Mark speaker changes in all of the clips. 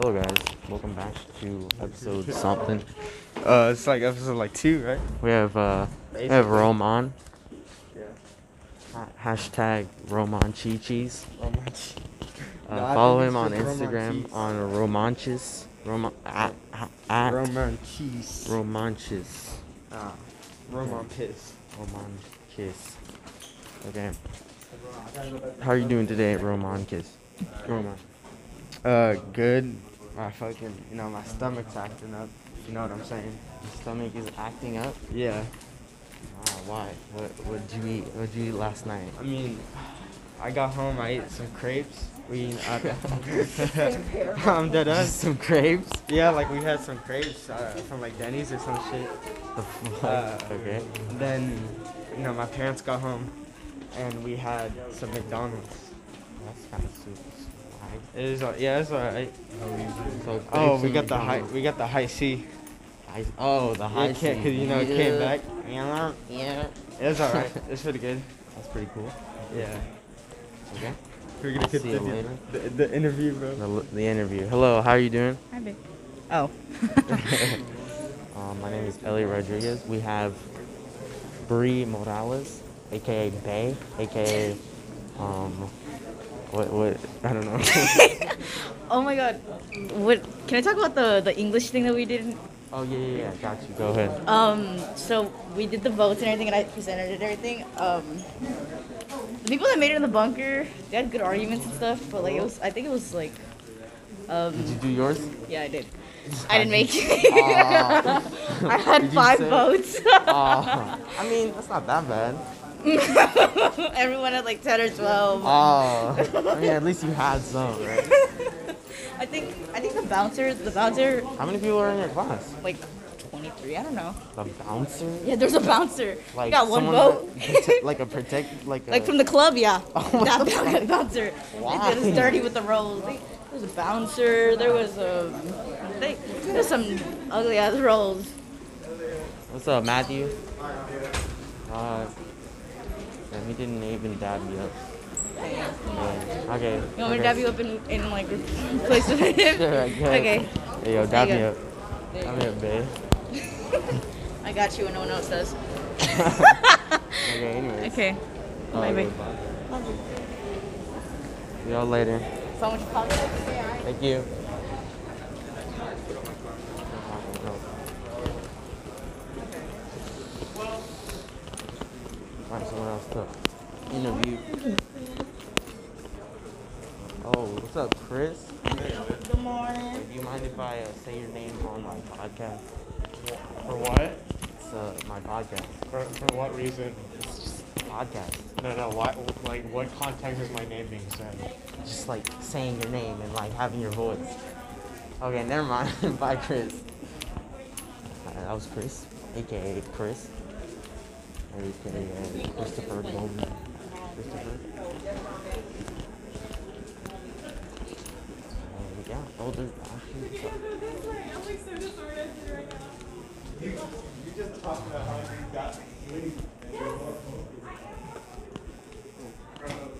Speaker 1: Hello guys, welcome back to episode something.
Speaker 2: Uh, it's like episode like two, right?
Speaker 1: We have uh, we have
Speaker 2: Basically.
Speaker 1: Rome on.
Speaker 2: Yeah.
Speaker 1: Ha- Hashtag Roman Chi Cheese.
Speaker 2: Oh my. g-
Speaker 1: Uh,
Speaker 2: No, I
Speaker 1: follow
Speaker 2: think
Speaker 1: him
Speaker 2: it's
Speaker 1: on
Speaker 2: just Roman
Speaker 1: Instagram
Speaker 2: cheese.
Speaker 1: on Romanches. Roman at, at- at
Speaker 2: Roman cheese.
Speaker 1: Romanches.
Speaker 2: ah, Roman piss.
Speaker 1: Romanches. Okay. How are you doing today, Romanches? Roman.
Speaker 2: Uh, good. My fucking, you know, my stomach's acting up. You know what I'm saying?
Speaker 1: Your stomach is acting up.
Speaker 2: Yeah.
Speaker 1: Ah, why? What what did you eat? What did you eat last night?
Speaker 2: I mean, I got home. I ate some crepes. We, I, I'm dead
Speaker 1: Just
Speaker 2: ass.
Speaker 1: Some crepes.
Speaker 2: Yeah, like we had some crepes uh, from like Denny's or some shit.
Speaker 1: The fuck?
Speaker 2: Uh,
Speaker 1: okay.
Speaker 2: Then, you know, my parents got home, and we had some McDonald's.
Speaker 1: That's kind of super.
Speaker 2: It is, uh, yeah, it's alright.
Speaker 1: So
Speaker 2: Oh,
Speaker 1: grapes
Speaker 2: we
Speaker 1: and
Speaker 2: got the high,
Speaker 1: McDonald's.
Speaker 2: we got the high C.
Speaker 1: I, oh, the high
Speaker 2: it can't, cause you know it came back. Yeah,
Speaker 1: Yeah.
Speaker 2: it's alright. It's pretty good.
Speaker 1: That's pretty cool.
Speaker 2: Yeah,
Speaker 1: Okay.
Speaker 2: we're gonna
Speaker 1: See you
Speaker 2: continue
Speaker 1: later.
Speaker 2: the, the interview, bro.
Speaker 1: The, the interview. Hello, how are you doing?
Speaker 3: Hi, babe. Oh.
Speaker 1: Um, my name is Ellie Rodriguez. We have Bree Morales, aka Bay, aka um, what what I don't know.
Speaker 3: oh my god. What can I talk about the the English thing that we did?
Speaker 1: oh yeah yeah yeah. Got you. Go ahead.
Speaker 3: Um so we did the votes and everything and I presented it and everything. Um the people that made it in the bunker, they had good arguments and stuff, but like it was I think it was like um
Speaker 1: Did you do yours?
Speaker 3: yeah, I did. I didn't make it. I
Speaker 1: Did
Speaker 3: had
Speaker 1: you
Speaker 3: five
Speaker 1: say-
Speaker 3: votes.
Speaker 1: Aw. Uh, I mean that's not that bad.
Speaker 3: Everyone had like 10 or 12.
Speaker 1: Oh, I mean at least you had some, right?
Speaker 3: I think I think the bouncer, the bouncer
Speaker 1: How many people are in your class?
Speaker 3: like 23, I don't know.
Speaker 1: The bouncer.
Speaker 3: Yeah, there's a bouncer.
Speaker 1: Like
Speaker 3: Like got one
Speaker 1: someone
Speaker 3: vote.
Speaker 1: that prote- like a protect, like a,
Speaker 3: like from the club, yeah.
Speaker 1: Oh,
Speaker 3: that that bouncer.
Speaker 1: Why?
Speaker 3: It was dirty with the rolls. They- There was a bouncer. There was a. They, there was some ugly ass rolls.
Speaker 1: What's up, Matthew? Uh, yeah, he didn't even dab me up. Yeah. Okay.
Speaker 3: You want me to dab you up in, in like place with him?
Speaker 1: Sure, I guess.
Speaker 3: okay.
Speaker 1: Hey, yo, dab me
Speaker 3: There you
Speaker 1: up.
Speaker 3: There you
Speaker 1: Dab me up, babe.
Speaker 3: go. I got you when no one else does.
Speaker 1: Okay, anyway.
Speaker 3: Okay.
Speaker 1: Oh,
Speaker 3: Bye bye.
Speaker 1: See y'all later.
Speaker 3: So much pop.
Speaker 1: Thank you. Find someone else to interview. Oh, what's up, Chris?
Speaker 3: Good morning.
Speaker 1: Do you mind if I uh, say your name on my podcast?
Speaker 4: For what?
Speaker 1: It's uh, my podcast.
Speaker 4: For, for what reason?
Speaker 1: Podcast.
Speaker 4: No, no. What? Like, what context is my name being said?
Speaker 1: Just like saying your name and like having your voice. Okay, never mind. Bye, Chris. Uh, that was Chris, aka Chris, aka Christopher Goldman. Christopher. And yeah, older. Actually, so-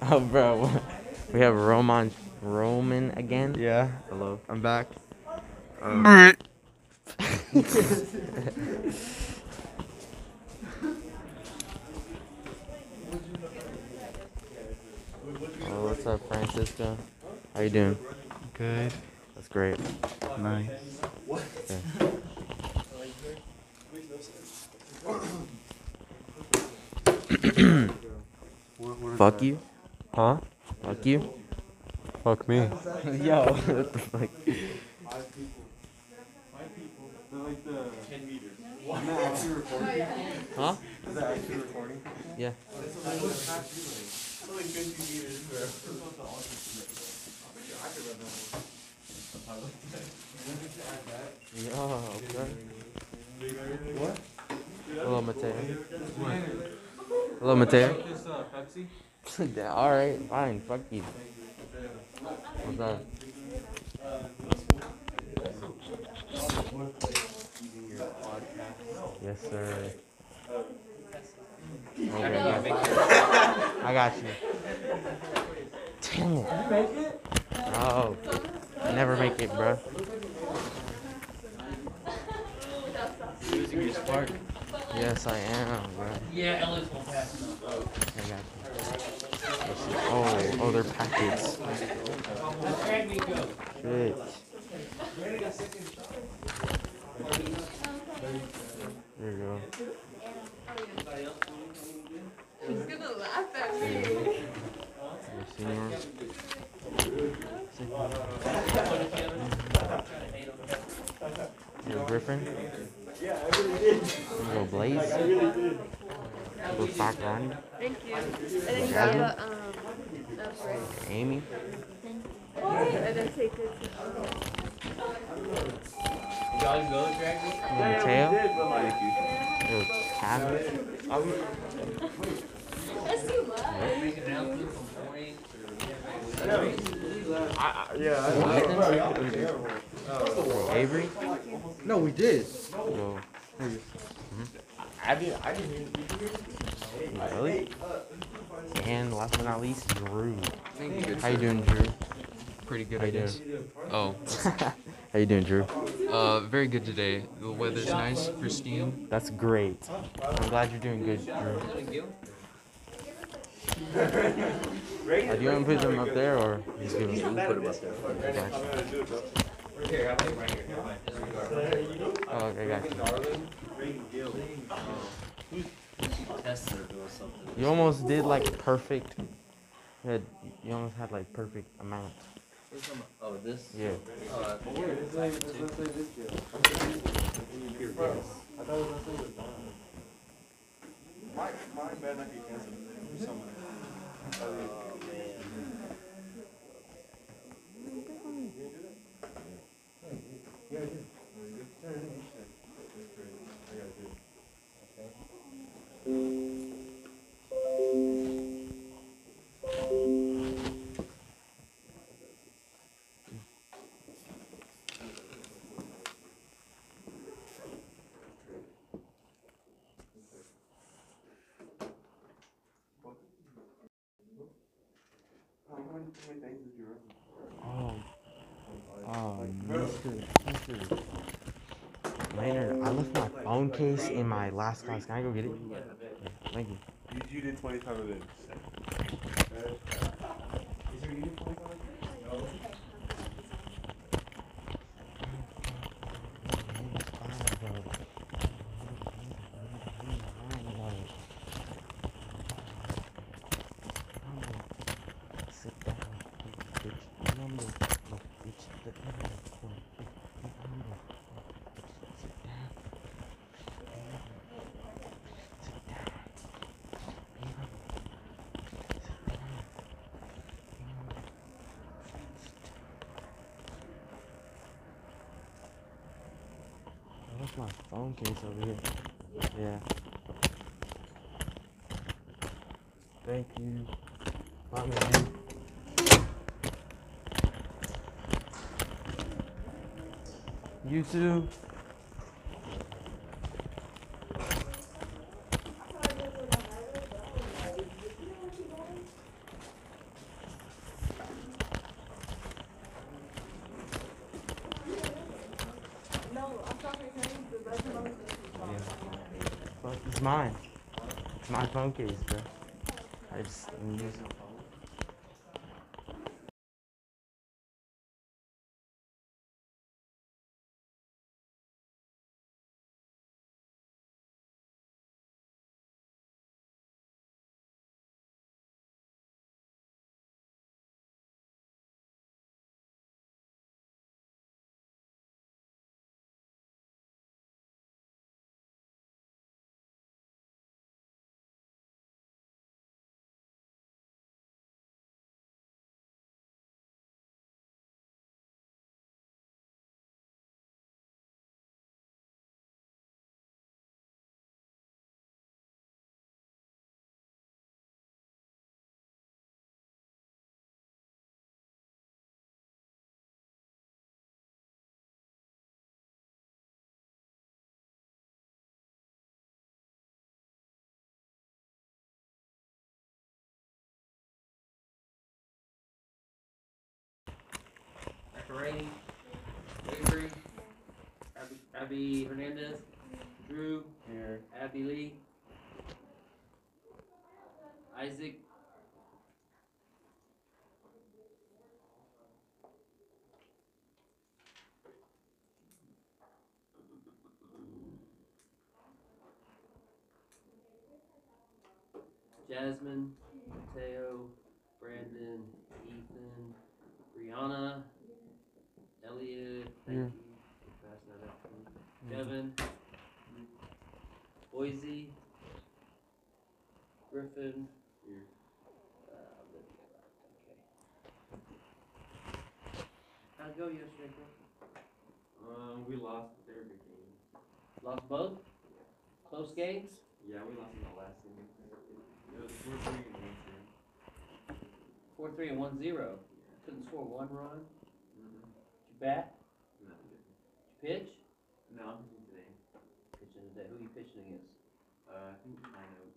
Speaker 1: Oh, bro, we have Roman Roman again.
Speaker 2: Yeah,
Speaker 1: Hello.
Speaker 2: I'm back.
Speaker 1: Oh, what's up, Francisco? How you doing?
Speaker 2: Good.
Speaker 1: That's great.
Speaker 2: Nice.
Speaker 1: Fuck you. Huh? Fuck you.
Speaker 4: Fuck me.
Speaker 1: Yo, what the fuck? Huh? Yeah. Yo, bro. Hello, Mateo. Hello, Mateo. yeah, all right, fine. Fuck you. What's up? Yes, sir. Okay, I got you. Damn it. No. Oh, never make it, bro.
Speaker 5: Losing your spark.
Speaker 1: Yes, I am, bro.
Speaker 6: Yeah, Ellis will pass.
Speaker 1: I got you. Oh, oh, they're packets.
Speaker 6: Drag me go.
Speaker 1: Shit. There you go.
Speaker 7: He's gonna laugh at me.
Speaker 1: You see him? You're a Griffin? You go Blaze? You go Black Ronnie?
Speaker 7: Thank you. And then grab a, um, a break.
Speaker 1: Amy?
Speaker 7: And then take it to
Speaker 6: Y'all go drag me?
Speaker 1: You go Tail? You go Cap?
Speaker 7: That's too much.
Speaker 6: Make an announcement from morning.
Speaker 1: Avery?
Speaker 8: No, we did.
Speaker 1: You go.
Speaker 5: I didn't. I didn't. Even,
Speaker 1: Really? And last but not least, Drew. How you doing, Drew?
Speaker 9: Pretty good,
Speaker 1: How
Speaker 9: I
Speaker 1: you
Speaker 9: guess. Oh,
Speaker 1: How you doing, Drew?
Speaker 9: uh, very good today. The weather's nice, pristine.
Speaker 1: That's great. I'm glad you're doing good, Drew. Uh, do you want to put them up there or just give them? Put them up there. Gotcha. Oh, okay, gotcha. You almost did like perfect. You, had, you almost had like perfect amount.
Speaker 6: Oh, this? Oh,
Speaker 1: Yeah. Oh. Oh, Mr. Mr. Leonard, I left my phone case in my last class. Can I go get it? Yeah, Thank you.
Speaker 4: You, you did 25 of it.
Speaker 1: I left my phone case over here. Yeah. Thank you. Bye, man. You too. Fuck, It's mine. It's my phone case, bro. I just, I'm using it.
Speaker 6: Brady, Avery, Abby, Abby Hernandez, Drew,
Speaker 10: Here.
Speaker 6: Abby Lee, Isaac. Jasmine, Mateo, Brandon, Ethan, Brianna, Elliot, thank
Speaker 1: Yeah.
Speaker 6: you. That's not that funny. Kevin, Boise, Griffin. Uh, I'm gonna get that, okay. How'd it go yesterday, Um, we lost the third game. Lost both? Close games? Yeah, we lost in the last game. It was four three and one zero. Four three and one zero. Couldn't score one run. Did you bat? Mm-hmm. No. Did you pitch? No, I'm pitching today. Pitching today. Who are you pitching against? Uh, I think Pine Oak.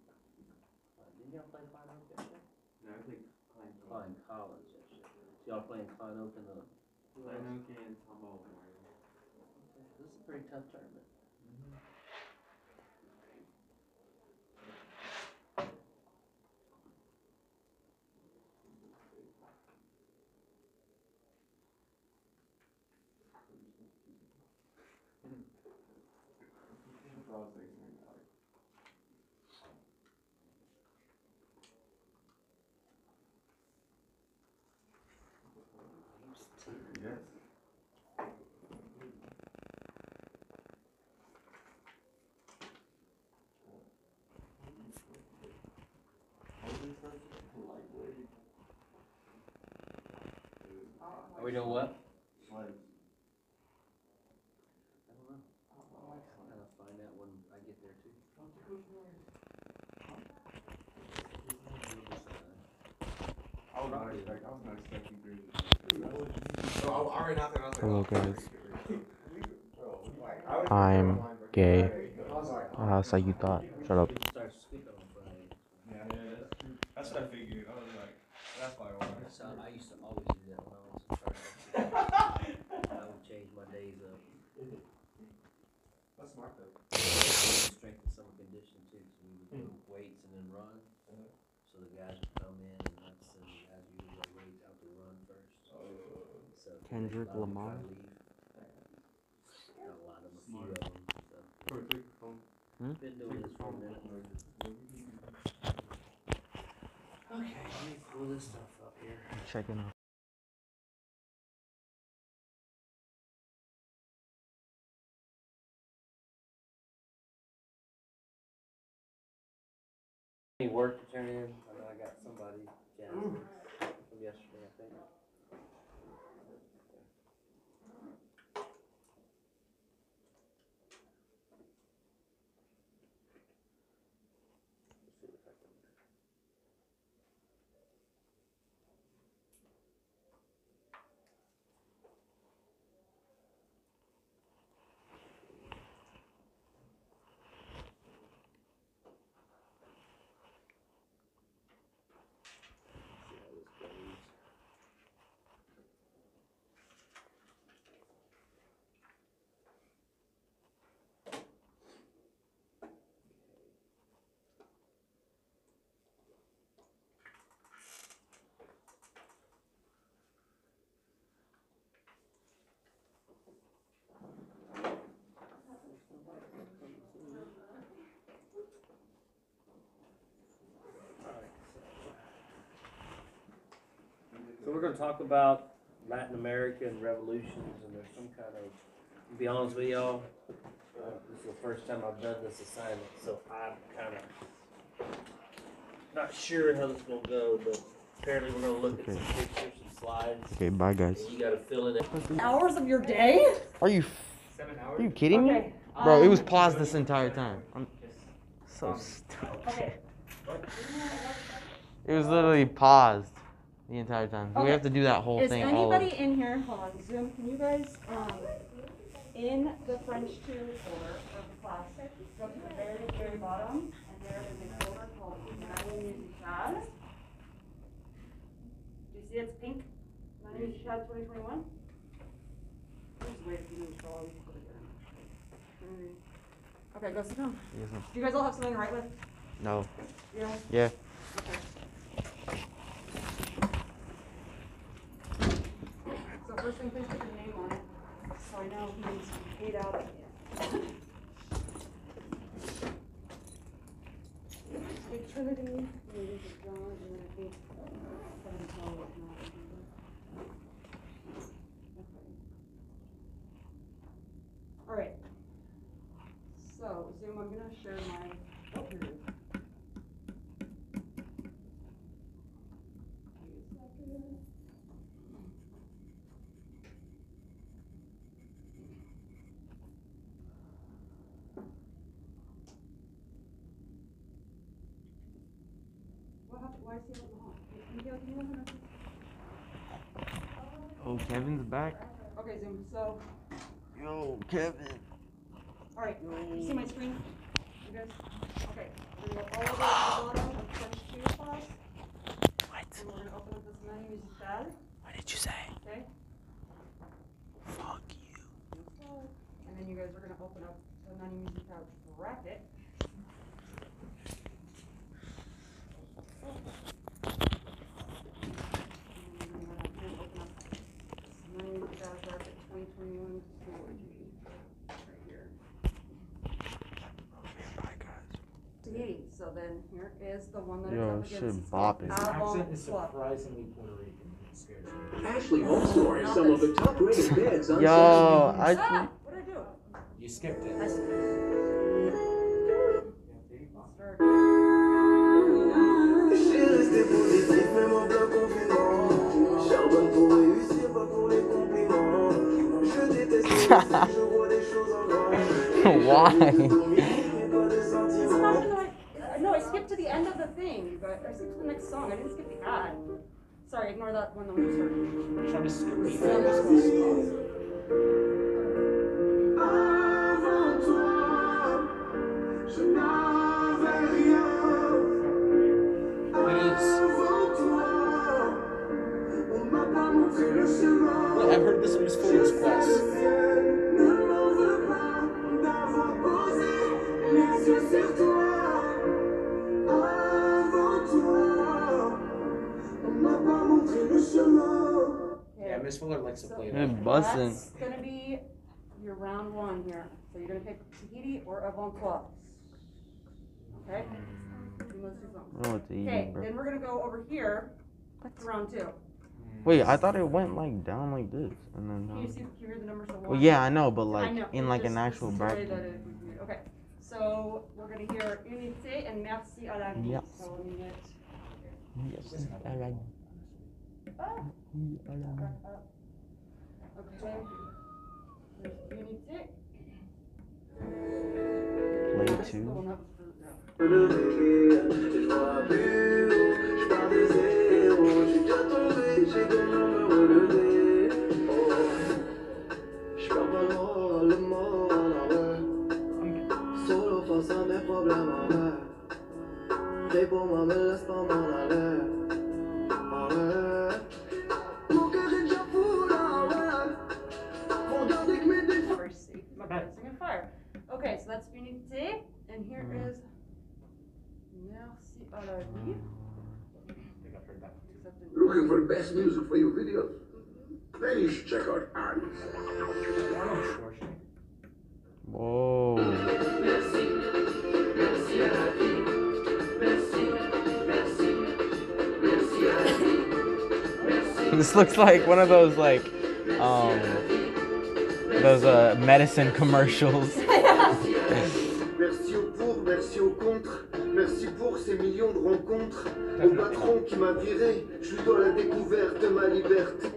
Speaker 6: Didn't y'all play Pine Oak yesterday? No, I played Pine College. Pine College yesterday. So y'all playing Pine Oak in the. Pine Oak and Humboldt. This is a pretty tough tournament. Are we doing what? I don't know. I'll kind of find out when I get there too.
Speaker 4: I was not expecting. I was not expecting Bro, I, I already knocked it out. Um,
Speaker 1: Hello, guys.
Speaker 4: Bro,
Speaker 1: I'm gay.
Speaker 4: I was like,
Speaker 1: Oh, that's like you thought. Shut up.
Speaker 6: Start sleeping on Friday.
Speaker 4: yeah, that's what I figured. I was like, that's probably why.
Speaker 6: That's how I used to always do that when I was in charge. I would change my days up.
Speaker 4: That's smart though.
Speaker 6: Strength and summer condition too, so we would do weights and then run. So the guys would come in and that's, and the guys usually go weights out to run first. So if they
Speaker 1: Kendrick
Speaker 6: line up, I
Speaker 1: Lamar?
Speaker 6: leave. Got a lot of 'em, a few of them, so.
Speaker 1: Hmm?
Speaker 6: Been doing this for a minute. Okay, let me pull this stuff up here.
Speaker 1: Checking out.
Speaker 6: Any work to turn in? I know I got somebody, Jasmine, from yesterday, I think. See if I can- see how this goes. So we're gonna talk about Latin American revolutions and there's some kind of, to be honest with y'all, uh, this is the first time I've done this assignment, so I'm kind of not sure how this is gonna go, but apparently we're gonna look at some pictures, some slides,
Speaker 1: Okay, bye guys.
Speaker 6: and you gotta fill in it.
Speaker 3: Hours of your day?
Speaker 1: Are you
Speaker 4: Seven
Speaker 1: are
Speaker 4: hours.
Speaker 1: you kidding me?
Speaker 3: Okay.
Speaker 1: Bro, it
Speaker 3: um,
Speaker 1: was paused this entire time. I'm so stupid.
Speaker 3: Okay.
Speaker 1: It was literally paused the entire time. We
Speaker 3: Okay.
Speaker 1: have to do that whole
Speaker 3: Is
Speaker 1: thing all over.
Speaker 3: anybody in here? Hold on, Zoom. Can you guys, um, in the French two folder of the class, go to the very, very bottom, and there is a folder called Nani Musical. Do you see it's pink? Nani Musical 2021?
Speaker 7: Mm. Okay, go sit down.
Speaker 1: Yes, ma'am.
Speaker 7: Do you guys all have something to write with?
Speaker 1: No.
Speaker 7: Yeah.
Speaker 1: Yeah.
Speaker 7: Okay. So first thing, please put your name on it, so I know who needs paid out. Good Trinity, maybe it's John, and then I think seven twelve is not. Okay. All right. So Zoom, I'm gonna share my, oh, here it is. What happened, why is he on the hall? Miguel, can you open up?
Speaker 1: Oh, Kevin's back.
Speaker 7: Okay, Zoom, so,
Speaker 1: Yo, Kevin.
Speaker 7: all right, you see my screen? You guys, okay, we're gonna go all the way to the bottom of French two class. What? And we're gonna open up this menu as bad,
Speaker 1: What did you say?
Speaker 7: okay?
Speaker 1: Fuck you.
Speaker 7: And then you guys are gonna open up the Nani Music Out bracket. And then you're gonna then open up Nani Music Out bracket twenty twenty-one school right here. Yay, so then here is the one that is
Speaker 1: Yo,
Speaker 7: up
Speaker 1: shit
Speaker 7: against.
Speaker 1: bopping.
Speaker 7: Album Swap.
Speaker 4: surprisingly Puerto Rican.
Speaker 11: Ashley Holmstor is some of the top rated bids on
Speaker 1: Yo, I.
Speaker 7: Ah, what did I do?
Speaker 4: You skipped it.
Speaker 7: I s- Start. It's not that I, no, I skipped to the end of the thing, but I skipped to the next song. I didn't skip the ad. Sorry, ignore that one that we just heard.
Speaker 4: Trying to skip it. I've heard this musical twice. Yeah, Miss Fuller likes to play
Speaker 1: Yeah,
Speaker 4: that.
Speaker 1: bussin'.
Speaker 7: That's gonna be your round one here. So you're gonna pick Tahiti or Avant-Garde. Okay? And those two songs.
Speaker 1: I don't know what to eat,
Speaker 7: Okay,
Speaker 1: bro.
Speaker 7: then we're gonna go over here to round two.
Speaker 1: Wait, I thought it went like down like this, and then.
Speaker 7: Can you see,
Speaker 1: Down.
Speaker 7: can you hear the numbers of one?
Speaker 1: Well, yeah, I know, but
Speaker 7: I know,
Speaker 1: like in
Speaker 7: it's
Speaker 1: like
Speaker 7: just-
Speaker 1: an
Speaker 7: this
Speaker 1: actual
Speaker 7: is the way
Speaker 1: bracket.
Speaker 7: that it was made. Okay, so we're gonna hear Unité and Merci à la vie.
Speaker 1: Yep.
Speaker 7: So let me get,
Speaker 1: Yes, I like. I like-
Speaker 7: back up. Okay. There's Unité.
Speaker 1: Play
Speaker 7: This is the
Speaker 1: two.
Speaker 7: one that was for- no.
Speaker 11: Solo face a mes problèmes arrête. Prie pour moi, me laisse pas m'en aller. Arrête. Mon cœur est déjà fou là, ouais. Faut garder que mes défauts.
Speaker 7: Mercy. My God, singing fire. Okay, so that's Unité, and here
Speaker 1: Mm.
Speaker 7: is Merci à la
Speaker 1: Uh,
Speaker 7: vie. Except in-
Speaker 11: Looking for the best music for your videos? Please check out Arms.
Speaker 1: Whoa. This looks like one of those like, um, those uh medicine commercials.
Speaker 11: Merci au pour, merci au contre, merci pour ces millions de rencontres. Au patron qui m'a viré, je suis dans la découverte de ma liberté.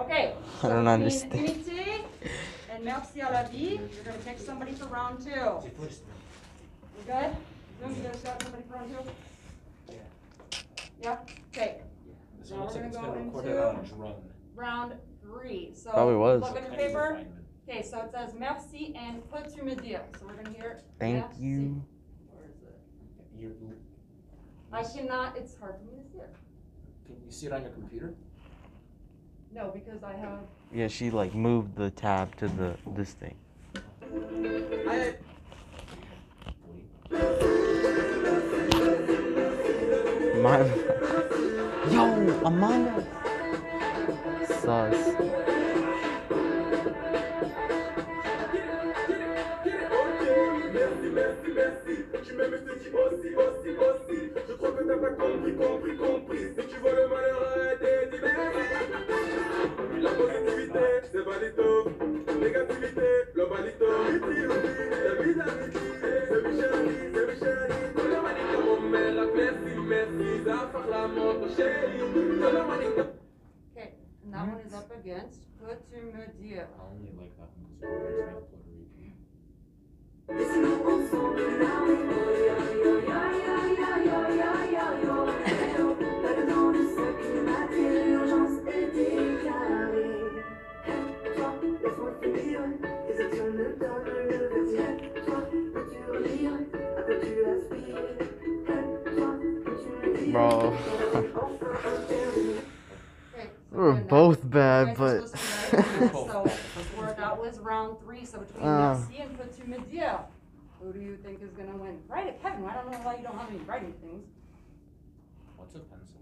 Speaker 7: Okay.
Speaker 1: I don't understand.
Speaker 7: Unité and Merci à la vie. You're gonna pick somebody for round two. You good? Zoom, you guys got somebody for round two?
Speaker 4: Yeah.
Speaker 7: Yeah, okay,
Speaker 4: This
Speaker 7: Now
Speaker 4: one looks
Speaker 7: we're
Speaker 4: like it's
Speaker 7: gonna
Speaker 4: been
Speaker 7: go
Speaker 4: recorded
Speaker 7: into-
Speaker 4: on a drone.
Speaker 7: round three. So
Speaker 1: Probably was.
Speaker 7: Look at your paper. Okay, so it says merci and put sur mesure. So we're gonna hear.
Speaker 1: Thank
Speaker 7: merci.
Speaker 1: you.
Speaker 7: Where is it?
Speaker 4: You,
Speaker 7: I cannot, it's hard for me to see it.
Speaker 4: can you see it on your computer?
Speaker 7: No, because I have
Speaker 1: Yeah, she like moved the tab to the this thing. My Yo, Amanda. Sus.
Speaker 7: Okay, and that one is up against Couture Media.
Speaker 1: Bro. We're both bad, but.
Speaker 7: So before that was round three, so between
Speaker 1: Uh.
Speaker 7: Messi and Couture Media, who do you think is gonna win? Write it, Kevin, I don't know why you don't have any writing things.
Speaker 12: What's a pencil?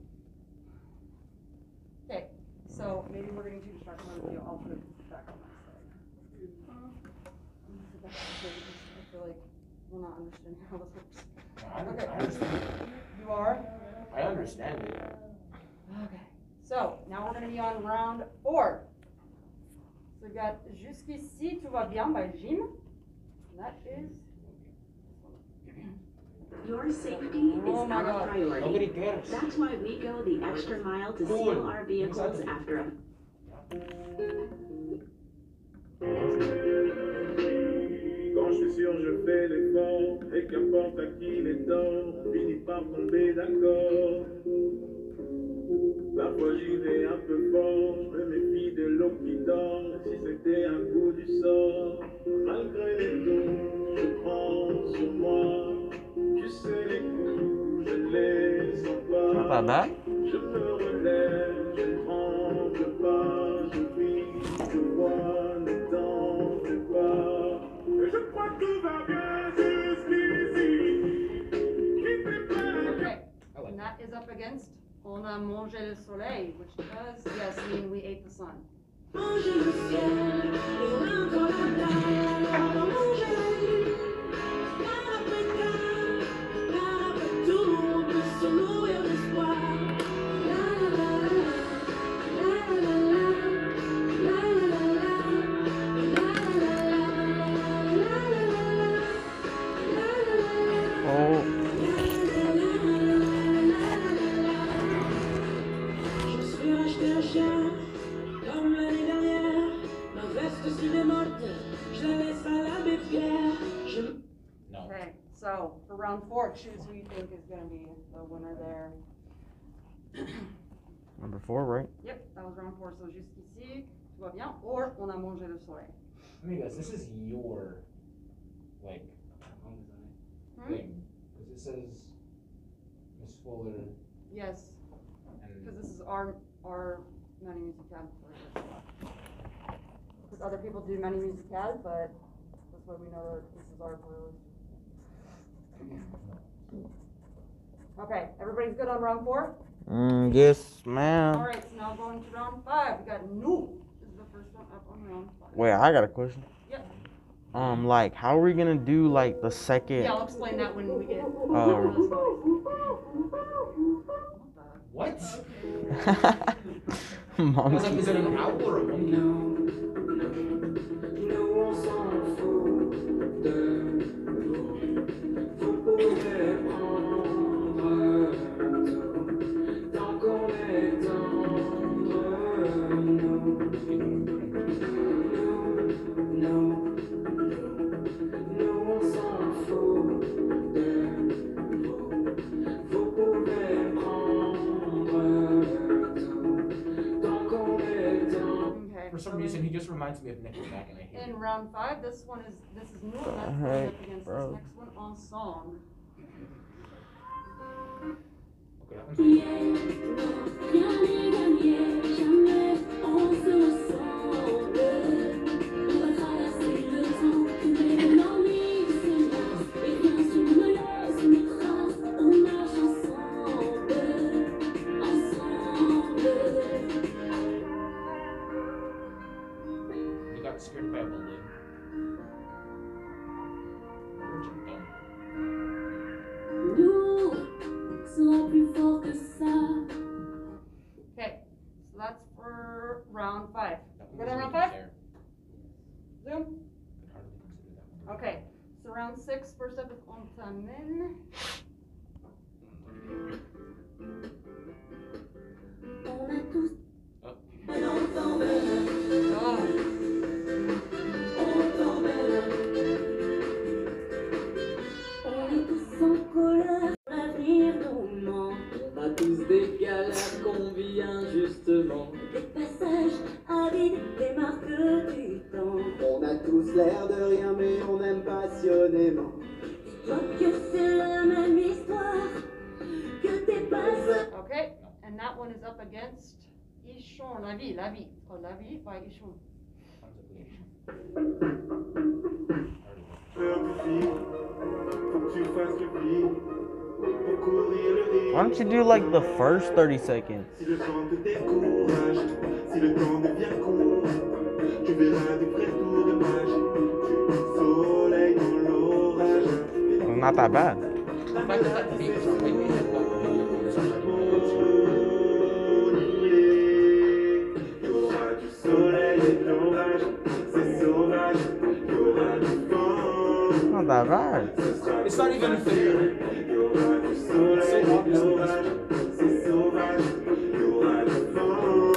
Speaker 7: Okay, so maybe we're gonna do distract one of you, I'll put it back on my side. I feel like we're not understanding how this works. Okay. You are?
Speaker 12: I understand it.
Speaker 7: Okay. So, now we're gonna be on round four. So we got Jusqu'ici tout va bien by Jim. And that is.
Speaker 4: Your safety
Speaker 7: Oh
Speaker 4: is
Speaker 7: my
Speaker 4: our
Speaker 7: God.
Speaker 4: priority.
Speaker 7: Nobody cares.
Speaker 4: That's why we go the extra mile to seal our vehicles after them.
Speaker 11: Quand je suis sûr, je fais l'effort et qu'importe à qui les torts, on finit par tomber d'accord. Parfois j'y vais un peu fort, je me méfie de l'eau qui dort, si c'était un coup du sort. Malgré les coups, je prends sur moi. Tu sais les coups, je les sens pas.
Speaker 1: Not bad.
Speaker 11: Je me relève, je ne tremble pas, je vis, je vois, ne tente pas. Et je crois que tout va bien jusqu'ici.
Speaker 7: Okay, and that is up against On a mangé le soleil, which does, yes, mean we ate the sun.
Speaker 1: Oh.
Speaker 13: Je suis racheté un chien, comme l'année dernière. Ma veste sur les mottes, je la laisse à l'abbé Pierre. Je
Speaker 7: Okay, so for round four, choose who you think is gonna be the winner there.
Speaker 1: Number four, right?
Speaker 7: Yep, that was round four, so jusqu'ici, tout va bien, or on a mangé le soleil.
Speaker 14: Amigos, this is your, like,
Speaker 4: Hmm?
Speaker 14: thing. Because it says Miss Fuller.
Speaker 7: Yes, because this is our, our Money Music Tab. Because other people do Money Music Tab, but that's why we know that this is our playlist. Okay, everybody's good on round four?
Speaker 1: Mm, yes, ma'am.
Speaker 7: Alright, so now going to round five, we got new, this is the first one up on round five.
Speaker 1: Wait, I got a question.
Speaker 7: Yep,
Speaker 1: Um, like, how are we gonna do like the second? um,
Speaker 7: yeah, I'll explain that when we get.
Speaker 14: What? I was like, is it
Speaker 1: Mom.
Speaker 14: an owl or a monkey? For some reason, he just reminds me of Nickelback, and I hate
Speaker 7: In
Speaker 14: it.
Speaker 7: round five, this one is, this is new,
Speaker 14: The
Speaker 7: and that's going
Speaker 14: heck,
Speaker 7: up against this
Speaker 14: bro.
Speaker 7: next one, Ensemble.
Speaker 13: Rien n'est gagné, jamais on se ressemble.
Speaker 4: got scared by a balloon. Jumped on.
Speaker 14: Nous, sois plus fort que ça.
Speaker 7: Okay, so that's for round five. Good on round five? Zoom? Okay, so round six, first up is Ontamen.
Speaker 14: On a tous
Speaker 7: Oh,
Speaker 14: On est tous en colère, l'avenir nous manque.
Speaker 6: On a tous des galères qu'on vit injustement.
Speaker 14: Des passages à vide, des marques du temps.
Speaker 6: On a tous l'air de rien, mais on aime passionnément.
Speaker 14: Toi que c'est la même histoire que tes passages.
Speaker 7: Okay, and that one is up against Ishon La Vie, La Vie, or La Vie by Ishon.
Speaker 1: Why don't you do like the first 30 seconds?
Speaker 11: Si le temps te décourage, si le temps devient court, tu verras des vrais tours de magie. Tu es le soleil dans l'orage.
Speaker 1: Well, not that bad.
Speaker 11: Il y aura du soleil et de l'orage, c'est sauvage. Il y aura du vent,
Speaker 1: Not that bad.
Speaker 11: ce sera It's not even fair. Il y aura du soleil et de l'orage, c'est sauvage. Il y aura du vent,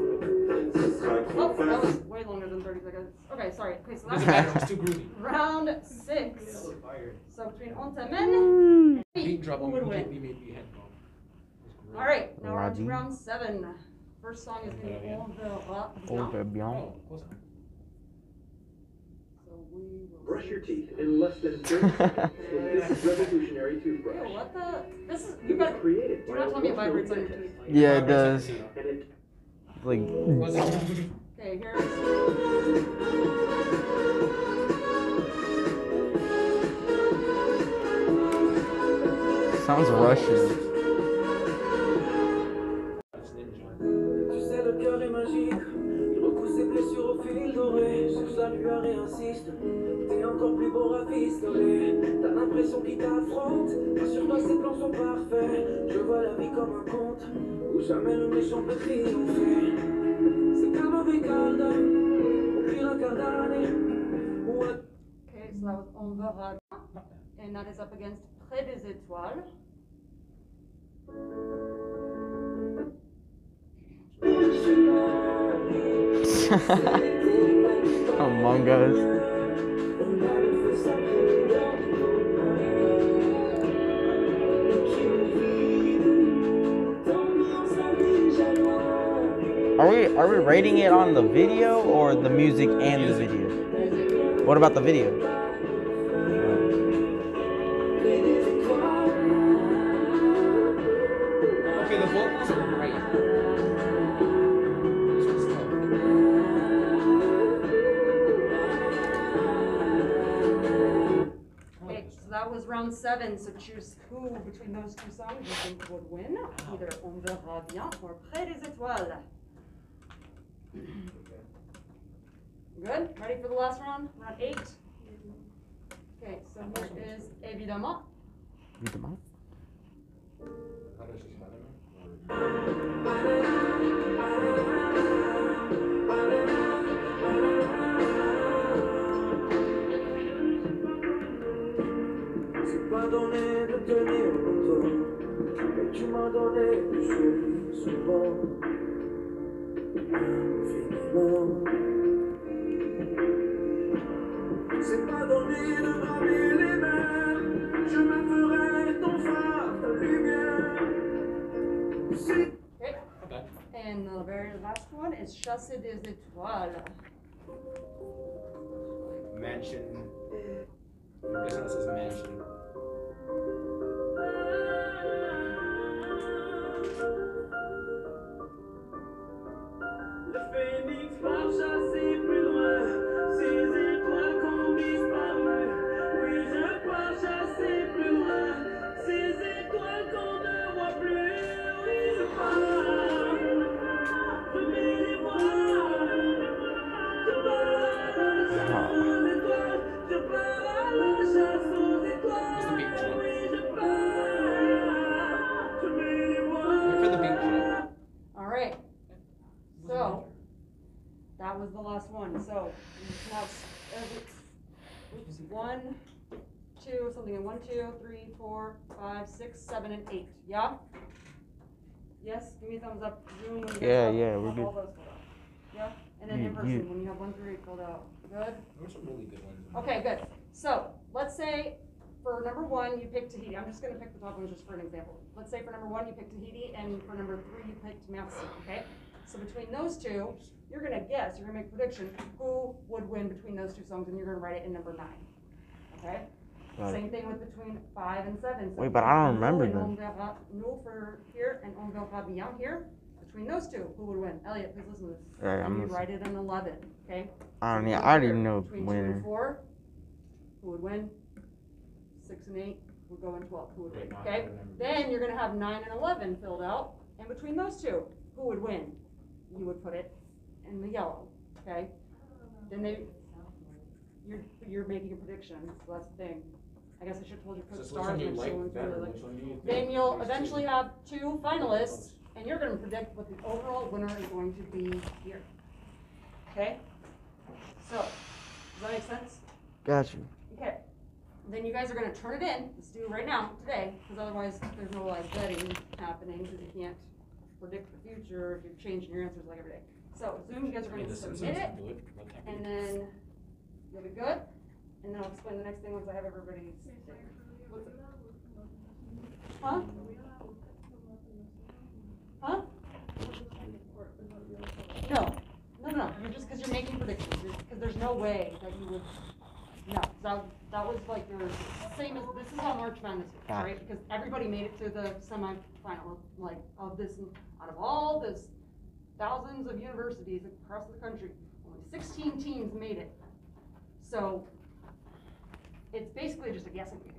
Speaker 11: ce sera
Speaker 7: Oh,
Speaker 11: trop
Speaker 7: that
Speaker 11: facile.
Speaker 7: was way longer than 30 seconds. Okay, sorry. Okay, so
Speaker 11: Doesn't matter, it was
Speaker 7: that's
Speaker 11: too groovy.
Speaker 7: round six. So between Ontamen and Beat
Speaker 4: drop,
Speaker 7: who would
Speaker 4: we,
Speaker 7: win?
Speaker 4: we made the head bump.
Speaker 7: All right, now we're on to
Speaker 1: Raji.
Speaker 7: round seven. First song is going to be On the
Speaker 1: Oh,
Speaker 7: Ra-
Speaker 1: they're beyond.
Speaker 15: Brush your teeth in less than 30 seconds with this revolutionary
Speaker 7: Ew,
Speaker 15: toothbrush.
Speaker 7: what the? This is.
Speaker 15: It
Speaker 7: You
Speaker 15: was
Speaker 7: got.
Speaker 15: created
Speaker 7: Do
Speaker 15: by a
Speaker 7: not tell me it
Speaker 15: Russian
Speaker 7: vibrates on your
Speaker 15: dentist.
Speaker 7: teeth.
Speaker 1: Yeah, it does.
Speaker 15: And it
Speaker 1: Like,
Speaker 7: Okay, here it is.
Speaker 1: sounds Russian.
Speaker 6: Tu sais, le cœur est magique. Il recoue ses blessures au fil doré. Cherche la lueur et insiste. T'es encore plus beau rafistolé. T'as l'impression qu'il t'affronte. Sur toi, ses plans sont parfaits. Je vois la vie comme un conte. Où jamais le méchant peut triompher. C'est comme avec Alda. Au pire, un quart d'année. Ou un
Speaker 7: Okay, so that was On the Ra- And that is up against Près des Étoiles.
Speaker 1: Among Us. Are we are we rating it on the video or the music and the video? What about the video?
Speaker 4: Okay, the vocals are great.
Speaker 7: Okay, so that was round seven. So choose who between those two songs you think would win. Either On verra bien or Près des Étoiles. Good? Ready for the last round? Round eight? Okay, so which is Évidemment.
Speaker 1: Read them out.
Speaker 6: C'est pas donné de tenir longtemps, mais tu m'as donné du sourire souvent, infiniment. C'est pas donné de braver les mêmes, je me ferai ton phare, ta lumière. C'est
Speaker 7: Okay. And the very last one is Chasse des Étoiles.
Speaker 2: Mansion. I guess that says mansion.
Speaker 14: Le phénix va chasser plus loin, ces étoiles qu'on disparu. Oui, je pars chasser plus loin, ces étoiles qu'on ne voit plus. Oui, je pars, je vais les voir. Je pars.
Speaker 7: So, we have every, oops, one, two, something, in one, two, three, four, five, six, seven, and eight, yeah? Yes, give me a thumbs up, Zoom. when you
Speaker 1: Yeah,
Speaker 7: have
Speaker 1: yeah,
Speaker 7: all
Speaker 1: we're good.
Speaker 7: those filled out. Yeah, and then
Speaker 1: You-
Speaker 7: in
Speaker 1: you-
Speaker 7: person, when you have one through eight filled out, good?
Speaker 4: There's some really good ones.
Speaker 7: Okay, good. So, let's say for number one, you picked Tahiti. I'm just gonna pick the top ones just for an example. Let's say for number one, you picked Tahiti, and for number three, you picked Matheson, okay? So between those two, you're gonna guess, you're gonna make a prediction, who would win between those two songs, and you're gonna write it in number nine, okay?
Speaker 1: Got it.
Speaker 7: Same thing with between five and seven. So
Speaker 1: Wait, but I don't
Speaker 7: Null
Speaker 1: remember
Speaker 7: and
Speaker 1: them.
Speaker 7: On verra- Null for here and On verra bien here. Between those two, who would win? Elliot, please listen to this.
Speaker 1: All right,
Speaker 7: And
Speaker 1: I'm
Speaker 7: you
Speaker 1: listening.
Speaker 7: write it in eleven, okay?
Speaker 1: I don't
Speaker 7: So
Speaker 1: know.
Speaker 7: from
Speaker 1: I don't
Speaker 7: here,
Speaker 1: even know
Speaker 7: Between two and
Speaker 1: winner.
Speaker 7: four, who would win? Six and eight, would go in twelve, who would win, okay? Then you're gonna have nine and eleven filled out, and between those two, who would win? You would put it in the yellow, okay? Then they, you're, you're making a prediction, so that's the thing. I guess I should have told you to put
Speaker 4: So which one
Speaker 7: stars
Speaker 4: do you
Speaker 7: next to
Speaker 4: like
Speaker 7: ones
Speaker 4: better?
Speaker 7: really like.
Speaker 4: Which one do you think
Speaker 7: Then you'll
Speaker 4: is too-
Speaker 7: eventually have two finalists, and you're gonna predict what the overall winner is going to be here. Okay? So, does that make sense?
Speaker 1: Got you.
Speaker 7: Okay. Then you guys are gonna turn it in, let's do it right now, today, because otherwise there's no like betting happening, because you can't predict the future if you're changing your answers like every day. So Zoom, you guys are
Speaker 4: I mean,
Speaker 7: gonna
Speaker 4: the
Speaker 7: submit
Speaker 4: Simpsons
Speaker 7: it,
Speaker 4: do it, but that
Speaker 7: and
Speaker 4: we-
Speaker 7: then you'll be good, and then I'll explain the next thing once I have everybody's. What's it? Huh? Huh? No, no, no, you're just, because you're making predictions, because there's no way that you would, no, that, that was like your, same as, this is how March Madness was,
Speaker 1: Got
Speaker 7: right? Because everybody made it to the semifinal, like, of this, out of all this thousands of universities across the country, only sixteen teams made it. So, it's basically just a guessing game.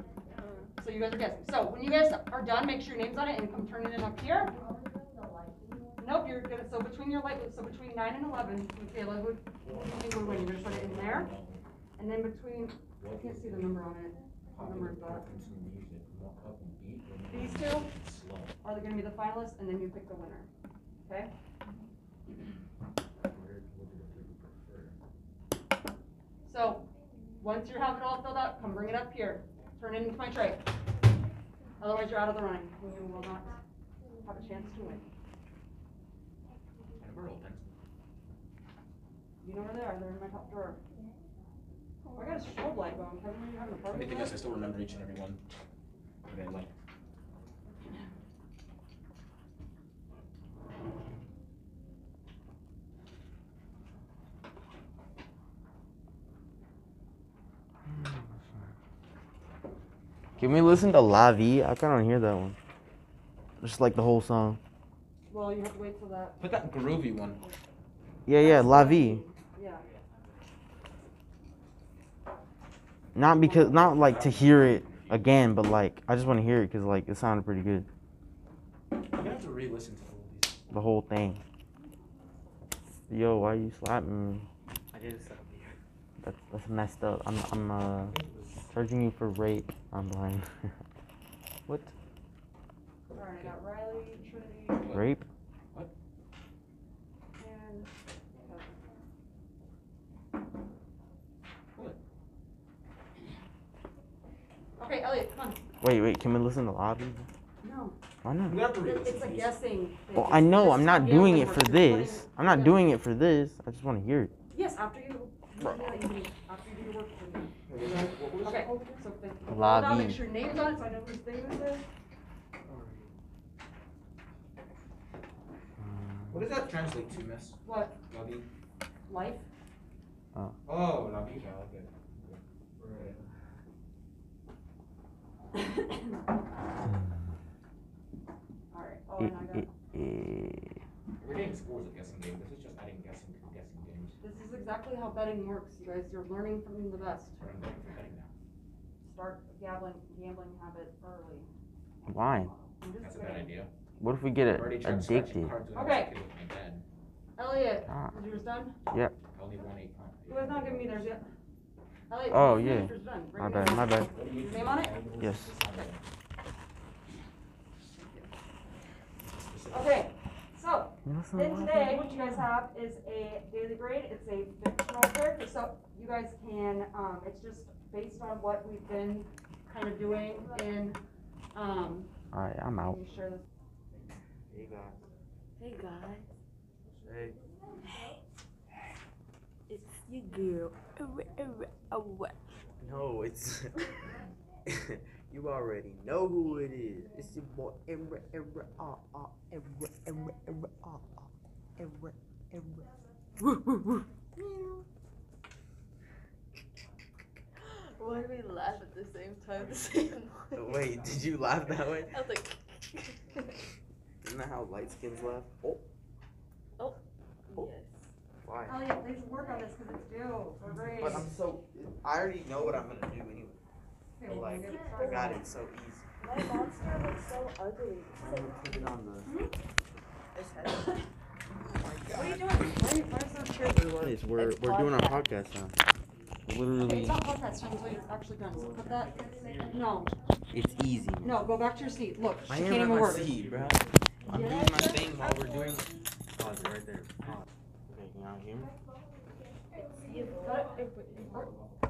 Speaker 7: So you guys are guessing. So when you guys are done, make sure your name's on it and come turn it in up here. Nope, you're gonna, so between your light, so between nine and eleven, would say, like, would, you think would win, you're gonna put it in there. And then between, I can't see the number on it, what number is that? These two are gonna be the finalists, and then you pick the winner, okay? So, once you have it all filled out, come bring it up here, turn it into my tray. Otherwise, you're out of the running, and you will not have a chance to win.
Speaker 4: I never rolled pencil.
Speaker 7: You know where they are, they're in my top drawer. Oh, I got a strobe light going, haven't you having a
Speaker 4: The
Speaker 7: party?
Speaker 4: only thing is I still remember each and every one. And then like,
Speaker 1: Can we listen to La Vie? I kind of hear that one. Just like the whole song.
Speaker 7: Well, you have to wait till that,
Speaker 4: put that groovy one.
Speaker 1: Yeah, yeah, La Vie.
Speaker 7: yeah.
Speaker 1: Not because, not like to hear it again, but like I just want to hear it because like it sounded pretty good,
Speaker 4: I'm gonna have to re-listen to all these.
Speaker 1: the whole thing. Yo, why you slapping me?
Speaker 16: I did it separately.
Speaker 1: That's, that's messed up. I'm, I'm uh, charging you for rape. I'm blind. what?
Speaker 7: Alright, I got Riley, Trinity,
Speaker 1: Rape?
Speaker 7: and,
Speaker 4: What?
Speaker 7: okay, Elliot, come on,
Speaker 1: Wait, wait. Can we listen to lobby?
Speaker 7: no,
Speaker 1: Why
Speaker 4: I'm
Speaker 1: not?
Speaker 4: gonna have to
Speaker 7: it-
Speaker 4: re-listen
Speaker 7: it's
Speaker 4: to
Speaker 7: a
Speaker 4: these.
Speaker 7: guessing. thing.
Speaker 1: Well, I know
Speaker 7: This
Speaker 1: I'm
Speaker 7: is
Speaker 1: not
Speaker 7: how
Speaker 1: doing
Speaker 7: gambling
Speaker 1: it for
Speaker 7: works. You're putting-
Speaker 1: this. I'm not
Speaker 7: yeah.
Speaker 1: doing it for this. I just want to hear it.
Speaker 7: Yes, after you, you do that, you do- after you do your work. for me. Oh, Okay, so thank you.
Speaker 1: La
Speaker 7: Hold on, Make
Speaker 1: vie.
Speaker 7: sure your name's on it, so I know whose thing this is.
Speaker 4: What does that translate to, miss?
Speaker 7: What,
Speaker 4: Lobby?
Speaker 7: life?
Speaker 4: Oh, lobby, yeah, okay. Right.
Speaker 7: Alright, oh, and I
Speaker 1: Mm.
Speaker 7: got,
Speaker 1: Uh, eh,
Speaker 4: We're getting scores of guessing game. This is just adding guessing to guessing games.
Speaker 7: this is exactly how betting works, you guys, you're learning from the best.
Speaker 4: That's what I'm doing for betting now.
Speaker 7: Start gambling, gambling habit early.
Speaker 1: Why?
Speaker 7: I'm just
Speaker 4: That's a bad
Speaker 7: saying.
Speaker 4: idea.
Speaker 1: What if we get
Speaker 4: I already
Speaker 1: a-
Speaker 4: tried scratching
Speaker 1: addicted?
Speaker 4: cards when I was a
Speaker 7: Okay.
Speaker 4: kid with my dad.
Speaker 7: Elliot,
Speaker 1: Ah.
Speaker 7: is yours done?
Speaker 1: Yep.
Speaker 4: I only won eight pounds.
Speaker 7: You guys not giving me theirs yet? Elliot,
Speaker 1: Oh,
Speaker 7: yours-
Speaker 1: yeah.
Speaker 7: yours done. Bring
Speaker 1: My
Speaker 7: it
Speaker 1: bad.
Speaker 7: in.
Speaker 1: My bad.
Speaker 7: Name on it?
Speaker 1: Yes.
Speaker 7: Okay, so,
Speaker 17: You know, so
Speaker 7: Then
Speaker 17: what?
Speaker 7: today, what you guys have is a daily grade, it's a fictional character, so you guys can, um, it's just based on what we've been kind of doing in, um.
Speaker 18: All right, I'm out.
Speaker 7: Can you share this?
Speaker 19: Hey, guys.
Speaker 3: Hey guys,
Speaker 19: Hey.
Speaker 3: it's your girl.
Speaker 1: No, it's. you already know who it is. It's your boy. Emra, Emra, ah, ah, Emra, Emra, Emra, ah, ah, Emra, Emra. Woo, woo, woo.
Speaker 3: Why do we laugh at the same time? The same way?
Speaker 1: Wait, did you laugh that way?
Speaker 3: I was like,
Speaker 1: Isn't that how light skins laugh? Oh,
Speaker 3: oh, yes.
Speaker 1: why?
Speaker 7: Oh, yeah, they should work on this, cause it's due, we're very.
Speaker 1: But I'm so. I already know what I'm gonna do anyway.
Speaker 7: Okay, we'll
Speaker 1: Like,
Speaker 7: get it
Speaker 1: I
Speaker 7: started.
Speaker 1: got it so easy.
Speaker 3: My monster looks so ugly.
Speaker 1: I'm gonna put it on the.
Speaker 7: What are you doing? Why are you, why are you so cheerful?
Speaker 17: Guys, we're, we're doing our podcast now.
Speaker 7: Okay,
Speaker 17: Literally,
Speaker 7: it's not podcast time, it's what it's actually done, so put that, no,
Speaker 17: it's easy.
Speaker 7: no, go back to your seat, look, she
Speaker 1: I
Speaker 7: can't
Speaker 1: am
Speaker 7: even
Speaker 1: on my
Speaker 7: work.
Speaker 1: seat, bro. I'm doing my thing while we're doing. Pause it right there. Pause. Okay, can y'all hear me?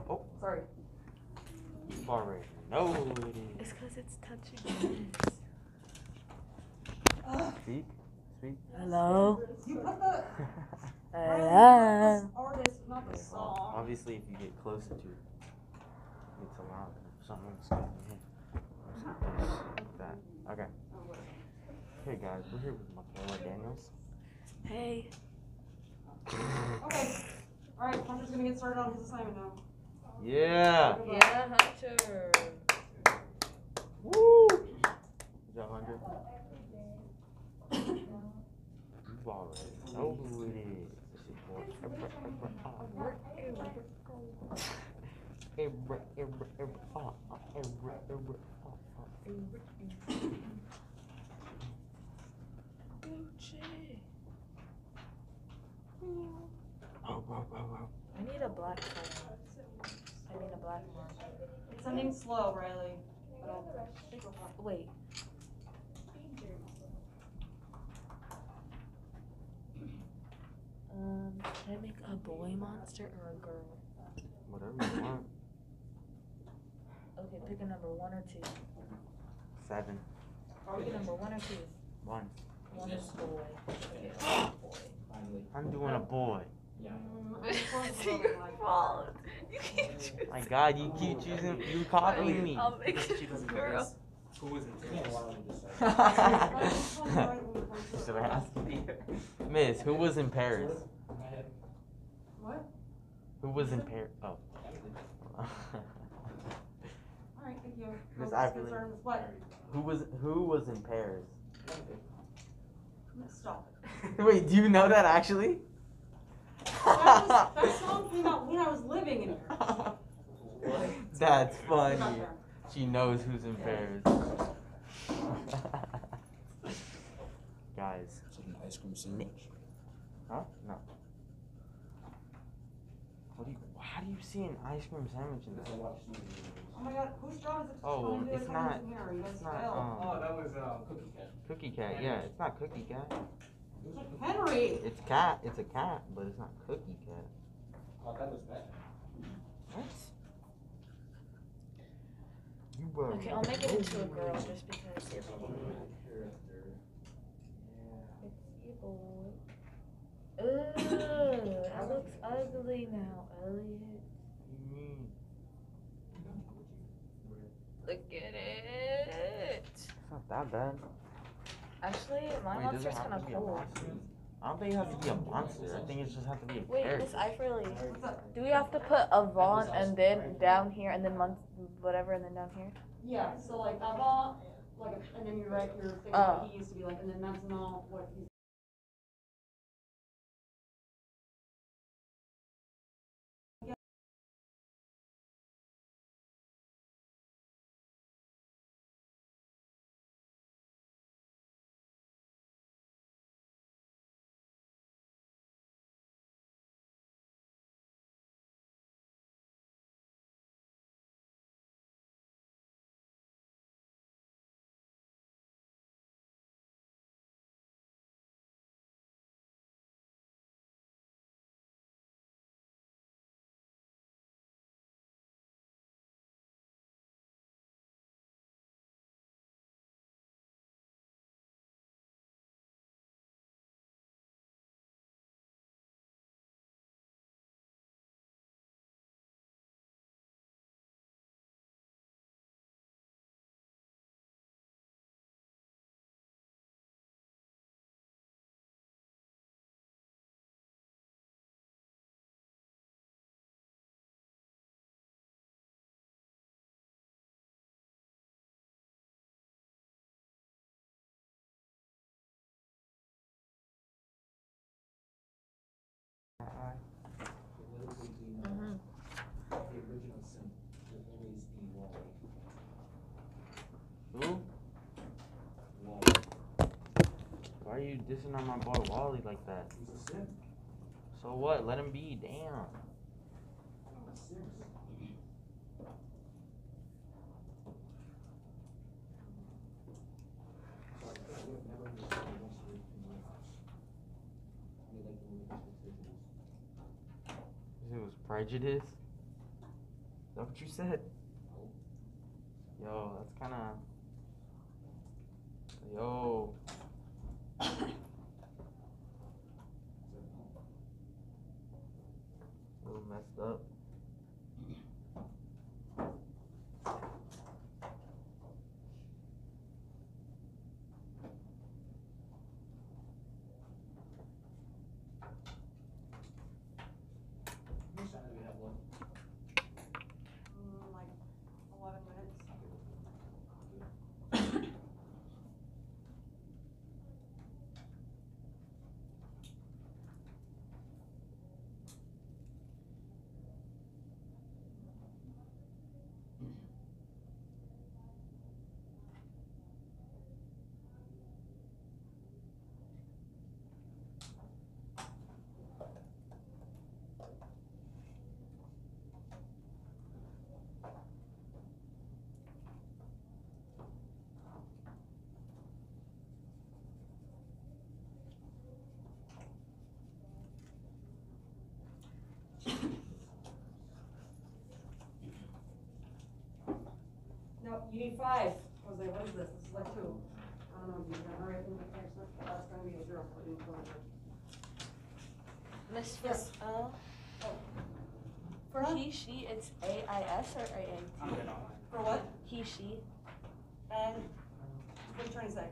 Speaker 7: Oh, sorry.
Speaker 1: You already know who it is.
Speaker 3: It's because it's touching.
Speaker 1: Speak, speak.
Speaker 3: Hello?
Speaker 7: You put the.
Speaker 3: Hello?
Speaker 7: Artist, not the song.
Speaker 1: Obviously, if you get closer to it, it's a lot. Something's going on. Like that. Okay. Hey guys, we're here with my boy Daniels.
Speaker 3: Hey.
Speaker 7: Okay, alright, Hunter's gonna get started on his assignment now.
Speaker 1: Yeah.
Speaker 3: Yeah, Hunter.
Speaker 1: Woo. Is that hundred? You already Oh, know who it is. It's your boy. Ebra, ebra, ah, ebra, ebra, ebra, ah, ah, ebra, ebra, ah, ah, ebra. Oh, oh, oh, oh.
Speaker 3: I need a black one. I need a black one.
Speaker 7: It's ending slow, Riley. but I'll-
Speaker 3: Wait. Um, can I make a boy monster or a girl?
Speaker 1: Whatever you want.
Speaker 3: Okay, pick a number one or two.
Speaker 1: Seven.
Speaker 3: Pick a number one or two.
Speaker 1: One.
Speaker 3: One is boy.
Speaker 1: I'm doing a boy.
Speaker 7: Mm, I'm just going
Speaker 3: it's
Speaker 7: slow,
Speaker 3: your
Speaker 7: like-
Speaker 3: fault. You keep choosing.
Speaker 1: My God, you keep choosing. You copying me.
Speaker 3: I'll make it a girl.
Speaker 4: Who is
Speaker 1: Should I ask you? Miss, who was in Paris?
Speaker 7: What?
Speaker 1: Who was in oh. Paris? Oh.
Speaker 7: Alright, thank you.
Speaker 1: Miss
Speaker 7: I'll just get
Speaker 1: Ivory.
Speaker 7: started with What?
Speaker 1: who was who was in Paris?
Speaker 7: Stop it.
Speaker 1: Wait, do you know that actually?
Speaker 7: That was- that song came out when I was living in here.
Speaker 1: That's funny. She knows who's in Paris. Guys.
Speaker 4: an ice cream sandwich.
Speaker 1: Huh? No. What do you, how do you see an ice cream sandwich in there?
Speaker 7: Oh my god, whose job is it to
Speaker 1: Oh,
Speaker 7: tell me to do
Speaker 1: it's
Speaker 7: this when
Speaker 1: not-
Speaker 7: I'm in here? You guys
Speaker 1: it's not,
Speaker 7: failed.
Speaker 1: um, Oh,
Speaker 4: that was uh, Cookie Cat.
Speaker 1: Cookie cat, yeah, it's not cookie cat.
Speaker 7: Henry!
Speaker 1: It's cat, it's a cat, but it's not cookie cat.
Speaker 4: Oh, that was that.
Speaker 1: What? You were.
Speaker 3: Okay, I'll make it into a girl just because it's evil. Ugh, that looks ugly now, Elliot. Look at it.
Speaker 1: It's not that bad.
Speaker 3: Actually, my
Speaker 1: Wait, does it
Speaker 3: monster's
Speaker 1: have
Speaker 3: kind
Speaker 1: to
Speaker 3: of
Speaker 1: be a
Speaker 3: cool.
Speaker 1: monster? I don't think it has to be a monster. I think it just has to be a
Speaker 3: Wait,
Speaker 1: character.
Speaker 3: Miss Iverly, do we have to put Avon and then down here and then month whatever and then down here?
Speaker 7: Yeah, so like Avant, like, and then you write your thing
Speaker 3: Oh.
Speaker 7: that he used to be like, and then that's not what he's. Mm-hmm.
Speaker 1: are you dissing on my boy Wally like that? So what? Let him be. Damn. It was prejudice. Is that what you said? Yo, that's kind of. Yo. little messed up.
Speaker 7: Mm, Like eleven minutes. No, you need five. I was like, what is this? This is like two. I don't know if you've done, all right, that's gonna be a zero. I didn't fill it in.
Speaker 3: Miss
Speaker 7: Yes.
Speaker 3: Frisell?
Speaker 7: Uh, oh. For
Speaker 3: He, she, it's A-I-S or A-A-T?
Speaker 7: For what?
Speaker 3: He, she,
Speaker 7: Um, what are you trying to say?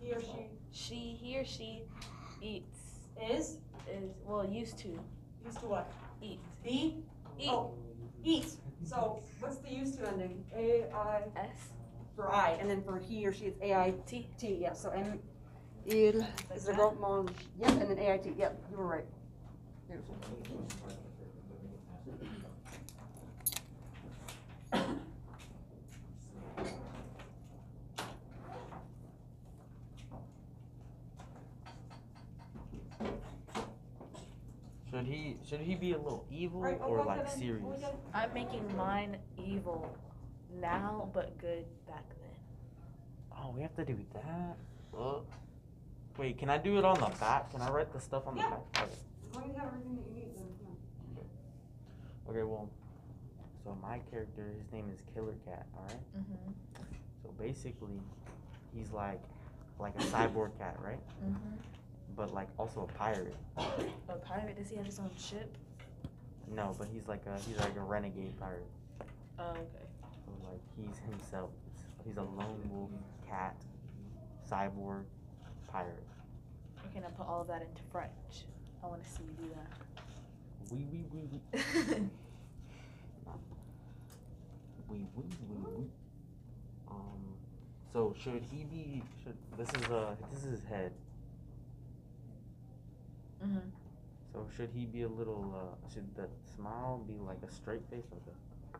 Speaker 7: He or she
Speaker 3: she, he or she eats,
Speaker 7: is,
Speaker 3: is, well, used to
Speaker 7: used to what?
Speaker 3: eat.
Speaker 7: Be?
Speaker 3: Eat.
Speaker 7: Oh, eat. So what's the used to ending? A I.
Speaker 3: S.
Speaker 7: For I, and then for he or she, it's A I T. T, yeah, so M. Il. Is the goat mom, yep, and then A I T, yep, you were right. Beautiful.
Speaker 1: Should he should he be a little evil
Speaker 7: Alright, oh,
Speaker 1: or
Speaker 7: one
Speaker 1: like
Speaker 7: second.
Speaker 1: serious?
Speaker 7: One second.
Speaker 3: I'm making mine evil now, but good back then.
Speaker 1: Oh, we have to do that. Well, wait, can I do it on the back? Can I write the stuff on the
Speaker 7: Yeah.
Speaker 1: back? Okay.
Speaker 7: As long as you have everything that you need, then, yeah.
Speaker 1: Okay, well, so my character, his name is Killer Cat, alright?
Speaker 3: Mm-hmm.
Speaker 1: So basically, he's like like a cyborg cat, right?
Speaker 3: Mm-hmm.
Speaker 1: But like also a pirate.
Speaker 3: A pirate? Oh, Does he have his own ship?
Speaker 1: No, but he's like a he's like a renegade pirate.
Speaker 3: Oh, okay.
Speaker 1: So like he's himself. He's a lone wolf cat, cyborg, pirate.
Speaker 3: I'm gonna put all of that into French. I wanna see you do
Speaker 1: Wee wee wee wee
Speaker 3: that.
Speaker 1: wee wee wee wee. Um, so should he be? Should this is uh this is his head.
Speaker 3: mm-hmm.
Speaker 1: So should he be a little uh should the smile be like a straight face like a,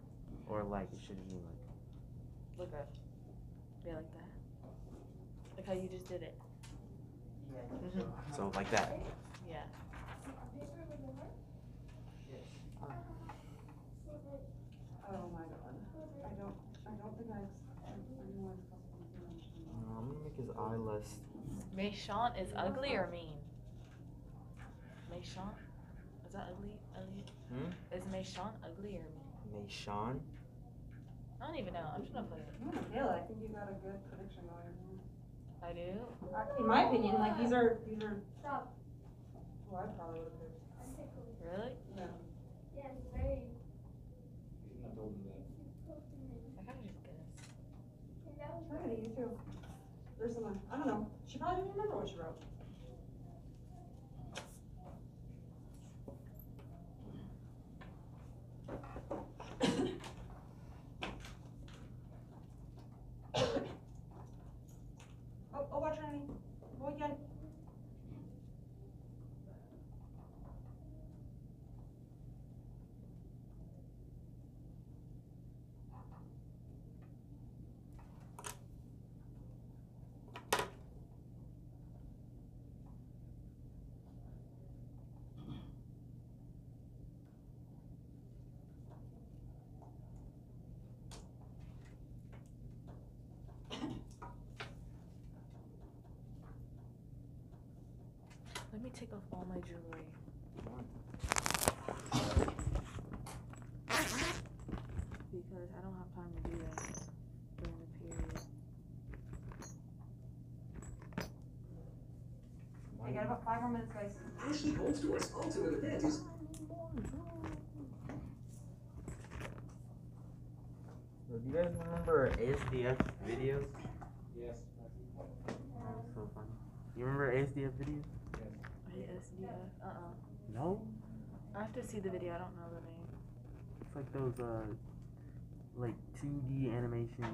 Speaker 1: or like it should be like
Speaker 3: Look up. Yeah, like that. Like how you just did it. Mhm.
Speaker 1: so like that.
Speaker 3: Yeah.
Speaker 7: Oh my god. I don't, I don't think I, I don't know what's possible.
Speaker 1: Uh, I'm gonna make his eye less.
Speaker 3: Méchant is ugly or mean? Méchant? Is that ugly? ugly?
Speaker 1: Hmm.
Speaker 3: Is méchant ugly or mean?
Speaker 1: Meishan.
Speaker 3: I don't even know. I'm just gonna put it.
Speaker 7: Michaela, I think you got a good prediction going.
Speaker 3: I do.
Speaker 7: Uh, In my opinion, like these are, these are. Well, I probably would have picked.
Speaker 3: Really?
Speaker 7: Yeah.
Speaker 3: I kind of just guessed.
Speaker 7: Try it, you too. There's someone, I don't know, she probably didn't remember what she wrote. Oh, oh, watch Ernie, go again.
Speaker 3: take off all my jewelry. Because I don't have time to do that during the period.
Speaker 7: I got about five more minutes, guys.
Speaker 20: Ashley Goldstore's ultimate event is
Speaker 1: Do you guys remember ASDF videos?
Speaker 21: Yes.
Speaker 1: So funny. You remember ASDF videos?
Speaker 3: ASDF. Uh-uh.
Speaker 1: No.
Speaker 3: I have to see the video. I don't know the name.
Speaker 1: It's like those uh, like two D animation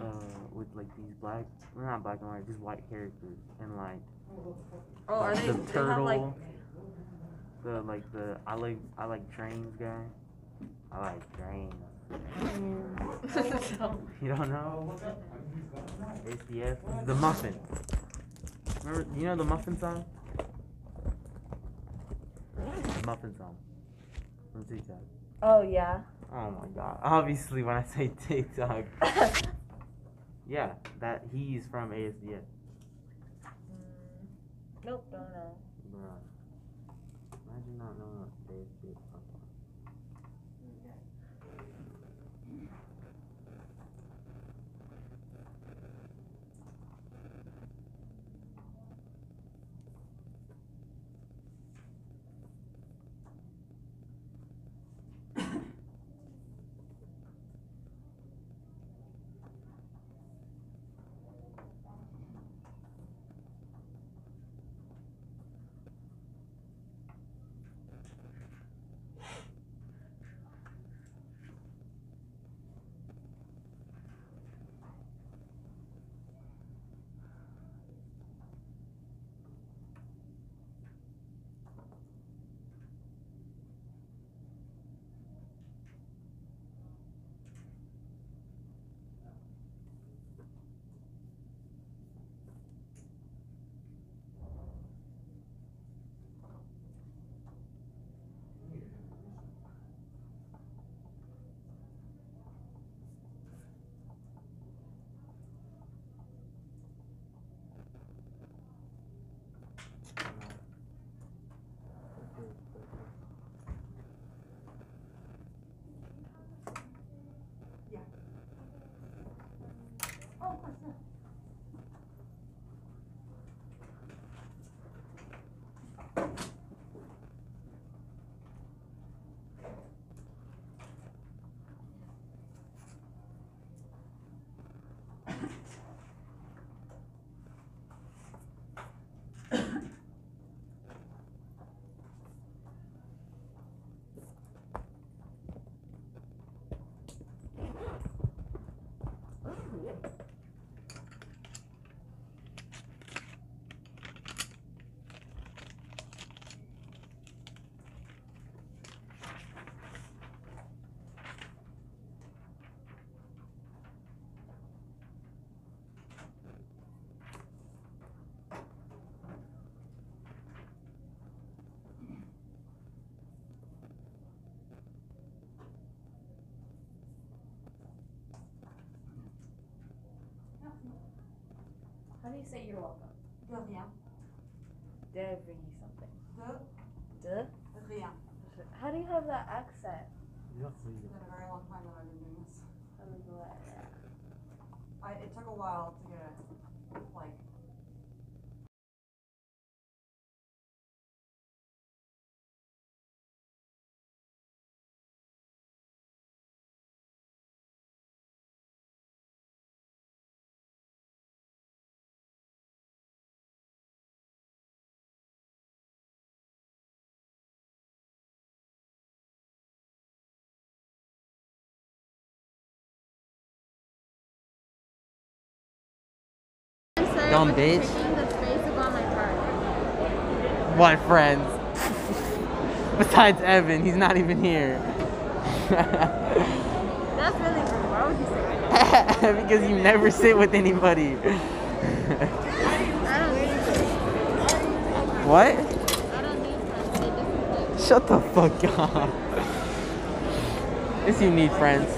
Speaker 1: uh with like these black, well, not black and white, just white characters and like.
Speaker 3: Oh, are
Speaker 1: like,
Speaker 3: they-
Speaker 1: the
Speaker 3: they have,
Speaker 1: turtle?
Speaker 3: like-
Speaker 1: The like the I like I like trains guy. I like trains. You don't know? ACF. The muffin. Remember? You know the muffin song? The muffin song. From TikTok.
Speaker 3: oh yeah.
Speaker 1: Oh my god. Obviously, when I say TikTok.
Speaker 3: Mm.
Speaker 1: yeah, that he's from ASDF.
Speaker 3: Nope, don't know.
Speaker 1: Bruh. Imagine not knowing what ASDF sounds like.
Speaker 7: Oh, of course, yeah.
Speaker 3: How do you say you're welcome?
Speaker 7: De rien.
Speaker 3: Debbie something.
Speaker 7: De
Speaker 3: Duh.
Speaker 7: rien.
Speaker 3: How do you have that accent?
Speaker 7: It's been a very long time that I've been doing this.
Speaker 3: I don't know that.
Speaker 7: I, it took a while to get it, like,
Speaker 14: Dumb bitch. What friends? Besides Evan, he's not even here.
Speaker 3: That's really rude. Why would you say
Speaker 14: because you never sit with anybody. what? Shut the fuck up. Yes, you need friends.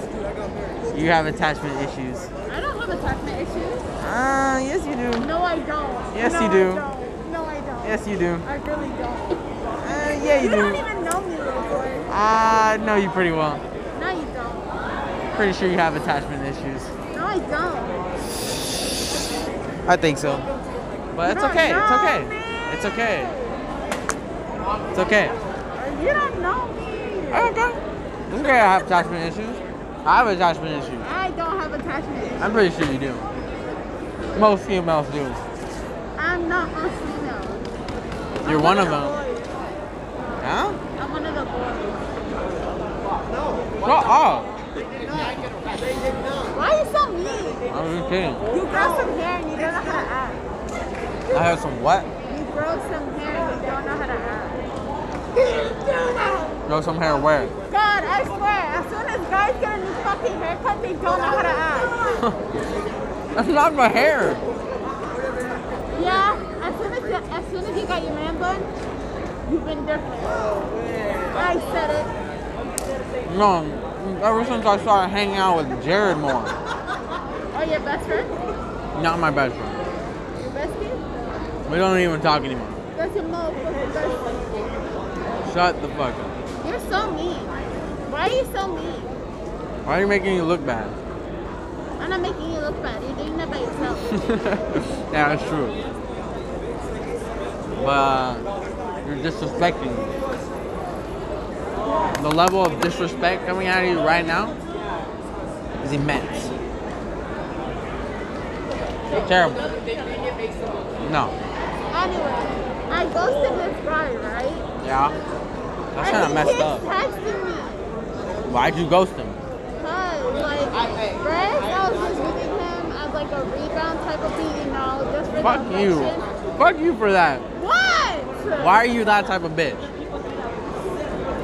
Speaker 14: You have attachment issues.
Speaker 3: I don't have attachment issues.
Speaker 14: Ah, yes you do.
Speaker 3: No, I don't.
Speaker 14: Yes,
Speaker 3: No,
Speaker 14: you do.
Speaker 3: I don't. No, I don't.
Speaker 1: Yes, you do.
Speaker 14: I really don't.
Speaker 1: Uh, yeah, you
Speaker 14: you
Speaker 1: do.
Speaker 14: don't even know me, little boy.
Speaker 1: I know you pretty well.
Speaker 14: No, you don't.
Speaker 1: Pretty sure you have attachment issues.
Speaker 14: No, I don't.
Speaker 1: I think so. But it's
Speaker 14: No,
Speaker 1: okay. It's
Speaker 14: no,
Speaker 1: okay. It's okay. It's okay.
Speaker 14: You don't know me.
Speaker 1: It's okay. I have attachment issues. I have attachment issues.
Speaker 14: I don't have attachment issues.
Speaker 1: I'm pretty sure you do. Most females do.
Speaker 14: I'm not a female.
Speaker 1: You're one of them. Huh?
Speaker 14: I'm one of the boys. No.
Speaker 1: Shut up.
Speaker 14: Why are you so mean?
Speaker 1: I'm just kidding.
Speaker 14: You grow some hair and you don't know how to act.
Speaker 1: I have some what?
Speaker 14: You grow some hair and you don't know how to act.
Speaker 1: Grow some hair where?
Speaker 14: God, I swear, as soon as guys get a new fucking haircut, they don't know how to act.
Speaker 1: That's not my hair.
Speaker 14: Yeah, as soon as, you, as soon as you got your man bun, you've been different. I said it.
Speaker 1: No. Ever since I started hanging out with Jared more,
Speaker 14: Oh, your best friend?
Speaker 1: not my best friend.
Speaker 14: Your bestie?
Speaker 1: We don't even talk anymore.
Speaker 14: That's your motherfucking best friend.
Speaker 1: Shut the fuck up.
Speaker 14: You're so mean. Why are you so mean?
Speaker 1: Why are you making you look bad?
Speaker 14: I'm not making you look bad. You're doing that by yourself.
Speaker 1: yeah, that's true. But uh, you're disrespecting me. The level of disrespect coming out of you right now is immense. Terrible. No.
Speaker 14: Anyway, I ghosted this guy, right?
Speaker 1: Yeah. That's kind of
Speaker 14: And
Speaker 1: messed
Speaker 14: he
Speaker 1: up.
Speaker 14: texted me.
Speaker 1: Why'd you ghost him?
Speaker 14: Cause, like, first I was just using him as like a rebound type of thing, you know, just for
Speaker 1: Fuck
Speaker 14: the
Speaker 1: you.
Speaker 14: affection.
Speaker 1: Fuck you for that.
Speaker 14: What?
Speaker 1: Why are you that type of bitch?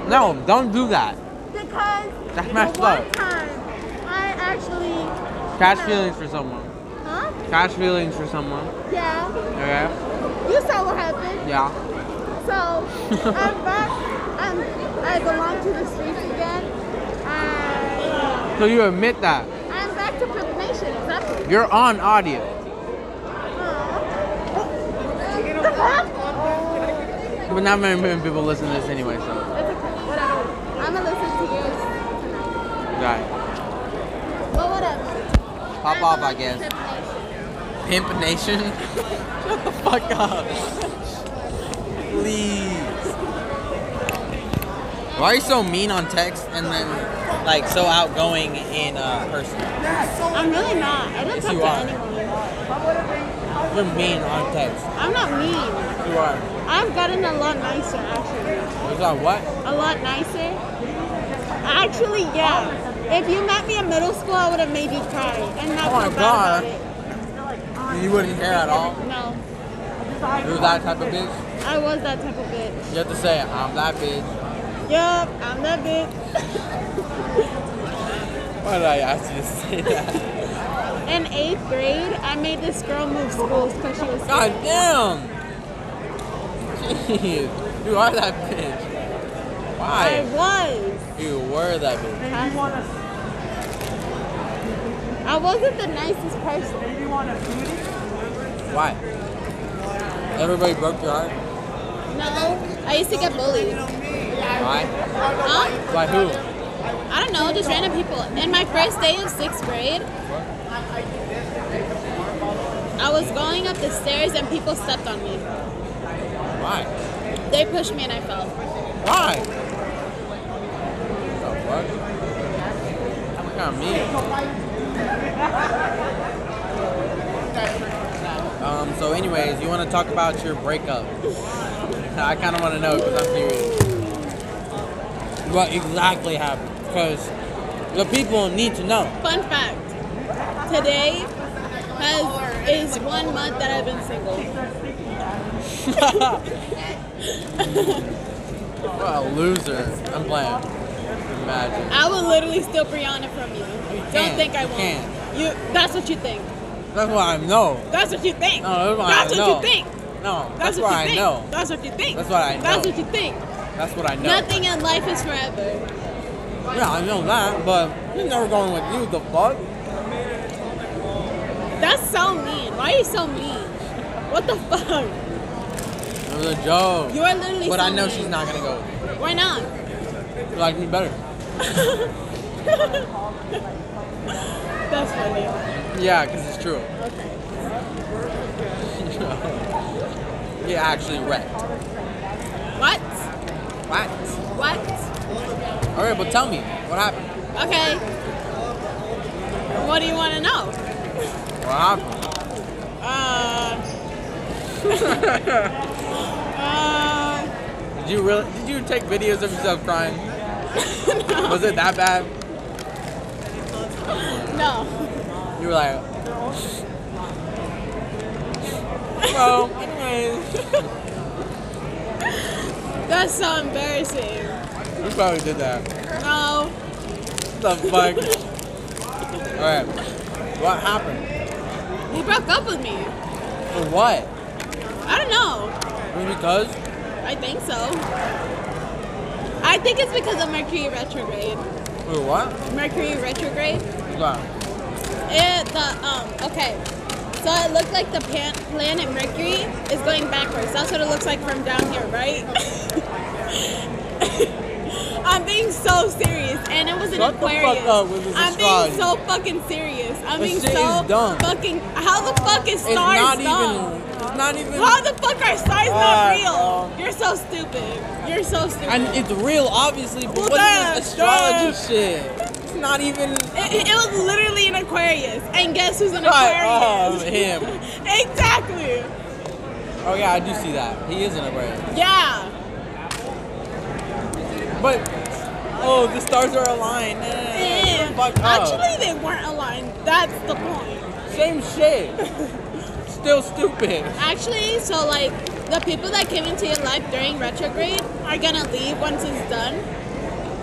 Speaker 1: No, don't do that.
Speaker 14: Because
Speaker 1: That's
Speaker 14: the
Speaker 1: messed
Speaker 14: one
Speaker 1: up.
Speaker 14: time I actually,
Speaker 1: Catch feelings for someone.
Speaker 14: huh?
Speaker 1: Catch feelings for someone.
Speaker 14: Yeah.
Speaker 1: Okay?
Speaker 14: You saw what happened.
Speaker 1: Yeah.
Speaker 14: So I'm back. I'm, I belong to the streets again. I,
Speaker 1: So you admit that.
Speaker 14: I'm back to Flip Nation. Exactly.
Speaker 1: You're on audio.
Speaker 14: The fuck?
Speaker 1: But not many people listen to this anyway, so.
Speaker 14: It's okay. Whatever. I'm gonna listen to yours tonight.
Speaker 1: Right.
Speaker 14: Well, whatever.
Speaker 1: Pop off, I guess.
Speaker 14: Flip
Speaker 1: Pimp
Speaker 14: Nation.
Speaker 1: Nation? Shut the fuck up. Please. Why are you so mean on text and then like so outgoing in uh, person?
Speaker 14: I'm really not. I don't
Speaker 1: Yes,
Speaker 14: talk
Speaker 1: you
Speaker 14: to
Speaker 1: are.
Speaker 14: anyone.
Speaker 1: You're mean on text.
Speaker 14: I'm not mean.
Speaker 1: You are.
Speaker 14: I've gotten a lot nicer, actually.
Speaker 1: You are what?
Speaker 14: A lot nicer. Actually, yeah. If you met me in middle school, I would have made you cry and not
Speaker 1: Oh my
Speaker 14: feel bad
Speaker 1: God.
Speaker 14: about it.
Speaker 1: You wouldn't care at all.
Speaker 14: No,
Speaker 1: You're that type of bitch.
Speaker 14: I was that type of bitch.
Speaker 1: You have to say I'm that bitch.
Speaker 14: Yup, I'm that bitch.
Speaker 1: Why did I ask you to say that?
Speaker 14: In eighth grade, I made this girl move schools because she was.
Speaker 1: God
Speaker 14: scared.
Speaker 1: damn. Jeez, you are that bitch.
Speaker 14: I
Speaker 1: Why?
Speaker 14: was.
Speaker 1: You were that bitch.
Speaker 14: I wasn't the nicest person. Maybe want a
Speaker 1: Why? Everybody broke your heart.
Speaker 14: No, I used to get bullied.
Speaker 1: Why?
Speaker 14: Huh?
Speaker 1: By who?
Speaker 14: I don't know, just random people. And my first day of sixth grade, I was going up the stairs and people stepped on me.
Speaker 1: Why?
Speaker 14: They pushed me and I fell.
Speaker 1: Why? The fuck? What kind of mean? Um, so anyways, you want to talk about your breakup? I kind of want to know because I'm curious. What exactly happened? Because the people need to know.
Speaker 14: Fun fact today has, is one month that I've been single.
Speaker 1: What a loser. I'm playing. Imagine.
Speaker 14: I will literally steal Brianna from you. Don't
Speaker 1: can't.
Speaker 14: think I
Speaker 1: You
Speaker 14: won't.
Speaker 1: can't.
Speaker 14: You. That's what you think.
Speaker 1: That's why I know.
Speaker 14: That's what you think.
Speaker 1: No, that's what I
Speaker 14: that's what
Speaker 1: know.
Speaker 14: you think.
Speaker 1: No,
Speaker 14: That's,
Speaker 1: that's,
Speaker 14: what,
Speaker 1: what
Speaker 14: you
Speaker 1: I
Speaker 14: think.
Speaker 1: know.
Speaker 14: That's what you think.
Speaker 1: That's what I
Speaker 14: That's
Speaker 1: know.
Speaker 14: what you think.
Speaker 1: That's what I know.
Speaker 14: Nothing in life is forever.
Speaker 1: Yeah, I know that, but we never going with you, the fuck?
Speaker 14: That's so mean. Why are you so mean? What the fuck?
Speaker 1: It
Speaker 22: was
Speaker 1: was
Speaker 22: a joke.
Speaker 14: You are literally
Speaker 22: But I
Speaker 14: so
Speaker 22: know
Speaker 14: nice.
Speaker 22: she's not gonna go. with
Speaker 14: Why not?
Speaker 22: me. She likes me better.
Speaker 14: That's funny.
Speaker 22: Yeah, because it's true.
Speaker 14: Okay.
Speaker 22: He actually wrecked.
Speaker 14: What?
Speaker 22: What?
Speaker 14: What?
Speaker 22: All right, but tell me what happened.
Speaker 14: Okay. What do you want to know?
Speaker 22: What happened?
Speaker 14: Uh. uh.
Speaker 22: Did you really? Did you take videos of yourself crying? Was it that bad?
Speaker 14: No.
Speaker 22: You were like, well, anyways.
Speaker 14: That's so embarrassing.
Speaker 22: You probably did that.
Speaker 14: No.
Speaker 22: What the fuck? All right. What happened?
Speaker 14: He broke up with me.
Speaker 22: For what?
Speaker 14: I don't know.
Speaker 22: Was it Because?
Speaker 14: I think so. I think it's because of Mercury retrograde.
Speaker 22: For what?
Speaker 14: Mercury retrograde.
Speaker 22: Wow.
Speaker 14: It the um okay. So it looked like the pan- planet Mercury is going backwards. That's what it looks like from down here, right? I'm being so serious, and it was an
Speaker 22: Shut the fuck
Speaker 14: Aquarius.
Speaker 22: up with this
Speaker 14: I'm
Speaker 22: astrology.
Speaker 14: being so fucking serious. I'm
Speaker 22: This
Speaker 14: being
Speaker 22: shit
Speaker 14: so
Speaker 22: is dumb.
Speaker 14: fucking. How the fuck is
Speaker 22: It's
Speaker 14: stars
Speaker 22: not
Speaker 14: dumb?
Speaker 22: even. It's not even.
Speaker 14: How the fuck are stars
Speaker 22: Ah,
Speaker 14: not real? You're so stupid. You're so stupid.
Speaker 22: And it's real, obviously, but
Speaker 14: Well,
Speaker 22: what is
Speaker 14: damn,
Speaker 22: this astrology
Speaker 14: damn.
Speaker 22: shit? It's not even.
Speaker 14: It, it was literally an Aquarius, and guess who's an
Speaker 22: Right, oh,
Speaker 14: Aquarius?
Speaker 22: him.
Speaker 14: exactly.
Speaker 22: Oh yeah, I do see that. He is an Aquarius.
Speaker 14: Yeah.
Speaker 22: But oh, the stars are aligned. Nah,
Speaker 14: Yeah.
Speaker 22: fuck up.
Speaker 14: Actually, they weren't aligned. That's the point.
Speaker 22: Same shit. Still stupid.
Speaker 14: Actually, so like the people that came into your life during retrograde are gonna leave once it's done.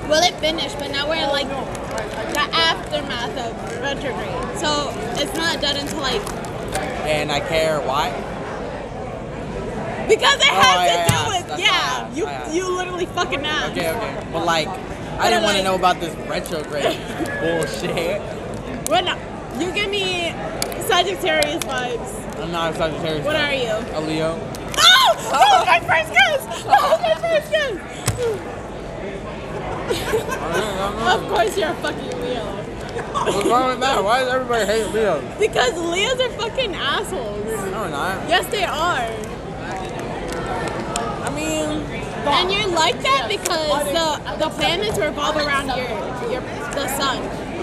Speaker 14: Well, it finished, but now we're in like the aftermath of retrograde. So it's not done until like
Speaker 22: And I care why.
Speaker 14: because it
Speaker 22: Oh,
Speaker 14: has
Speaker 22: yeah,
Speaker 14: to do
Speaker 22: yeah,
Speaker 14: with
Speaker 22: that's
Speaker 14: yeah. You
Speaker 22: yeah.
Speaker 14: you literally fucking asked.
Speaker 22: Okay, okay. But like, I didn't want to know about this retrograde bullshit.
Speaker 14: What? not you give me Sagittarius vibes.
Speaker 22: I'm not a Sagittarius.
Speaker 14: What
Speaker 22: though.
Speaker 14: are you?
Speaker 22: A Leo.
Speaker 14: Oh! That was my first guess. That was my first guess. of course, you're a fucking
Speaker 22: What's
Speaker 14: Leo.
Speaker 22: wrong with that? Why does everybody hate Leos?
Speaker 14: because Leos are fucking assholes.
Speaker 22: No, we're not.
Speaker 14: Yes, they are.
Speaker 22: I mean,
Speaker 14: And you're like that because the the planets revolve around your your the sun,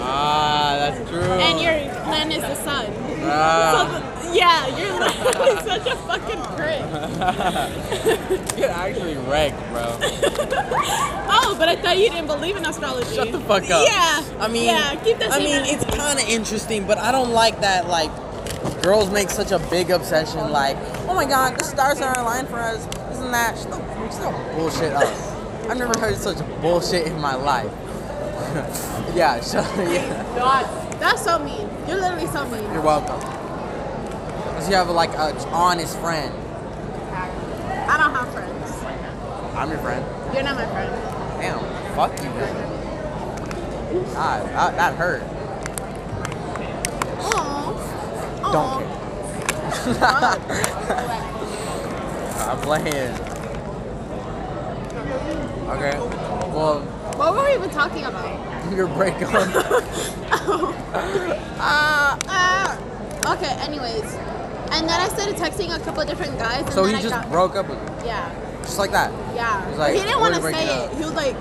Speaker 22: Ah, that's true.
Speaker 14: and your planet is the sun.
Speaker 22: Ah.
Speaker 14: So the, yeah, you're literally such a fucking prick.
Speaker 22: You're actually wrecked, bro.
Speaker 14: Oh, but I thought you didn't believe in astrology.
Speaker 22: Shut the fuck up.
Speaker 14: Yeah.
Speaker 22: I mean,
Speaker 14: yeah. Keep that.
Speaker 22: I
Speaker 14: same
Speaker 22: mean,
Speaker 14: energy.
Speaker 22: it's kind of interesting, but I don't like that. Like, girls make such a big obsession. Like, oh my God, the stars are aligned for us. Isn't that shut the, shut the bullshit up? I've never heard such bullshit in my life. yeah, shut yeah.
Speaker 14: God, that's so mean. You're literally so mean.
Speaker 22: You're welcome. Unless you have like an honest friend.
Speaker 14: I don't have friends.
Speaker 22: I'm your friend.
Speaker 14: You're not my friend.
Speaker 22: Damn, fuck you. man. God, that, that hurt.
Speaker 14: Aww.
Speaker 22: Don't care. I'm playing. Okay. Well,
Speaker 14: What were we even talking about?
Speaker 22: your breakup.
Speaker 14: Uh, uh. Okay. Anyways, and then I started texting a couple different guys. And
Speaker 22: so
Speaker 14: then
Speaker 22: he
Speaker 14: I
Speaker 22: just
Speaker 14: got,
Speaker 22: broke up with you,
Speaker 14: Yeah.
Speaker 22: just like that.
Speaker 14: Yeah.
Speaker 22: He's like,
Speaker 14: he didn't
Speaker 22: "We're
Speaker 14: want to
Speaker 22: breaking
Speaker 14: say
Speaker 22: up."
Speaker 14: it. He was like,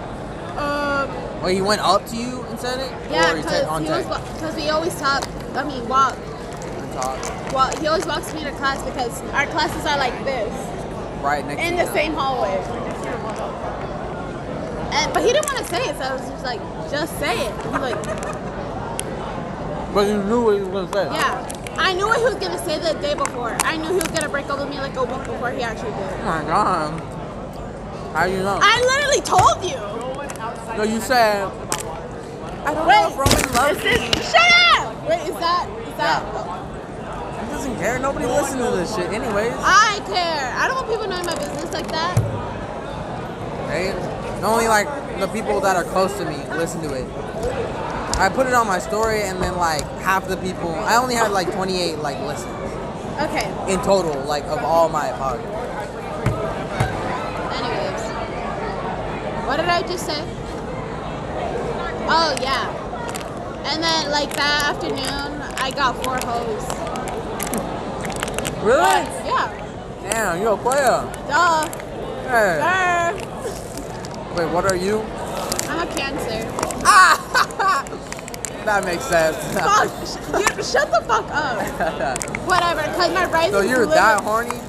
Speaker 14: um.
Speaker 22: Wait, he went up to you and said it,
Speaker 14: Yeah,
Speaker 22: or he
Speaker 14: because
Speaker 22: said on
Speaker 14: he was
Speaker 22: text?
Speaker 14: because we always talk. I mean, walk.
Speaker 22: On top,
Speaker 14: Well, he always walks me to class because our classes are like this
Speaker 22: right next.
Speaker 14: in
Speaker 22: to
Speaker 14: the
Speaker 22: you.
Speaker 14: same hallway. And but he didn't want to say it, so I was just like, just say it. He was like,
Speaker 22: But you knew what he was gonna say.
Speaker 14: yeah. I knew what he was gonna say the day before. I knew he was gonna break up with me like a week before he actually
Speaker 22: Oh
Speaker 14: did.
Speaker 22: my god. How you know?
Speaker 14: I literally told you.
Speaker 22: no, you said. I don't know if Roman loves me.
Speaker 14: Shut up! Wait, is that is that?
Speaker 22: He doesn't care. Nobody listens to this shit, anyways.
Speaker 14: I care. I don't want people knowing my business like that.
Speaker 22: Right? Only like the people that are close to me listen to it. I put it on my story, and then like half the people. I only had like 28 like listens
Speaker 14: Okay.
Speaker 22: in total, like of all my podcasts.
Speaker 14: What did I just say? Oh yeah. And then like that afternoon, I got four hoes.
Speaker 22: Really?
Speaker 14: Yeah.
Speaker 22: Damn, you a player.
Speaker 14: Duh.
Speaker 22: Hey.
Speaker 14: Sir.
Speaker 22: Wait, what are you?
Speaker 14: I'm a cancer.
Speaker 22: Ah! that makes sense.
Speaker 14: Fuck. You, shut the fuck up. Whatever. Cause my rice.
Speaker 22: so
Speaker 14: is
Speaker 22: you're
Speaker 14: lit-
Speaker 22: that horny?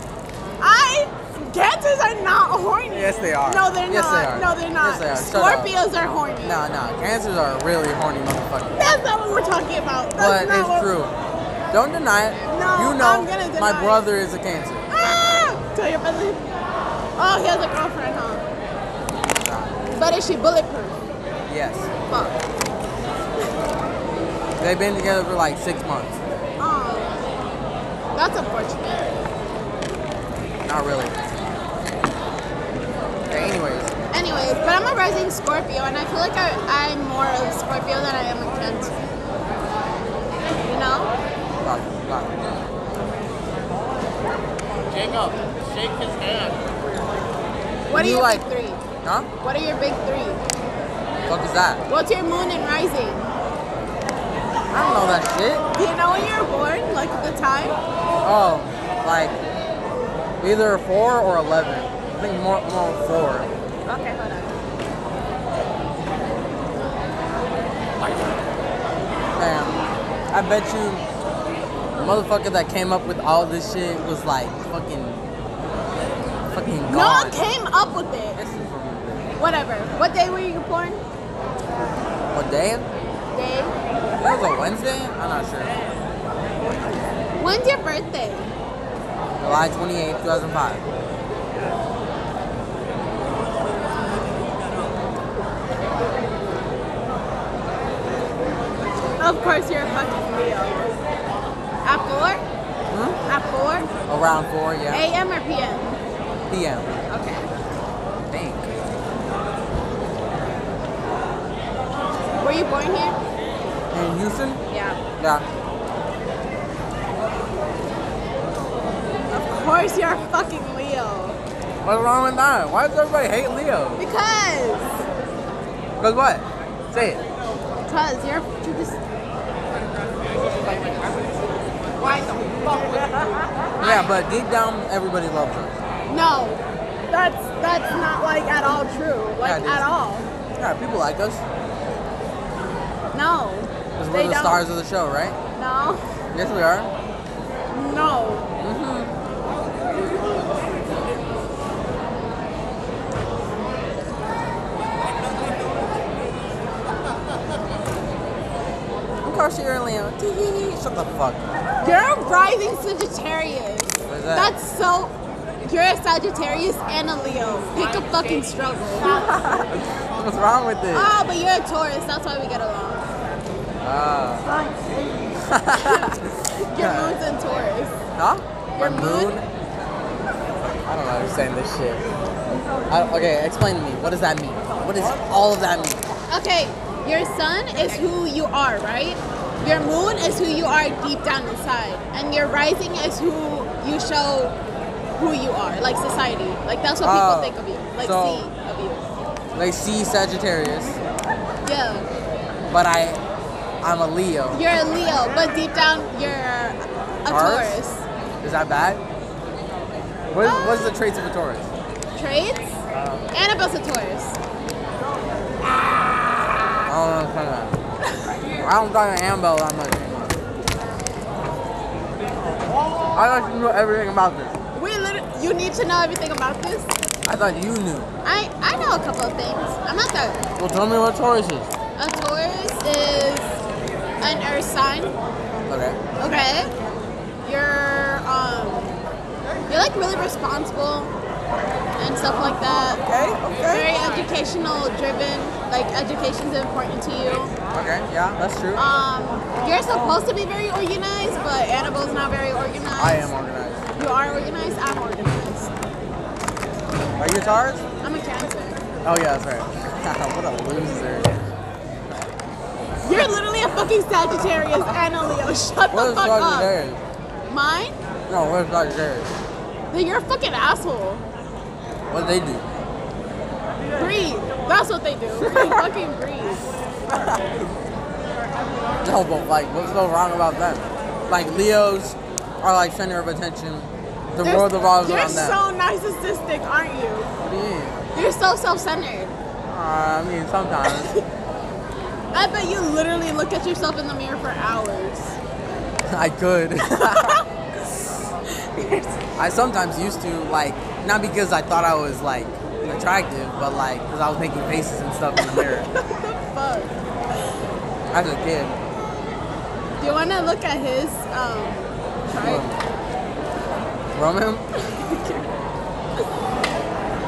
Speaker 14: I cancers are not horny.
Speaker 22: Yes, they are.
Speaker 14: No, they're
Speaker 22: yes,
Speaker 14: not.
Speaker 22: They are.
Speaker 14: No, they're not.
Speaker 22: Yes, they are. Shut
Speaker 14: Scorpios are horny.
Speaker 22: up. Nah, nah. Cancers are really horny motherfuckers.
Speaker 14: That's not what we're talking about.
Speaker 22: But
Speaker 14: That's not
Speaker 22: it's
Speaker 14: what-
Speaker 22: true. Don't deny it.
Speaker 14: No,
Speaker 22: you know
Speaker 14: I'm gonna deny
Speaker 22: my
Speaker 14: it.
Speaker 22: brother is a cancer.
Speaker 14: Ah! Tell your brother. Oh, he has a girlfriend, huh? But is she bulletproof?
Speaker 22: Yes.
Speaker 14: Fuck.
Speaker 22: They've been together for like six months.
Speaker 14: Oh, that's unfortunate.
Speaker 22: Not really. Okay, anyways.
Speaker 14: Anyways, but I'm a rising Scorpio, and I feel like I, I'm more of a Scorpio than I am a Cancer. You know?
Speaker 22: Rock, rock.
Speaker 23: Jacob, shake his hand.
Speaker 14: What are
Speaker 22: You
Speaker 14: your
Speaker 22: like-
Speaker 14: big three?
Speaker 22: Huh?
Speaker 14: What are your big three?
Speaker 22: Fuck is that?
Speaker 14: What's your moon and rising?
Speaker 22: I don't know that shit.
Speaker 14: Do you know when you were born? Like the time?
Speaker 22: Oh, like either four or eleven. I think more more four.
Speaker 14: Okay, hold on.
Speaker 22: Damn. I bet you the motherfucker that came up with all this shit was like fucking fucking
Speaker 14: No
Speaker 22: gone.
Speaker 14: one came up with it. Whatever. What day were you born?
Speaker 22: What day? It
Speaker 14: Day.
Speaker 22: was a Wednesday? I'm not sure.
Speaker 14: When's your birthday?
Speaker 22: July twenty eighth, two thousand five.
Speaker 14: Of course, you're a fucking Leo. At four? At four?
Speaker 22: Around four, yeah.
Speaker 14: A.M. or P.M.?
Speaker 22: PM.
Speaker 14: Okay.
Speaker 22: Think.
Speaker 14: Were you born here?
Speaker 22: In Houston?
Speaker 14: Yeah.
Speaker 22: Yeah.
Speaker 14: Of course, you're a fucking Leo.
Speaker 22: What's wrong with that? Why does everybody hate Leo?
Speaker 14: Because,
Speaker 22: Cause what? Say it.
Speaker 14: because you're you just. Why the fuck?
Speaker 22: Yeah, but deep down everybody loves us.
Speaker 14: No, that's that's not like at all true. Like
Speaker 22: Yeah, it is.
Speaker 14: at all.
Speaker 22: Yeah, people like us.
Speaker 14: No.
Speaker 22: Because
Speaker 14: They
Speaker 22: we're the
Speaker 14: don't.
Speaker 22: stars of the show, right?
Speaker 14: No.
Speaker 22: Yes, we are. Mm-hmm.
Speaker 14: No.
Speaker 22: Of course you're a Leo. Tee-hee-hee. Shut the fuck up.
Speaker 14: You're a rising Sagittarius.
Speaker 22: What is that?
Speaker 14: That's so. You're a Sagittarius and a Leo. Pick a fucking struggle. oh,
Speaker 22: What's wrong with it?
Speaker 14: but you're a Taurus. That's why we get along.
Speaker 22: Ah.
Speaker 14: Your moon's in Taurus.
Speaker 22: huh? Your moon? I don't understand this shit. I, okay, explain to me. What does that mean? What does all of that mean?
Speaker 14: Okay, your sun is who you are, right? Your moon is who you are deep down inside, and your rising is who you show who you are, like society. Like that's what people
Speaker 22: Oh,
Speaker 14: think of you, like
Speaker 22: so-
Speaker 14: see of you.
Speaker 22: They see Sagittarius,
Speaker 14: Yeah,
Speaker 22: but I, I'm a Leo.
Speaker 14: you're a Leo, but deep down you're a
Speaker 22: Taurus?
Speaker 14: Taurus. Ah.
Speaker 22: Is that bad? What, what's the traits of a Taurus?
Speaker 14: Traits? Annabelle's a Taurus.
Speaker 22: I don't know. Kind of. Uh, I don't talk to Annabelle that much anymore. I thought you knew everything about this.
Speaker 14: We literally, you need to know everything about this.
Speaker 22: I thought you knew.
Speaker 14: I, I know a couple of things. I'm not that.
Speaker 22: Well, tell me what Taurus is.
Speaker 14: A Taurus is an earth sign.
Speaker 22: Okay.
Speaker 14: Okay. You're um you're like really responsible and stuff like that.
Speaker 22: Okay, okay.
Speaker 14: Very educational driven. Like education's important to you.
Speaker 22: Okay. Yeah, that's true.
Speaker 14: Um you're supposed to be very organized, but Annabelle's not very organized.
Speaker 22: I am organized.
Speaker 14: You are organized, I'm organized.
Speaker 22: Are you a Taurus?
Speaker 14: I'm a cancer.
Speaker 22: Oh yeah, that's right. what a loser.
Speaker 14: You're literally a fucking Sagittarius and a Leo. Shut
Speaker 22: What
Speaker 14: the
Speaker 22: is
Speaker 14: fuck up.
Speaker 22: Sagittarius?
Speaker 14: Mine?
Speaker 22: No, what is Sagittarius?
Speaker 14: Then You're a fucking asshole.
Speaker 22: What do they do?
Speaker 14: Breathe. That's what they do. They fucking breathe.
Speaker 22: No, but like, what's so wrong about them? Like, Leos are like center of attention. The
Speaker 14: They're-
Speaker 22: world revolves
Speaker 14: You're
Speaker 22: around them.
Speaker 14: so narcissistic, aren't you?
Speaker 22: What do you mean?
Speaker 14: You're so self-centered.
Speaker 22: Uh, I mean, sometimes
Speaker 14: I bet you literally look at yourself in the mirror for hours.
Speaker 22: I could. I sometimes used to like not because I thought I was like attractive, but like because I was making faces and stuff in the mirror
Speaker 14: Fuck.
Speaker 22: as a kid.
Speaker 14: Do you want to look at his um, chart?
Speaker 22: Roman,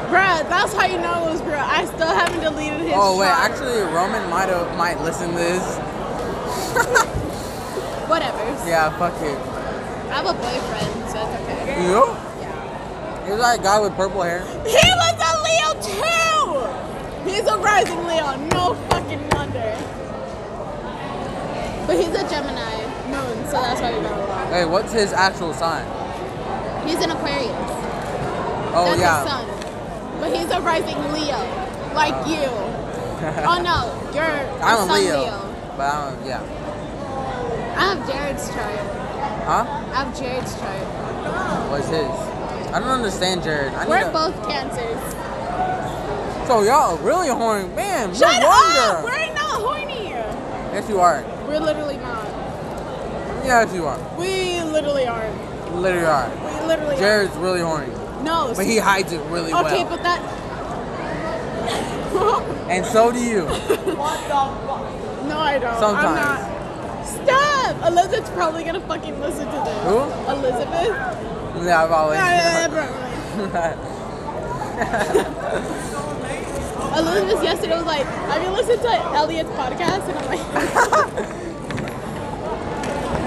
Speaker 14: Bruh, that's how you know it was real. I still haven't deleted his
Speaker 22: oh wait,
Speaker 14: chart.
Speaker 22: actually Roman might have might listen to this.
Speaker 14: Whatever.
Speaker 22: Yeah, fuck it.
Speaker 14: I have a boyfriend, so it's okay.
Speaker 22: You? He was like a guy with purple hair.
Speaker 14: He was a Leo too! He's a rising Leo, no fucking wonder. But he's a Gemini moon, so that's why we got along.
Speaker 22: Hey, what's his actual sign?
Speaker 14: He's an Aquarius.
Speaker 22: Oh
Speaker 14: that's
Speaker 22: yeah.
Speaker 14: his son. But he's a rising Leo, like you. oh no, you're a
Speaker 22: I'm a
Speaker 14: sun
Speaker 22: Leo, But I don't, yeah.
Speaker 14: I have Jared's chart.
Speaker 22: Huh?
Speaker 14: I have Jared's chart.
Speaker 22: What's his? I don't understand, Jared. I
Speaker 14: We're
Speaker 22: need to-
Speaker 14: both cancers.
Speaker 22: So y'all really horny, man.
Speaker 14: Shut
Speaker 22: no
Speaker 14: up!
Speaker 22: wonder.
Speaker 14: We're not horny.
Speaker 22: Yes, you are.
Speaker 14: We're literally not.
Speaker 22: Yes, you are.
Speaker 14: We literally aren't.
Speaker 22: Literally are.
Speaker 14: We literally
Speaker 22: Jared's really horny,
Speaker 14: aren't. No.
Speaker 22: but he hides it really
Speaker 14: okay,
Speaker 22: well.
Speaker 14: but that.
Speaker 22: And so do you.
Speaker 14: No, I don't. I'm
Speaker 22: Sometimes.
Speaker 14: not. Stop! Elizabeth's probably gonna fucking listen to this.
Speaker 22: Who?
Speaker 14: Elizabeth.
Speaker 22: Yeah, I've always.
Speaker 14: Yeah, yeah, yeah, bro. Elizabeth yesterday was like, "Have you listened to Elliot's podcast?" And I'm like,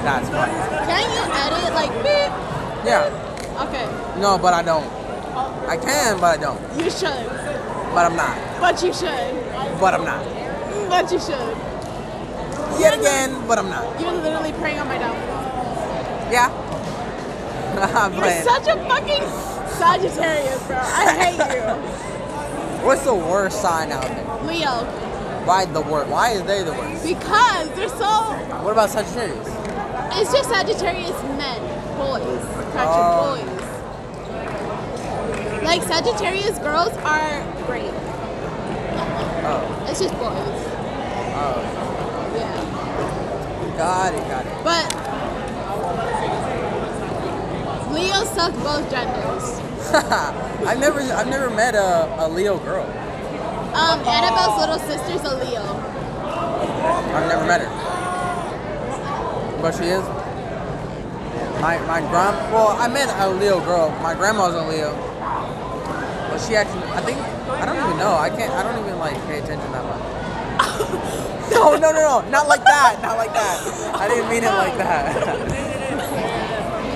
Speaker 22: That's funny.
Speaker 14: "Can you edit like beep?"
Speaker 22: Yeah.
Speaker 14: Okay, Oh.
Speaker 22: No, but I don't. I can, but I don't.
Speaker 14: you should,
Speaker 22: But I'm not.
Speaker 14: but you should,
Speaker 22: But I'm not.
Speaker 14: but you should.
Speaker 22: Yet again, but I'm not.
Speaker 14: You're literally preying on my downfall.
Speaker 22: Yeah. I'm
Speaker 14: You're
Speaker 22: playing.
Speaker 14: such a fucking Sagittarius, bro. I hate you,
Speaker 22: What's the worst sign out there?
Speaker 14: Leo,
Speaker 22: Why the worst? Why is they the worst?
Speaker 14: because they're so.
Speaker 22: What about Sagittarius?
Speaker 14: It's just Sagittarius men, boys, attraction
Speaker 22: Oh.
Speaker 14: boys. Like Sagittarius girls are great.
Speaker 22: Oh,
Speaker 14: It's just boys.
Speaker 22: oh.
Speaker 14: Yeah.
Speaker 22: Got it, got it.
Speaker 14: But Leo suck both genders.
Speaker 22: I've never, I've never met a, a Leo girl.
Speaker 14: Um, Annabelle's little sister's a Leo.
Speaker 22: I've never met her. But she is. My my grand well, I met a Leo girl. My grandma's a Leo. But she actually I think I don't even know. I can't I don't even like pay attention that much. no, no, no, no. Not like that. Not like that. I didn't mean it like that.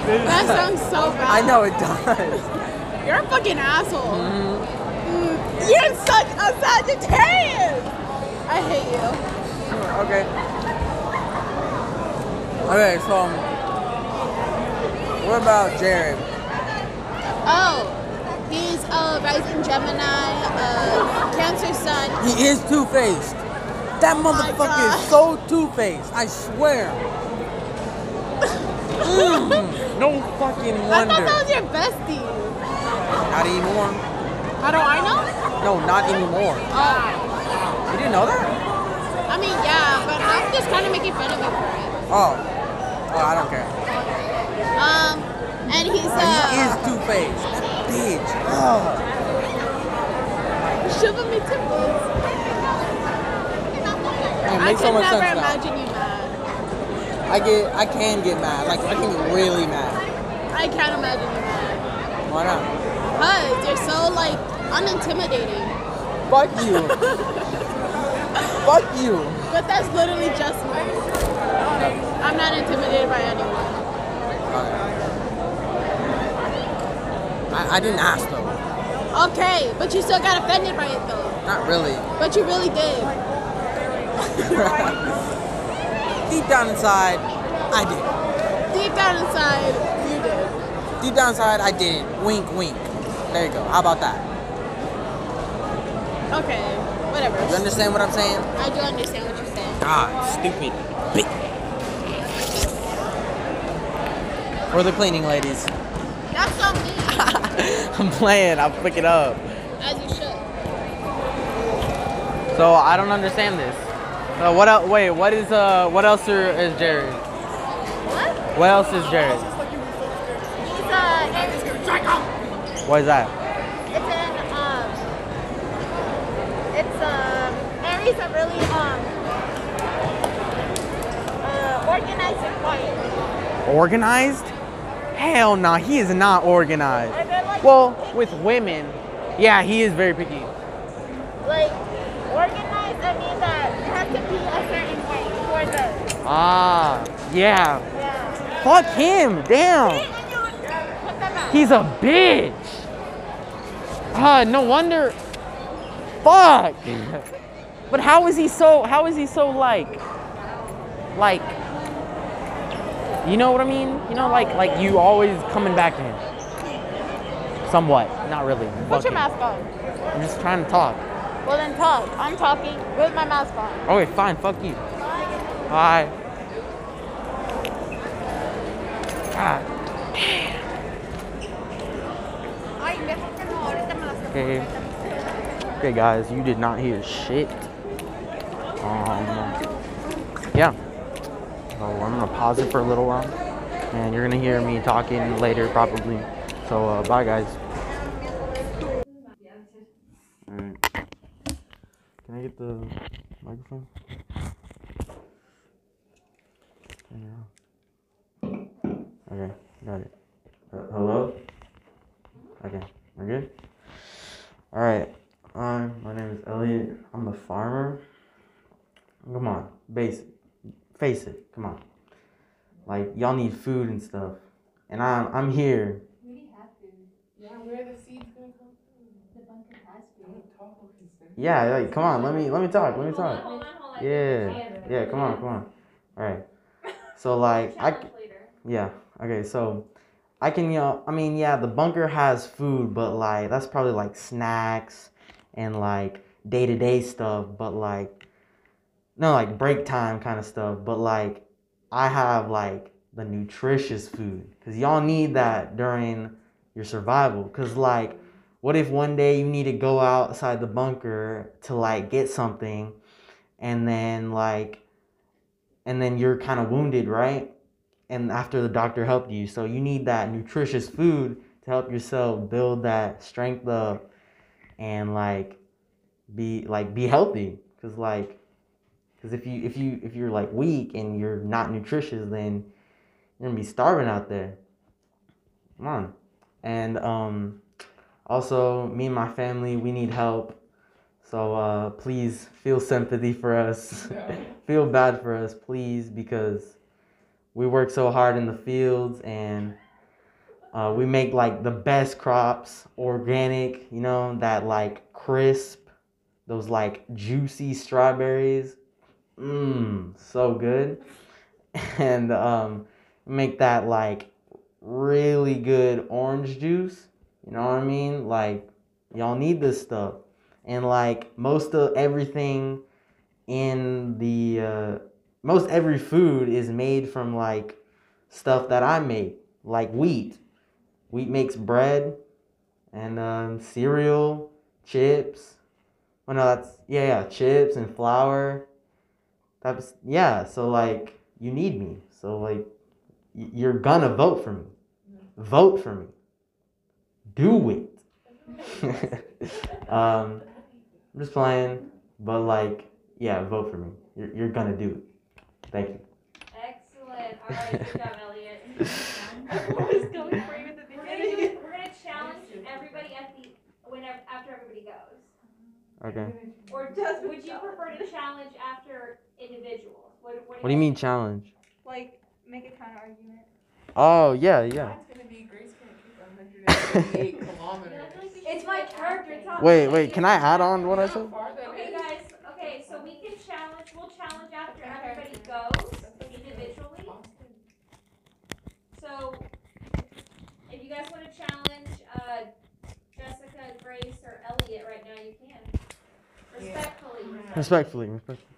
Speaker 14: That sounds so
Speaker 22: I
Speaker 14: bad.
Speaker 22: know it does. Mm-hmm.
Speaker 14: You're a fucking asshole. Mm, You're such a Sagittarius. I hate you.
Speaker 22: Okay. Okay, so um, what about Jared?
Speaker 14: Oh, he's a rising Gemini, a Cancer Sun. Oh
Speaker 22: He is two faced. That motherfucker is so two faced. I swear. Mm, no fucking
Speaker 14: I thought
Speaker 22: wonder.
Speaker 14: that was your bestie.
Speaker 22: Not anymore.
Speaker 14: How do I know?
Speaker 22: No, not anymore.
Speaker 14: Oh,
Speaker 22: You didn't know that?
Speaker 14: I mean, yeah, but I'm just kind of making fun of you for it.
Speaker 22: Oh. Oh, I don't care.
Speaker 14: Um, and
Speaker 22: He
Speaker 14: he's
Speaker 22: is
Speaker 14: uh,
Speaker 22: two faced. That bitch. Oh.
Speaker 14: shoving me tipples.
Speaker 22: It
Speaker 14: I
Speaker 22: Oh, makes so
Speaker 14: could
Speaker 22: much
Speaker 14: never
Speaker 22: sense now.
Speaker 14: imagine you mad.
Speaker 22: I get. I can get mad. Like I can get really mad.
Speaker 14: I can't imagine you mad.
Speaker 22: Why not?
Speaker 14: Cause you're so like unintimidating.
Speaker 22: Fuck you. Fuck you.
Speaker 14: But that's literally just me. I'm not intimidated by anyone.
Speaker 22: I, I didn't ask though.
Speaker 14: Okay, but you still got offended by it though.
Speaker 22: Not really.
Speaker 14: But you really did.
Speaker 22: Deep down inside, I did.
Speaker 14: Deep down inside, you did.
Speaker 22: Deep down inside, I didn't. Wink, wink. There you go. How about that?
Speaker 14: Okay. whatever.
Speaker 1: You understand what I'm saying?
Speaker 14: I do understand what you're saying.
Speaker 1: God, stupid bitch. For the cleaning ladies.
Speaker 14: That's on me.
Speaker 1: I'm playing. I'll pick it up.
Speaker 14: As you should.
Speaker 1: So I don't understand this. So what else? Wait, what is uh? What else are, is Jared?
Speaker 14: What?
Speaker 1: What else is Jared?
Speaker 14: He's a.
Speaker 1: What is that?
Speaker 14: It's an um. It's um. Aries are really um. Uh, organized and quiet.
Speaker 1: Organized? Hell no, he is not organized. Well, with women, yeah, he is very picky.
Speaker 14: Like organized, I mean that you have to be a certain way for the.
Speaker 1: Ah, yeah.
Speaker 14: Yeah.
Speaker 1: Fuck him, damn.
Speaker 14: Put them out.
Speaker 1: He's a bitch. Ah, no wonder. Fuck. but how is he so? How is he so like? Like. You know what I mean? You know, like like you always coming back to him. Somewhat, not really. Fuck
Speaker 14: Put your
Speaker 1: him.
Speaker 14: mask on.
Speaker 1: I'm just trying to talk.
Speaker 14: Well then talk. I'm talking with my mask on.
Speaker 1: Okay, fine. Fuck you. Bye. God. Okay. Okay, guys, you did not hear shit. Um, yeah. So I'm gonna pause it for a little while, and you're gonna hear me talking later probably. So uh, bye, guys. Alright. Mm. Can I get the microphone? Turn it off. Okay, got it. Uh, hello? Okay, we're good? Alright, um, my name is Elliot. I'm the farmer. Come on, base, face it. Come on, like y'all need food and stuff, and I'm I'm here.
Speaker 7: Yeah, where are the seeds going to come from? The bunker has
Speaker 1: Yeah, like come on, let me let me talk, let me talk.
Speaker 7: Hold on, hold on.
Speaker 1: Yeah, yeah, come on, come on. All right. So like I, c- yeah, okay. So I can you know I mean yeah the bunker has food, but like that's probably like snacks and like day to day stuff, but like no like break time kind of stuff, but like I have like the nutritious food because y'all need that during your survival. Cause like what if one day you need to go outside the bunker to like get something and then like and then you're kind of wounded right and after the doctor helped you so you need that nutritious food to help yourself build that strength up and like be like be healthy because like because if you if you if you're like weak and you're not nutritious then you're gonna be starving out there come on and um also me and my family we need help so uh, please feel sympathy for us. feel bad for us, please, because we work so hard in the fields and uh, we make like the best crops, organic, you know, that like crisp, those like juicy strawberries. Mmm, so good. And um, make that like really good orange juice. You know what I mean? Like, y'all need this stuff and like most of everything in the uh, most every food is made from like stuff that I make, like wheat. Wheat makes bread and um, cereal, chips. Oh no, that's yeah, yeah, chips and flour. That's yeah. So like you need me. So like y- you're gonna vote for me. Vote for me. Do it. um, I'm just playing, but like, yeah, vote for me. You're, you're gonna do it. Thank you.
Speaker 7: Excellent. All right, good job, Elliot. Everyone was going for you at the
Speaker 24: We're gonna,
Speaker 7: beginning.
Speaker 24: do, we're gonna challenge everybody at the whenever after everybody goes.
Speaker 1: Okay.
Speaker 24: Or does would you prefer to challenge after individuals? What, what,
Speaker 1: What do you mean challenge?
Speaker 24: Like make a counter argument.
Speaker 1: Oh yeah, yeah.
Speaker 7: Mine's gonna be Grace gonna keep 188 kilometers.
Speaker 24: It's my character. It's not
Speaker 1: Wait, wait. Can I add on what I said?
Speaker 24: Okay, guys. Okay, so we can challenge. We'll challenge after everybody goes individually. So if you guys want to challenge uh, Jessica, Grace, or Elliot right now, you can.
Speaker 25: Respectfully.
Speaker 4: Respectfully, respectfully.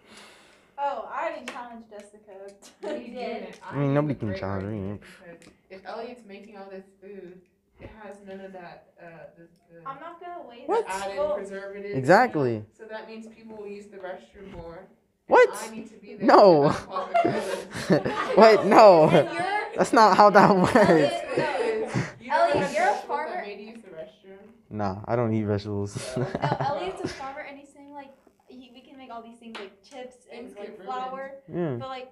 Speaker 3: Oh, I already challenged Jessica.
Speaker 25: You did.
Speaker 4: I mean, nobody can challenge me.
Speaker 7: If Elliot's making all this food, it has none of that. Uh, the, the
Speaker 3: I'm not gonna wait.
Speaker 7: What? Added preservatives.
Speaker 4: Exactly.
Speaker 7: So that means people will use the restroom more. and
Speaker 4: What?
Speaker 7: I need to be there.
Speaker 4: No.
Speaker 7: to help all the kids.
Speaker 4: Wait, no. That's not how that works.
Speaker 7: You
Speaker 3: Elliot,
Speaker 7: know the
Speaker 3: you're a
Speaker 7: vegetables that
Speaker 3: farmer.
Speaker 7: Made to use the restroom.
Speaker 4: Nah, I don't eat vegetables.
Speaker 3: No, Elliot's a farmer, and he's saying like he, we can make all these things like chips and
Speaker 7: Things get
Speaker 3: like
Speaker 7: ruined.
Speaker 3: flour,
Speaker 4: Yeah.
Speaker 3: but like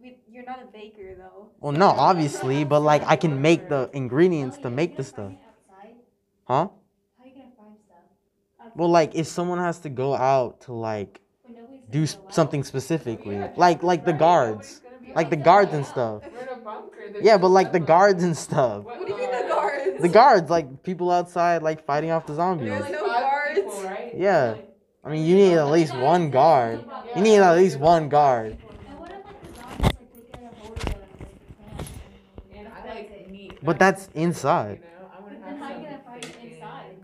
Speaker 3: we, you're not a baker though.
Speaker 4: well, no, obviously, but like I can make the ingredients to make the stuff. Huh?
Speaker 25: How are you gonna find stuff?
Speaker 4: Well, like if someone has to go out to like do s- something specifically, like like the guards, like the guards and stuff.
Speaker 7: We're in a bunker. There's
Speaker 4: Yeah, but
Speaker 7: no
Speaker 4: like the
Speaker 7: sunlight.
Speaker 4: guards and stuff.
Speaker 7: What do you mean the guards?
Speaker 4: The guards, like people outside, like fighting off the zombies.
Speaker 7: There's no guards. People, right?
Speaker 4: Yeah. I mean, you need at least one guard. You need at least one guard.
Speaker 7: And I like meat.
Speaker 4: But that's inside.
Speaker 25: Then how are you gonna find it inside?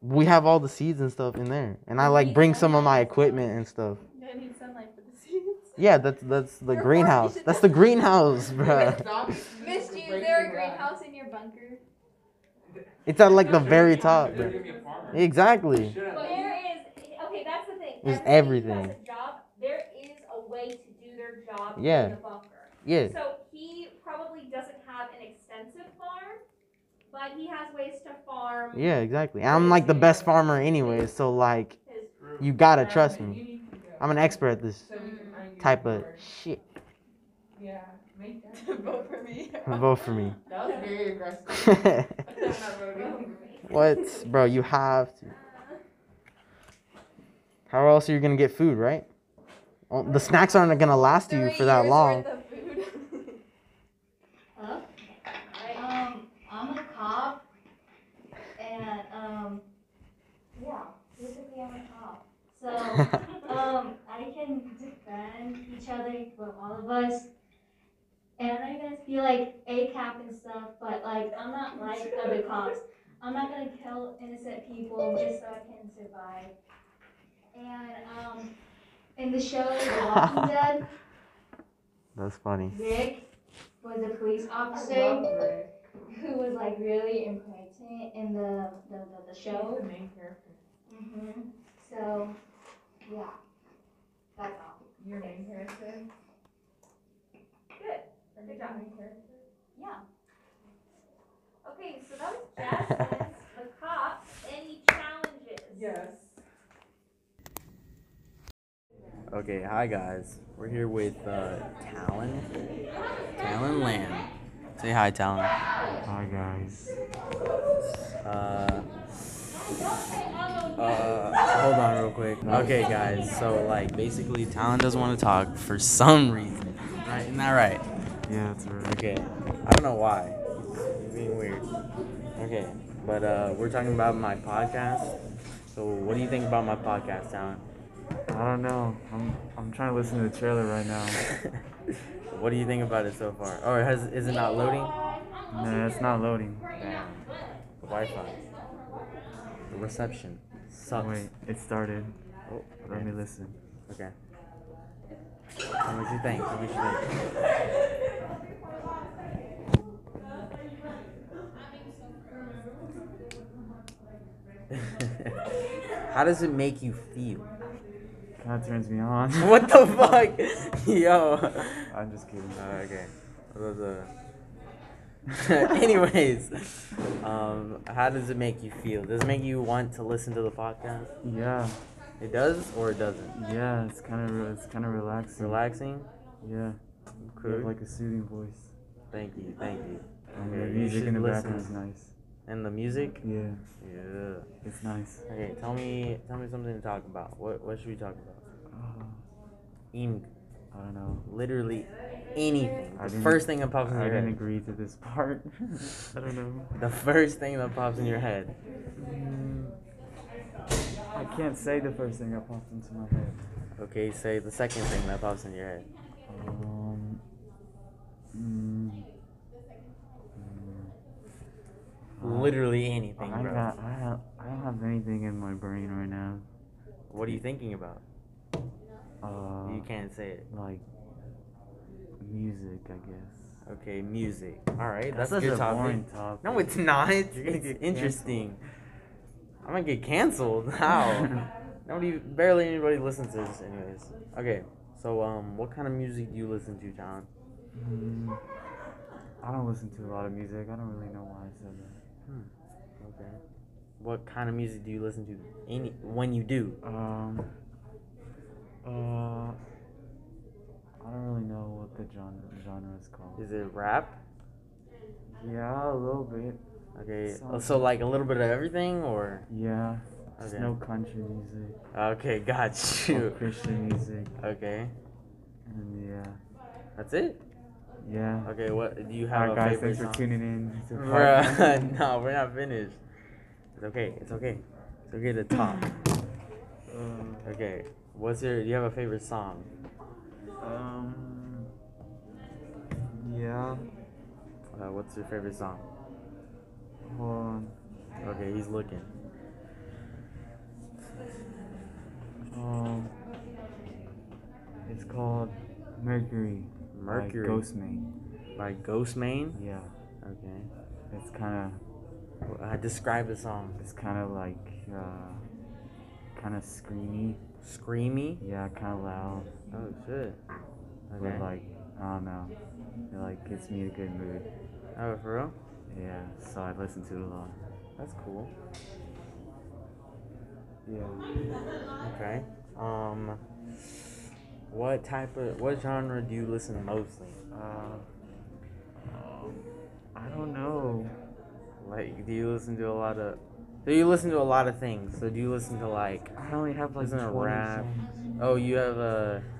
Speaker 4: We have all the seeds and stuff in there, and I like bring some of my equipment and stuff.
Speaker 3: I need sunlight for the seeds.
Speaker 4: Yeah, that's that's the greenhouse. That's the greenhouse, bruh.
Speaker 3: Missed you. Is there a greenhouse in your bunker?
Speaker 4: It's at like the very top. bruh. Exactly.
Speaker 25: Well, there is, okay, that's the thing.
Speaker 4: There's
Speaker 25: Everybody who has
Speaker 4: everything.
Speaker 25: a Job, there is a way to do their job
Speaker 4: Yeah.
Speaker 25: in the bunker.
Speaker 4: Yeah.
Speaker 25: So he probably doesn't have an extensive farm, but he has ways to farm.
Speaker 4: Yeah, exactly. And I'm like the best farmer anyway, so like you gotta trust me. I'm an expert at this type of shit.
Speaker 7: Yeah. Make that.
Speaker 3: Vote for me.
Speaker 4: Vote for me.
Speaker 7: That was very aggressive.
Speaker 4: What, bro? You have to. How else are you gonna get food, right? Oh, the snacks aren't gonna last you for that long.
Speaker 14: Huh? Um, I'm a cop, and um, yeah, basically I'm a cop. So um, I can defend each other, well, all of us. And I know you guys feel like a cap and stuff, but like I'm not like other cops. I'm not gonna kill innocent people just so I can survive. And um, in the show The Walking Dead.
Speaker 4: That's funny.
Speaker 14: Rick was a police officer who was like really important in the the, the, the show. hmm So, yeah, that's all.
Speaker 7: Your main character.
Speaker 26: Good. Good job.
Speaker 14: Yeah.
Speaker 25: Okay, so that was Jasmine's, the cop. Any challenges? Yes.
Speaker 1: Okay, hi guys. We're here with uh, Talon. Talon Lamb. Say hi, Talon. Hi guys. Uh, uh, hold on real quick. Okay, guys. So like, basically, Talon doesn't want to talk for some reason. Right? Isn't that right? Yeah, that's right. Okay. I don't know why. It's being weird. Okay, but uh, we're talking about my podcast. So what do you think about my podcast, Talon?
Speaker 2: I don't know. I'm I'm trying to listen to the trailer right now.
Speaker 1: What do you think about it so far? Or has is it not loading?
Speaker 2: Nah, it's not loading.
Speaker 1: The Wi-Fi. The reception sucks.
Speaker 2: Wait, it started.
Speaker 1: Oh,
Speaker 2: Let me listen.
Speaker 1: Okay. What would you think? What would you think? How does it make you feel?
Speaker 2: That turns me on.
Speaker 1: What the fuck? Yo.
Speaker 2: I'm just kidding.
Speaker 1: Oh, okay. That was a- Anyways, um, how does it make you feel? Does it make you want to listen to the podcast?
Speaker 2: Yeah.
Speaker 1: It does or it doesn't?
Speaker 2: Yeah, it's kind of re- it's kind of relaxing.
Speaker 1: Relaxing?
Speaker 2: Yeah. You
Speaker 1: Cool.
Speaker 2: have like a soothing voice.
Speaker 1: Thank you, thank you.
Speaker 2: And
Speaker 1: Okay,
Speaker 2: the
Speaker 1: you
Speaker 2: music
Speaker 1: should
Speaker 2: in the
Speaker 1: listen.
Speaker 2: background is nice.
Speaker 1: And the music?
Speaker 2: Yeah.
Speaker 1: Yeah.
Speaker 2: It's nice.
Speaker 1: Okay, tell me, tell me something to talk about. What, what should we talk about? Ink.
Speaker 2: I don't know.
Speaker 1: Literally anything.
Speaker 2: I
Speaker 1: The
Speaker 2: didn't-
Speaker 1: first thing that pops in
Speaker 2: I
Speaker 1: your
Speaker 2: didn't
Speaker 1: head.
Speaker 2: agree to this part. I don't know.
Speaker 1: The first thing that pops in your head.
Speaker 2: Mm. I can't say the first thing that popped into my head.
Speaker 1: Okay, say the second thing that pops in your head.
Speaker 2: Um. mm,
Speaker 1: Literally anything,
Speaker 2: I
Speaker 1: bro.
Speaker 2: Uh, got. I have. I don't have anything in my brain right now.
Speaker 1: What are you thinking about?
Speaker 2: Uh,
Speaker 1: you can't say it.
Speaker 2: Like music, I guess.
Speaker 1: Okay, music. All right, that's,
Speaker 2: That's
Speaker 1: a
Speaker 2: such
Speaker 1: good
Speaker 2: a
Speaker 1: topic.
Speaker 2: boring topic.
Speaker 1: No, it's not. It's
Speaker 2: You're gonna get
Speaker 1: interesting. I'm gonna get canceled. How? Nobody, barely anybody listens to this, anyways. Okay, so um, what kind of music do you listen to, John?
Speaker 2: Mm, I don't listen to a lot of music. I don't really know why I said that.
Speaker 1: Hmm. Okay. What kind of music do you listen to? Any when you do?
Speaker 2: Um. Uh. I don't really know what the genre genre is called.
Speaker 1: Is it rap?
Speaker 2: Yeah, a little bit.
Speaker 1: Okay.
Speaker 2: Sounds
Speaker 1: So like a little bit of everything, or
Speaker 2: Yeah. Just
Speaker 1: Okay.
Speaker 2: no country music.
Speaker 1: okay, got you.
Speaker 2: No Christian music.
Speaker 1: Okay,
Speaker 2: And yeah.
Speaker 1: that's it.
Speaker 2: Yeah.
Speaker 1: Okay, what do you have?
Speaker 2: Alright,
Speaker 1: a
Speaker 2: guys.
Speaker 1: favorite
Speaker 2: Thanks for
Speaker 1: song?
Speaker 2: tuning in. to part
Speaker 1: Bruh, no, we're not finished. It's okay. It's okay. It's okay to talk.
Speaker 2: one.
Speaker 1: Okay. What's your? Do you have a favorite song?
Speaker 2: Uh, um. Yeah.
Speaker 1: Uh, what's your favorite song?
Speaker 2: Hold on.
Speaker 1: Okay, he's looking.
Speaker 2: Um. It's called Mercury.
Speaker 1: Mercury.
Speaker 2: By Ghostmane.
Speaker 1: By Ghostmane.
Speaker 2: Yeah.
Speaker 1: Okay.
Speaker 2: It's kind of.
Speaker 1: Uh, describe the song.
Speaker 2: It's kind of like, uh, kind of screamy.
Speaker 1: Screamy.
Speaker 2: Yeah, kind of loud.
Speaker 1: Oh shit. Okay.
Speaker 2: But like, I don't know. It like gets me in a good mood.
Speaker 1: Oh, for real?
Speaker 2: Yeah, so I listen to it a lot.
Speaker 1: That's cool.
Speaker 2: Yeah.
Speaker 1: Okay. Um. What type of what genre do you listen to mostly?
Speaker 2: Uh, um, I don't know.
Speaker 1: Like, do you listen to a lot of? So you listen to a lot of things. So do you listen to like?
Speaker 2: I only have like
Speaker 1: listen to
Speaker 2: 20
Speaker 1: rap?
Speaker 2: songs.
Speaker 1: Oh, you have a.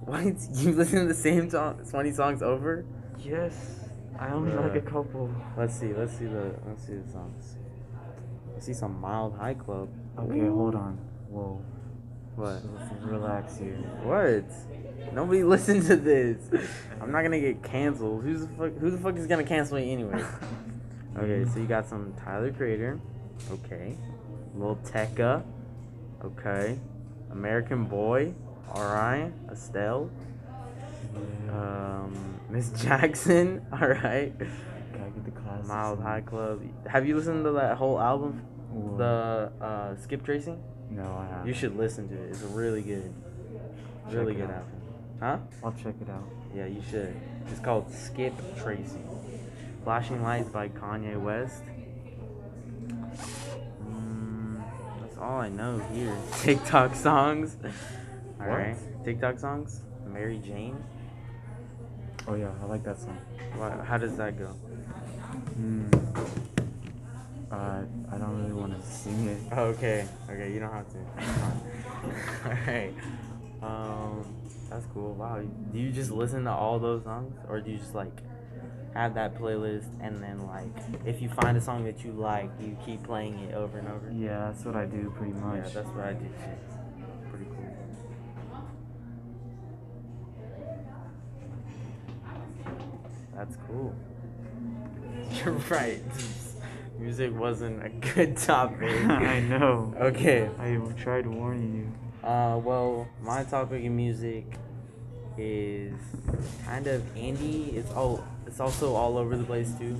Speaker 1: What? You listen to the same song, twenty songs over?
Speaker 2: Yes, I only like a
Speaker 1: Bruh.
Speaker 2: couple.
Speaker 1: Let's see. Let's see the. Let's see the songs. Let's see some mild high club.
Speaker 2: Okay, hold on. Whoa.
Speaker 1: What?
Speaker 2: Let's relax here.
Speaker 1: What? Nobody listen to this. I'm not gonna get canceled. Who's the fuck? Who the fuck is gonna cancel me anyway? Okay, so you got some Tyler Creator. Okay. Lil Tecca. Okay. American Boy. Alright. Estelle. Um, Miss Jackson. Alright.
Speaker 2: Can I get the class?
Speaker 1: Mild High Club. Have you listened to that whole album? The uh, Skip Tracing?
Speaker 2: No, I haven't.
Speaker 1: You should listen to it. It's really good.
Speaker 2: Check
Speaker 1: Really
Speaker 2: it
Speaker 1: good
Speaker 2: out.
Speaker 1: album. Huh?
Speaker 2: I'll check it out.
Speaker 1: Yeah, you should. It's called Skip Tracy. Flashing Lights by Kanye West. Mm, that's all I know here. TikTok songs.
Speaker 2: What?
Speaker 1: Alright. TikTok songs? Mary Jane?
Speaker 2: Oh yeah, I like that song.
Speaker 1: Wha how does that go?
Speaker 2: Hmm. Uh, I don't really want to sing it.
Speaker 1: Oh, Okay. Okay, you don't have to. Alright. Um, that's cool. Wow. Do you just listen to all those songs? Or do you just like have that playlist and then like if you find a song that you like, you keep playing it over and over?
Speaker 2: Yeah, that's what I do pretty much.
Speaker 1: Yeah, that's what I do too. Pretty cool. That's cool. You're right. Music wasn't a good topic.
Speaker 2: I know.
Speaker 1: Okay.
Speaker 2: I tried warning you.
Speaker 1: Uh, well, my topic in music is kind of indie. It's all it's also all over the place too.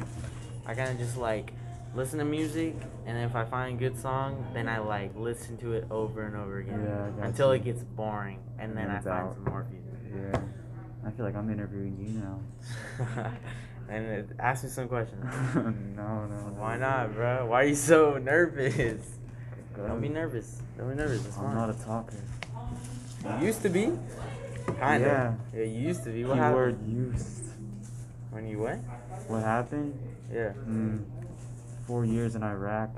Speaker 1: I kind of just like listen to music, and if I find a good song, then I like listen to it over and over again
Speaker 2: Yeah, I got
Speaker 1: until
Speaker 2: you.
Speaker 1: it gets boring, and then
Speaker 2: When
Speaker 1: I
Speaker 2: it's
Speaker 1: find
Speaker 2: out.
Speaker 1: some more music.
Speaker 2: Yeah. I feel like I'm interviewing you now.
Speaker 1: and it, ask me some questions.
Speaker 2: no, no, no.
Speaker 1: Why not, bro? Why are you so nervous? Don't be nervous. Don't be nervous. It's
Speaker 2: Um, I'm
Speaker 1: fine.
Speaker 2: not a talker.
Speaker 1: You used to be. Kind
Speaker 2: Yeah.
Speaker 1: of. Yeah. You used to be. What happened?
Speaker 2: Keyword used.
Speaker 1: When you what?
Speaker 2: What happened?
Speaker 1: Yeah.
Speaker 2: Mm, four years in Iraq.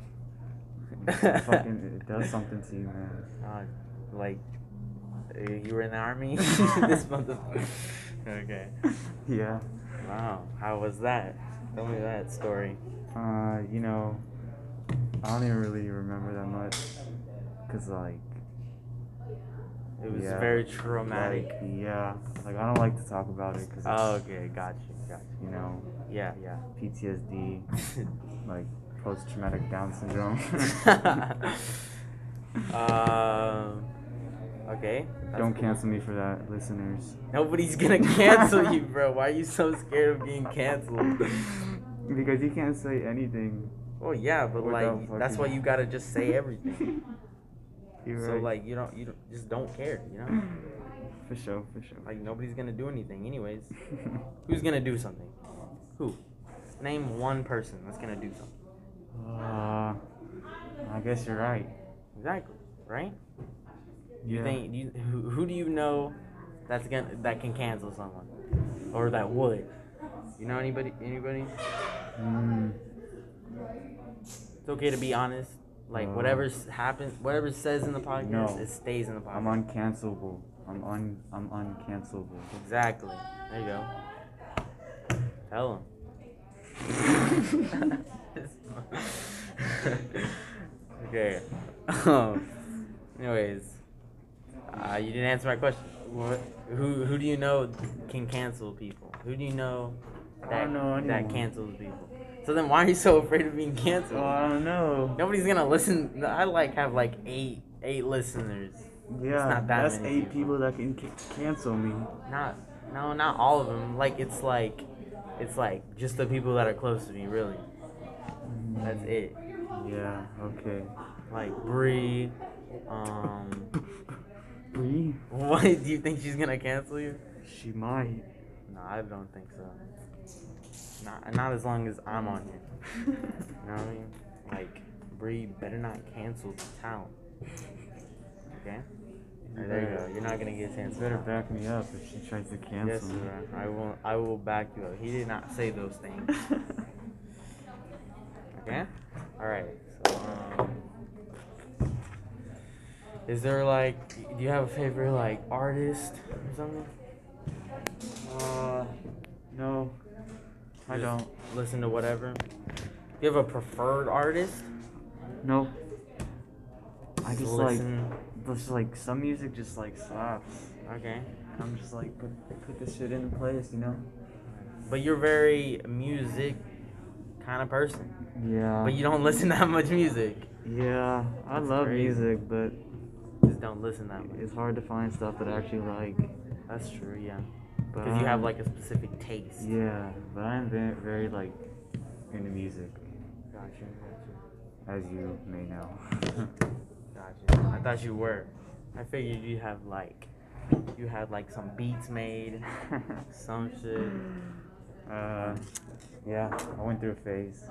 Speaker 2: fucking, it does something to you, man.
Speaker 1: Uh, like, uh, you were in the army. this motherfucker. Okay.
Speaker 2: Yeah.
Speaker 1: Wow. How was that? Tell me that story.
Speaker 2: Uh, you know, I don't even really remember that much, cause like.
Speaker 1: It was
Speaker 2: yeah,
Speaker 1: very traumatic.
Speaker 2: like, yeah, like I don't like to talk about it, cause
Speaker 1: oh,
Speaker 2: it's,
Speaker 1: okay. Got you. Got
Speaker 2: you know,
Speaker 1: you. Yeah. Yeah.
Speaker 2: PTSD, like post-traumatic Down syndrome.
Speaker 1: Um. Okay. that's
Speaker 2: Don't
Speaker 1: cool.
Speaker 2: cancel me for that, listeners.
Speaker 1: Nobody's gonna cancel you, bro. Why are you so scared of being canceled?
Speaker 2: because you can't say anything.
Speaker 1: Oh yeah, but
Speaker 2: without
Speaker 1: like that's why
Speaker 2: fucking-
Speaker 1: you gotta just say everything.
Speaker 2: You're
Speaker 1: so
Speaker 2: right.
Speaker 1: like you don't you don't, just don't care, you know?
Speaker 2: For sure, for sure.
Speaker 1: Like nobody's gonna do anything, anyways. Who's gonna do something? Who? Name one person that's gonna do something.
Speaker 2: Uh, I guess you're right.
Speaker 1: Exactly, right? You
Speaker 2: Yeah.
Speaker 1: think you, who, who do you know that's gonna that can cancel someone or that would? You know anybody? Anybody?
Speaker 2: Mm,
Speaker 1: It's okay to be honest. Like
Speaker 2: Uh,
Speaker 1: whatever s- happens, whatever says in the podcast,
Speaker 2: no.
Speaker 1: it stays in the podcast.
Speaker 2: I'm uncancelable. I'm un. I'm uncancelable.
Speaker 1: Exactly. There you go. Tell him. okay. Um, anyways, uh, you didn't answer my question. What? Who Who do you know can cancel people? Who do you know that
Speaker 2: don't know
Speaker 1: that
Speaker 2: anyone.
Speaker 1: cancels people? So then, why are you so afraid of being canceled?
Speaker 2: Oh, I don't know.
Speaker 1: Nobody's gonna listen. I like have like eight eight listeners.
Speaker 2: Yeah,
Speaker 1: it's not that
Speaker 2: that's
Speaker 1: many
Speaker 2: eight people that can ca- cancel me.
Speaker 1: not no not all of them like it's like it's like just the people that are close to me really that's it
Speaker 2: Yeah. Okay.
Speaker 1: like Bree um
Speaker 2: Bree,
Speaker 1: what do you think she's gonna cancel you
Speaker 2: she might.
Speaker 1: no I don't think so not not as long as I'm on here you know what I mean like Bree better not cancel the town okay Alright, there you go you're not gonna get
Speaker 2: You
Speaker 1: canceled
Speaker 2: better back me up if she tries to cancel
Speaker 1: Yes,
Speaker 2: me.
Speaker 1: sir. I will. I will back you up. He did not say those things. okay. All right. So, um, is there like, do you have a favorite like artist or something?
Speaker 2: Uh, no, I
Speaker 1: Just
Speaker 2: don't.
Speaker 1: Listen to whatever. Do you have a preferred artist?
Speaker 2: No. I just like,
Speaker 1: Listen.
Speaker 2: just like some music just like slaps.
Speaker 1: Okay.
Speaker 2: I'm just like put put this shit into place, you know.
Speaker 1: But you're very music kind of person.
Speaker 2: Yeah.
Speaker 1: But you don't listen that much music.
Speaker 2: Yeah, I
Speaker 1: That's
Speaker 2: love
Speaker 1: crazy.
Speaker 2: music, but
Speaker 1: Just don't listen that much.
Speaker 2: it's hard to find stuff that I actually like.
Speaker 1: That's true. Yeah.
Speaker 2: But
Speaker 1: Because you have
Speaker 2: I'm-
Speaker 1: like a specific taste.
Speaker 2: Yeah, but I'm very, very like into music,
Speaker 1: Gotcha. Gotcha.
Speaker 2: as you may know.
Speaker 1: Gotcha. I thought you were. I figured you have like, you had like some beats made, some shit.
Speaker 2: uh, yeah, I went through a phase,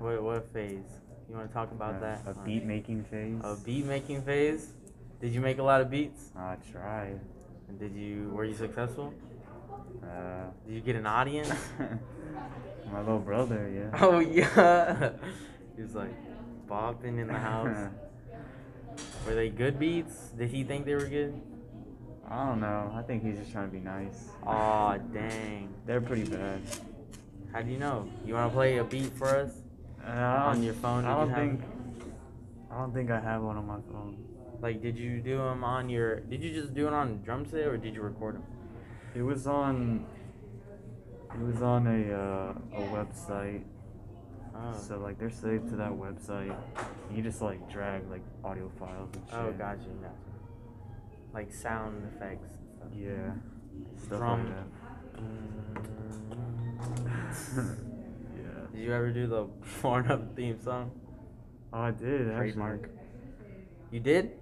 Speaker 1: What what phase? You want to talk about
Speaker 2: uh,
Speaker 1: that?
Speaker 2: a
Speaker 1: Uh,
Speaker 2: beat making phase.
Speaker 1: A beat making phase. Did you make a lot of beats?
Speaker 2: I tried.
Speaker 1: And did you were you successful?
Speaker 2: Uh,
Speaker 1: Did you get an audience?
Speaker 2: my little brother, yeah.
Speaker 1: oh yeah. he was like bopping in the house. were they good beats? Did he think they were good?
Speaker 2: I don't know. I think he's just trying to be nice.
Speaker 1: Aw, dang.
Speaker 2: They're pretty bad.
Speaker 1: How do you know? You want to play a beat for us?
Speaker 2: Uh, I
Speaker 1: On
Speaker 2: don't-
Speaker 1: your phone,
Speaker 2: I
Speaker 1: did you
Speaker 2: don't
Speaker 1: have-
Speaker 2: think. I don't think I have one on my phone.
Speaker 1: Like, did you do them on your? Did you just do it on drum set or did you record them?
Speaker 2: It was on. It was on a uh, a website.
Speaker 1: Oh.
Speaker 2: So like they're saved to that website. And you just like drag like audio files and shit.
Speaker 1: Oh, gotcha, gotcha. Like sound effects. and stuff.
Speaker 2: Yeah. Stuff
Speaker 1: Drum.
Speaker 2: like that. yeah.
Speaker 1: Did you ever do the Born Up theme song?
Speaker 2: Oh, I did actually.
Speaker 1: Trademark. You did?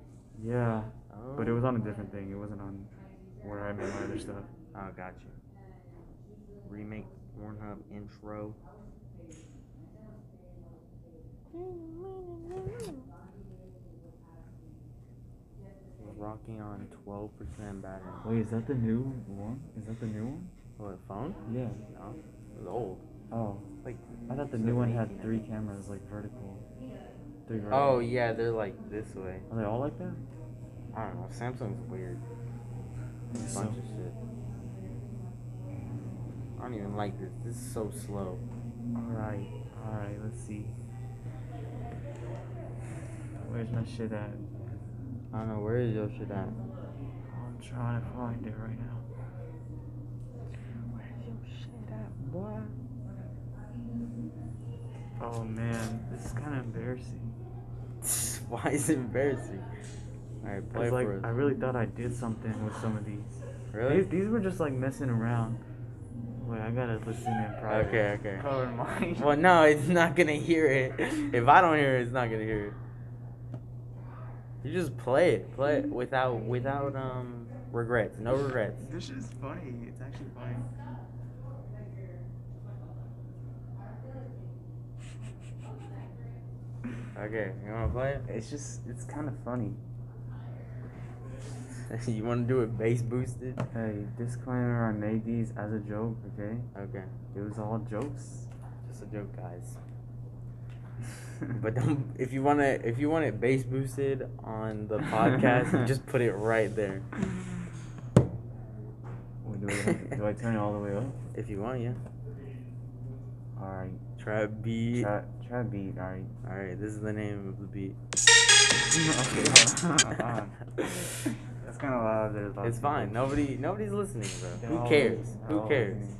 Speaker 2: Yeah.
Speaker 1: Oh.
Speaker 2: But it was on a different thing. It wasn't on where I made my other stuff.
Speaker 1: Oh, gotcha. Remake Pornhub intro. We're rocking on 12% battery.
Speaker 2: Wait, is that the new one? Is that the new one?
Speaker 1: What, phone?
Speaker 2: Yeah.
Speaker 1: No, it was old.
Speaker 2: Oh.
Speaker 1: Like,
Speaker 2: I thought the new one had
Speaker 1: 2018, I
Speaker 2: three
Speaker 1: think.
Speaker 2: cameras, like vertical. Three vertical.
Speaker 1: Oh yeah, they're like this way.
Speaker 2: Are they all like that?
Speaker 1: I don't know. Samsung's weird. Bunch
Speaker 2: So-
Speaker 1: of shit. I don't even like this. This is so slow.
Speaker 2: Alright, alright, let's see. Where's my shit at?
Speaker 1: I don't know where is your shit at.
Speaker 2: I'm trying to find it right now.
Speaker 1: Where's your shit at, boy?
Speaker 2: Oh man, this is kind of embarrassing.
Speaker 1: why it's embarrassing. All right, play
Speaker 2: It's like
Speaker 1: for us.
Speaker 2: I really thought I did something with some of these.
Speaker 1: Really?
Speaker 2: These, these were just like messing around. Wait, I gotta listen in private.
Speaker 1: Okay, okay.
Speaker 2: Color mine.
Speaker 1: Well, no, it's not gonna hear it. If I don't hear it, it's not gonna hear it. You just play it, play it without without um regrets, no regrets.
Speaker 2: This is funny. It's actually funny.
Speaker 1: Okay, you wanna play it?
Speaker 2: It's just it's kind of funny.
Speaker 1: you wanna do it bass boosted?
Speaker 2: Hey, disclaimer: I made these as a joke. Okay.
Speaker 1: Okay,
Speaker 2: It was all jokes.
Speaker 1: just a joke, guys. But don't if you wanna if you want it bass boosted on the podcast, just put it right there.
Speaker 2: Wait, do, I have to- do I turn it all the way up?
Speaker 1: If you want, yeah.
Speaker 2: All right.
Speaker 1: Try beat.
Speaker 2: Try, try beat. All right.
Speaker 1: All right, this is the name of the beat.
Speaker 2: okay. Hold on. That's kind of loud. There's lots
Speaker 1: It's
Speaker 2: of
Speaker 1: fine.
Speaker 2: people.
Speaker 1: Nobody, nobody's listening, bro.
Speaker 2: They're
Speaker 1: Who
Speaker 2: all-
Speaker 1: cares?
Speaker 2: they're
Speaker 1: Who
Speaker 2: all
Speaker 1: cares?
Speaker 2: listening.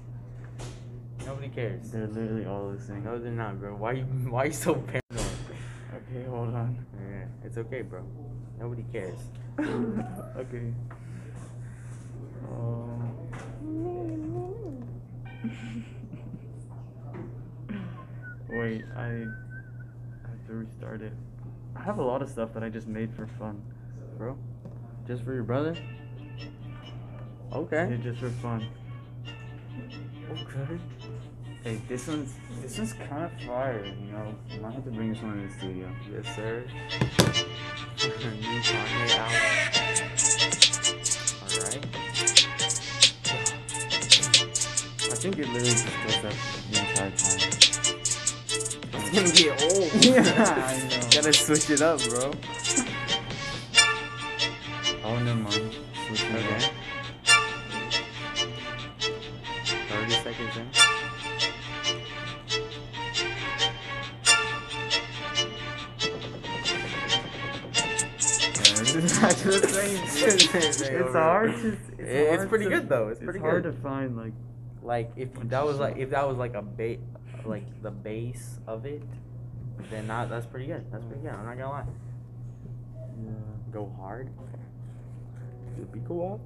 Speaker 1: Nobody cares.
Speaker 2: They're literally all listening.
Speaker 1: No, they're not, bro. Why you, why you so paranoid?
Speaker 2: Okay, hold on.
Speaker 1: Yeah, it's okay, bro. Nobody cares.
Speaker 2: okay. Um, wait, I, I have to restart it. I have a lot of stuff that I just made for fun.
Speaker 1: Bro?
Speaker 2: Just for your brother?
Speaker 1: Okay.
Speaker 2: Yeah, just for fun.
Speaker 1: Okay.
Speaker 2: Hey, this one's this one's kind of fire, you know. Might have to bring this one in the studio.
Speaker 1: Yes, sir. New Kanye album. All right.
Speaker 2: I think it literally just does that the entire time.
Speaker 1: It's gonna get old.
Speaker 2: Yeah, I know.
Speaker 1: Gotta switch it up, bro.
Speaker 2: Oh, never mind. Switch it
Speaker 1: Okay.
Speaker 2: up.
Speaker 1: 30 seconds in.
Speaker 2: Yeah, this is not the same.
Speaker 1: It's
Speaker 2: it's
Speaker 1: over.
Speaker 2: hard to. It's,
Speaker 1: It- it's
Speaker 2: hard
Speaker 1: pretty
Speaker 2: to-
Speaker 1: good, though. It's pretty
Speaker 2: hard
Speaker 1: good.
Speaker 2: to find like.
Speaker 1: Like if that was like if that was like a ba- like the base of it, then that, that's pretty good. That's pretty good. I'm not gonna lie.
Speaker 2: Yeah.
Speaker 1: Go hard. Did we go off?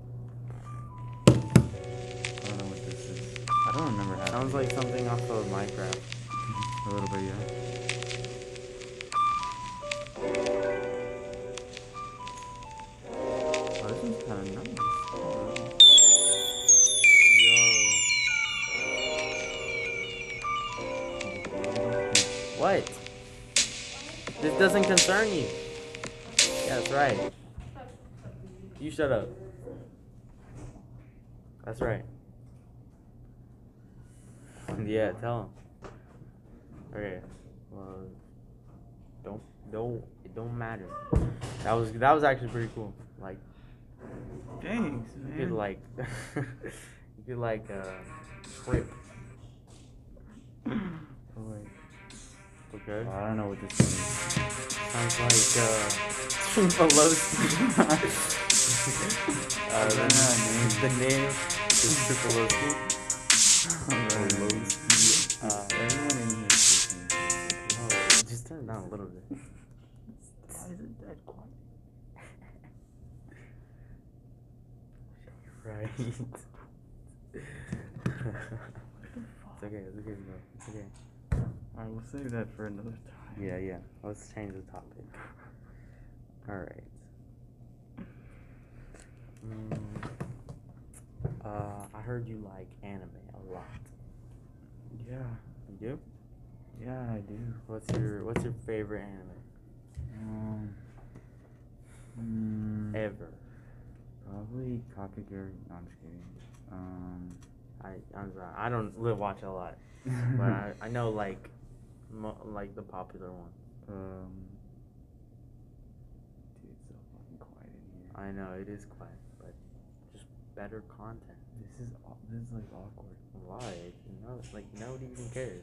Speaker 2: I don't know what this is. I don't remember how.
Speaker 1: Sounds like something off of Minecraft.
Speaker 2: a little bit, yeah. Oh, this one's kind of nice.
Speaker 1: Yo. What? This doesn't concern you. Yeah, that's right. You shut up. That's right. Yeah, tell him. Okay. Well, don't don't it don't matter. That was that was actually pretty cool. Like
Speaker 2: Thanks,
Speaker 1: you
Speaker 2: man.
Speaker 11: Mm.
Speaker 1: could like you could like uh trip.
Speaker 2: Oh, wait.
Speaker 1: Okay.
Speaker 2: Oh, I don't know what this is.
Speaker 1: Sounds like uh Pelosi. uh,
Speaker 2: I don't know,
Speaker 1: the, the name is Pelosi. Pelosi. Uh,
Speaker 2: Everyone in here is listening.
Speaker 1: oh, just turn it down a little bit.
Speaker 2: Why is it dead quiet?
Speaker 1: Right. it's okay, it's okay, bro. It's okay.
Speaker 2: Alright, we'll save that for another time.
Speaker 1: Yeah, yeah. Let's change the topic. All right. Mm, uh, I heard you like anime a lot.
Speaker 2: Yeah.
Speaker 1: You do?
Speaker 2: Yeah, I do.
Speaker 1: What's your What's your favorite anime
Speaker 2: Um. mm,
Speaker 1: ever?
Speaker 2: Probably Kakagiri. No, I'm just kidding. Um.
Speaker 1: I I'm sorry, I don't li- watch a lot, but I, I know like mo- like the popular one.
Speaker 2: um. Dude, it's so fucking quiet in here.
Speaker 1: I know it is quiet, but just better content.
Speaker 2: This is aw- this is like awkward.
Speaker 1: Why? No, like nobody even cares.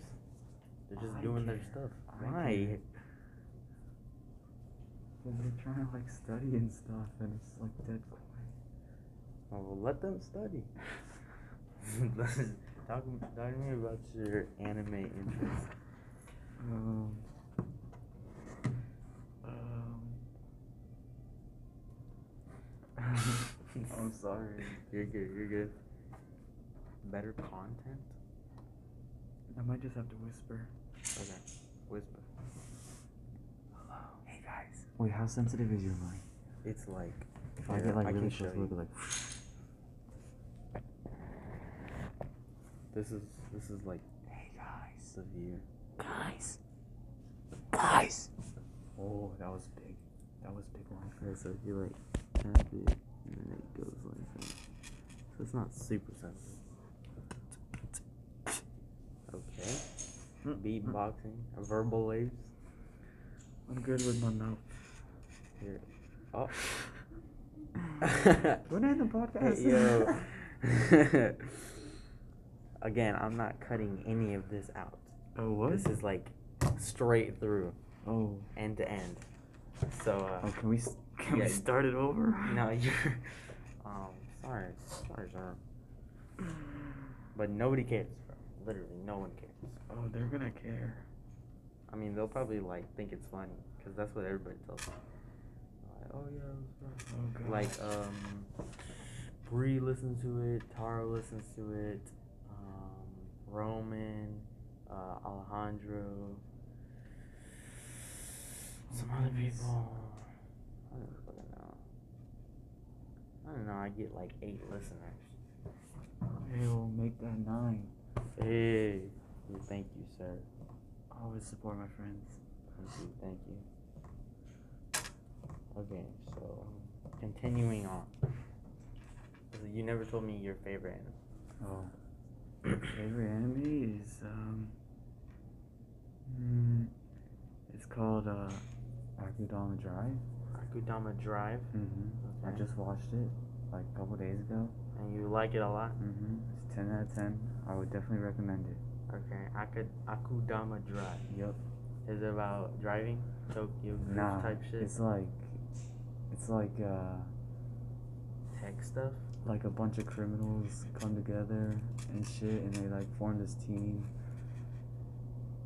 Speaker 1: They're just
Speaker 2: I
Speaker 1: doing their
Speaker 2: care.
Speaker 1: stuff.
Speaker 2: I
Speaker 1: Why?
Speaker 2: care. Well, they're trying to like study and stuff, and it's like dead quiet.
Speaker 1: Well, let them study. talk, talk to me about your anime interest.
Speaker 2: Um. Um.
Speaker 27: I'm sorry.
Speaker 2: You're good. You're good. Better content.
Speaker 27: I might just have to whisper.
Speaker 2: Okay. Whisper.
Speaker 1: Hey guys.
Speaker 2: Wait, how sensitive is your mic?
Speaker 1: It's like
Speaker 2: If I get like
Speaker 1: I can
Speaker 2: really
Speaker 1: show
Speaker 2: close,
Speaker 1: you.
Speaker 2: it'll be like.
Speaker 1: This is this is like hey guys severe.
Speaker 2: Guys. Oh, that was big. That was big one.
Speaker 1: Okay, so if you like tap it and then it goes like that. So it's not super sensitive. Okay. Beatboxing, verbal waves.
Speaker 27: I'm good with my mouth.
Speaker 1: Here. Oh.
Speaker 27: We're not in the podcast.
Speaker 1: Yo. Again, I'm not cutting any of this out.
Speaker 2: Oh, what?
Speaker 1: This is like straight through.
Speaker 2: Oh.
Speaker 1: End to end. So. Uh,
Speaker 2: Oh, can we s- can we
Speaker 1: yeah,
Speaker 2: start it over?
Speaker 1: No, you're. Um, sorry, sorry, sir. But nobody cares, bro. Literally, no one cares.
Speaker 27: Oh, they're gonna care.
Speaker 1: I mean, they'll probably like think it's funny because that's what everybody tells me. Like, oh yeah, it
Speaker 27: Oh,
Speaker 1: was
Speaker 27: God.
Speaker 1: fun." like um, Bree listens to it, Tara listens to it, um, Roman, uh, Alejandro, some other
Speaker 2: Nice.
Speaker 1: people. I don't fucking know. I don't know. I get like eight listeners.
Speaker 27: Hey, we'll make that nine.
Speaker 1: Hey, well, thank you, sir.
Speaker 2: Always support my friends.
Speaker 1: Thank you, thank you. Okay, so continuing on. So You never told me your favorite anime.
Speaker 2: Oh. Favorite anime is um. mm, it's called uh, Akudama Drive.
Speaker 1: Akudama Drive.
Speaker 2: Mm-hmm. I
Speaker 1: Okay.
Speaker 2: just watched it like a couple days ago.
Speaker 1: And you like it a lot?
Speaker 2: Mm-hmm. It's ten out of ten. I would definitely recommend it.
Speaker 1: Okay, Akud- Akudama Drive.
Speaker 2: Yep.
Speaker 1: Is it about driving? Tokyo Drift
Speaker 2: Nah,
Speaker 1: type shit?
Speaker 2: it's like, it's like uh,
Speaker 1: tech stuff?
Speaker 2: like a bunch of criminals come together and shit, and they like form this team.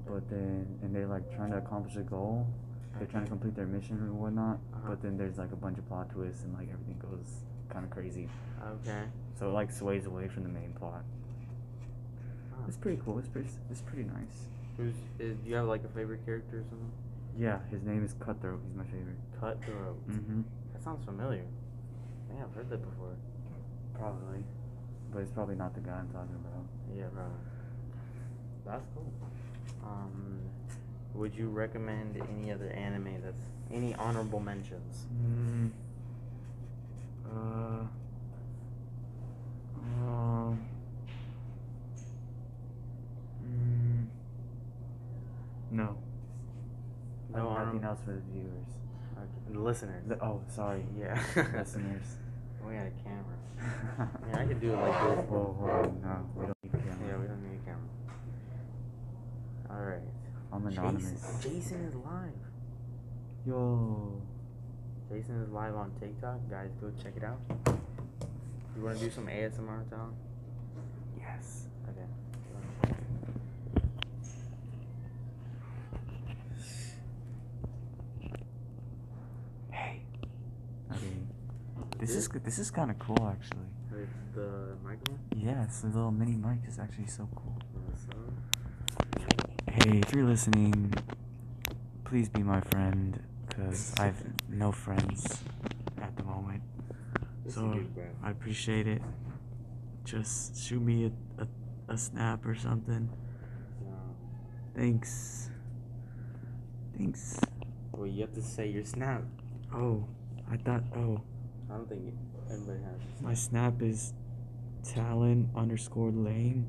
Speaker 2: But then, and they're like trying to accomplish a goal. They're trying to complete their mission and whatnot.
Speaker 1: Uh-huh.
Speaker 2: But then there's like a bunch of plot twists, and like everything goes kind of crazy.
Speaker 1: Okay.
Speaker 2: So it like sways away from the main plot.
Speaker 1: Oh.
Speaker 2: It's pretty cool. It's pretty. It's pretty nice.
Speaker 1: Who's, is, do you have like a favorite character or something?
Speaker 2: Yeah, his name is Cutthroat. He's my favorite.
Speaker 1: Cutthroat.
Speaker 2: Mm-hmm.
Speaker 1: That sounds familiar. Yeah, I've heard that before.
Speaker 2: Probably. But it's probably not the guy I'm talking about.
Speaker 1: Yeah, bro. That's cool. Um, would you recommend any other anime that's any honorable mentions?
Speaker 2: Mm, uh, um, mm, no.
Speaker 1: No
Speaker 2: I have nothing
Speaker 1: honorable-
Speaker 2: else for the viewers.
Speaker 1: Okay, Listeners.
Speaker 2: The- oh, sorry.
Speaker 1: Yeah.
Speaker 2: Listeners.
Speaker 1: We got a camera.
Speaker 2: I
Speaker 1: mean, I could do it like this.
Speaker 2: Whoa, whoa, no, we don't need camera.
Speaker 1: Yeah, we don't need a camera. All right.
Speaker 2: I'm anonymous.
Speaker 1: Jason, Jason is live.
Speaker 2: Yo.
Speaker 1: Jason is live on TikTok. Guys, go check it out. You want to do some ASMR, Tom?
Speaker 2: Yes.
Speaker 1: Okay.
Speaker 2: Hey. Okay. This is g- this is kind of cool actually.
Speaker 1: With the microphone?
Speaker 2: Yeah, this little mini mic is actually so cool.
Speaker 1: So,
Speaker 2: Hey, if you're listening, please be my friend, cause I've no friends at the moment.
Speaker 1: This is
Speaker 2: So
Speaker 1: good, bro.
Speaker 2: I appreciate it. Just shoot me a, a, a snap or something.
Speaker 1: um,
Speaker 2: Thanks. Thanks.
Speaker 1: well, you have to say your snap.
Speaker 2: Oh, I thought. Oh,
Speaker 1: I don't think anybody has. your
Speaker 2: my snap is Talon underscore Lame.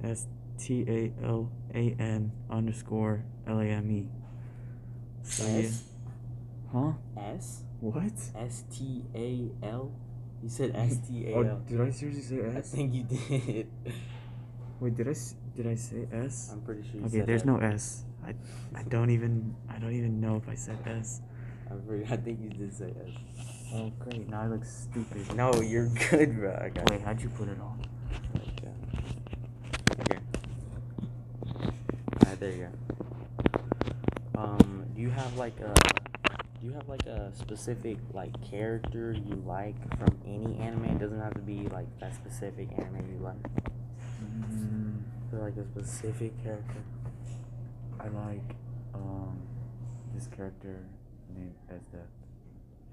Speaker 2: That's T A L A N underscore L A M E. So yeah.
Speaker 1: S?
Speaker 2: Huh?
Speaker 1: S?
Speaker 2: What? Oh,
Speaker 1: S T A L? You said S T A
Speaker 2: Oh,
Speaker 1: L.
Speaker 2: did I seriously say
Speaker 1: I
Speaker 2: S?
Speaker 1: think you did.
Speaker 2: Wait, did I s- did I say S?
Speaker 1: I'm pretty sure you
Speaker 2: Okay,
Speaker 1: said
Speaker 2: there's
Speaker 1: S.
Speaker 2: no S. I I don't even I don't even know if I said S.
Speaker 1: I'm pretty, I think you did say S.
Speaker 2: Oh great, now I look stupid.
Speaker 1: No, you're good, bro. I got
Speaker 2: Wait, how'd you put it on?
Speaker 1: Like that. Okay. Alright, there you go. Um, do you have like a Do you have like a specific like character you like from any anime? It doesn't have to be like that specific anime you like.
Speaker 2: Mm,
Speaker 1: But like a specific character.
Speaker 4: I like um this character named Esdeath.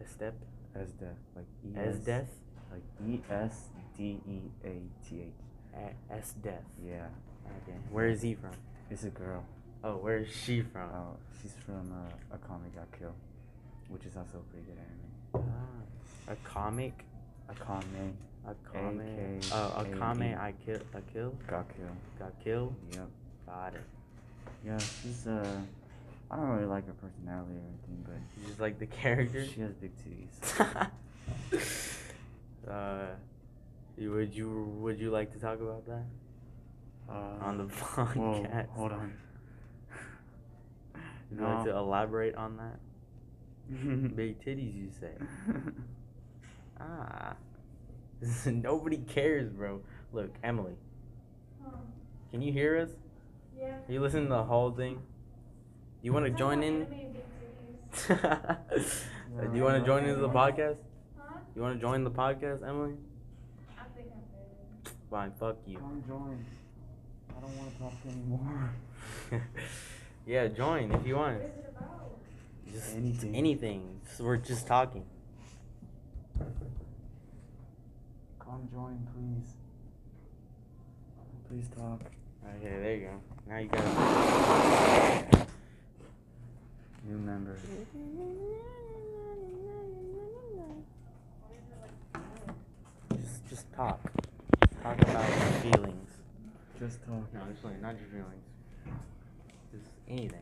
Speaker 1: Esdeath?
Speaker 4: Esdeath, like E S
Speaker 1: Esdeath?
Speaker 4: like E S D E A T H.
Speaker 1: Esdeath.
Speaker 4: Yeah.
Speaker 1: Okay. Where is he from?
Speaker 4: It's a girl.
Speaker 1: Oh, where is she from?
Speaker 4: Oh, she's from uh, a comic got killed, which is also a pretty good anime.
Speaker 1: A comic?
Speaker 4: A comic.
Speaker 1: A comic. Oh, a comic I kill a kill?
Speaker 4: Got killed.
Speaker 1: Got killed?
Speaker 4: Yep.
Speaker 1: Got it.
Speaker 4: Yeah, she's uh, I don't really like her personality or anything, but
Speaker 1: You just like the character?
Speaker 4: she has big titties.
Speaker 1: uh you- would you would you like to talk about that?
Speaker 4: uh,
Speaker 1: on the
Speaker 4: whoa,
Speaker 1: podcast.
Speaker 4: hold on.
Speaker 1: Would you like to
Speaker 4: No. Mm.
Speaker 1: elaborate on that? Big titties you say. ah. Nobody cares, bro. Look, Emily. Can you hear us?
Speaker 28: Yeah.
Speaker 1: Are you listening to the whole thing? You wanna join in? Do you wanna join into the podcast?
Speaker 28: Huh?
Speaker 1: You wanna join the podcast, Emily?
Speaker 28: I think I'm good.
Speaker 1: Fine, fuck you.
Speaker 4: Come join. I don't want to talk anymore.
Speaker 1: yeah, join if you want.
Speaker 28: What is it about?
Speaker 1: Just
Speaker 4: Anything.
Speaker 1: Anything. So we're just talking.
Speaker 4: Come join, please. Please talk.
Speaker 1: Okay, there you go. Now you got.
Speaker 4: New member.
Speaker 1: Just, just talk. Talk about your feelings.
Speaker 4: Just talk.
Speaker 1: No, just like not your feelings. Just anything.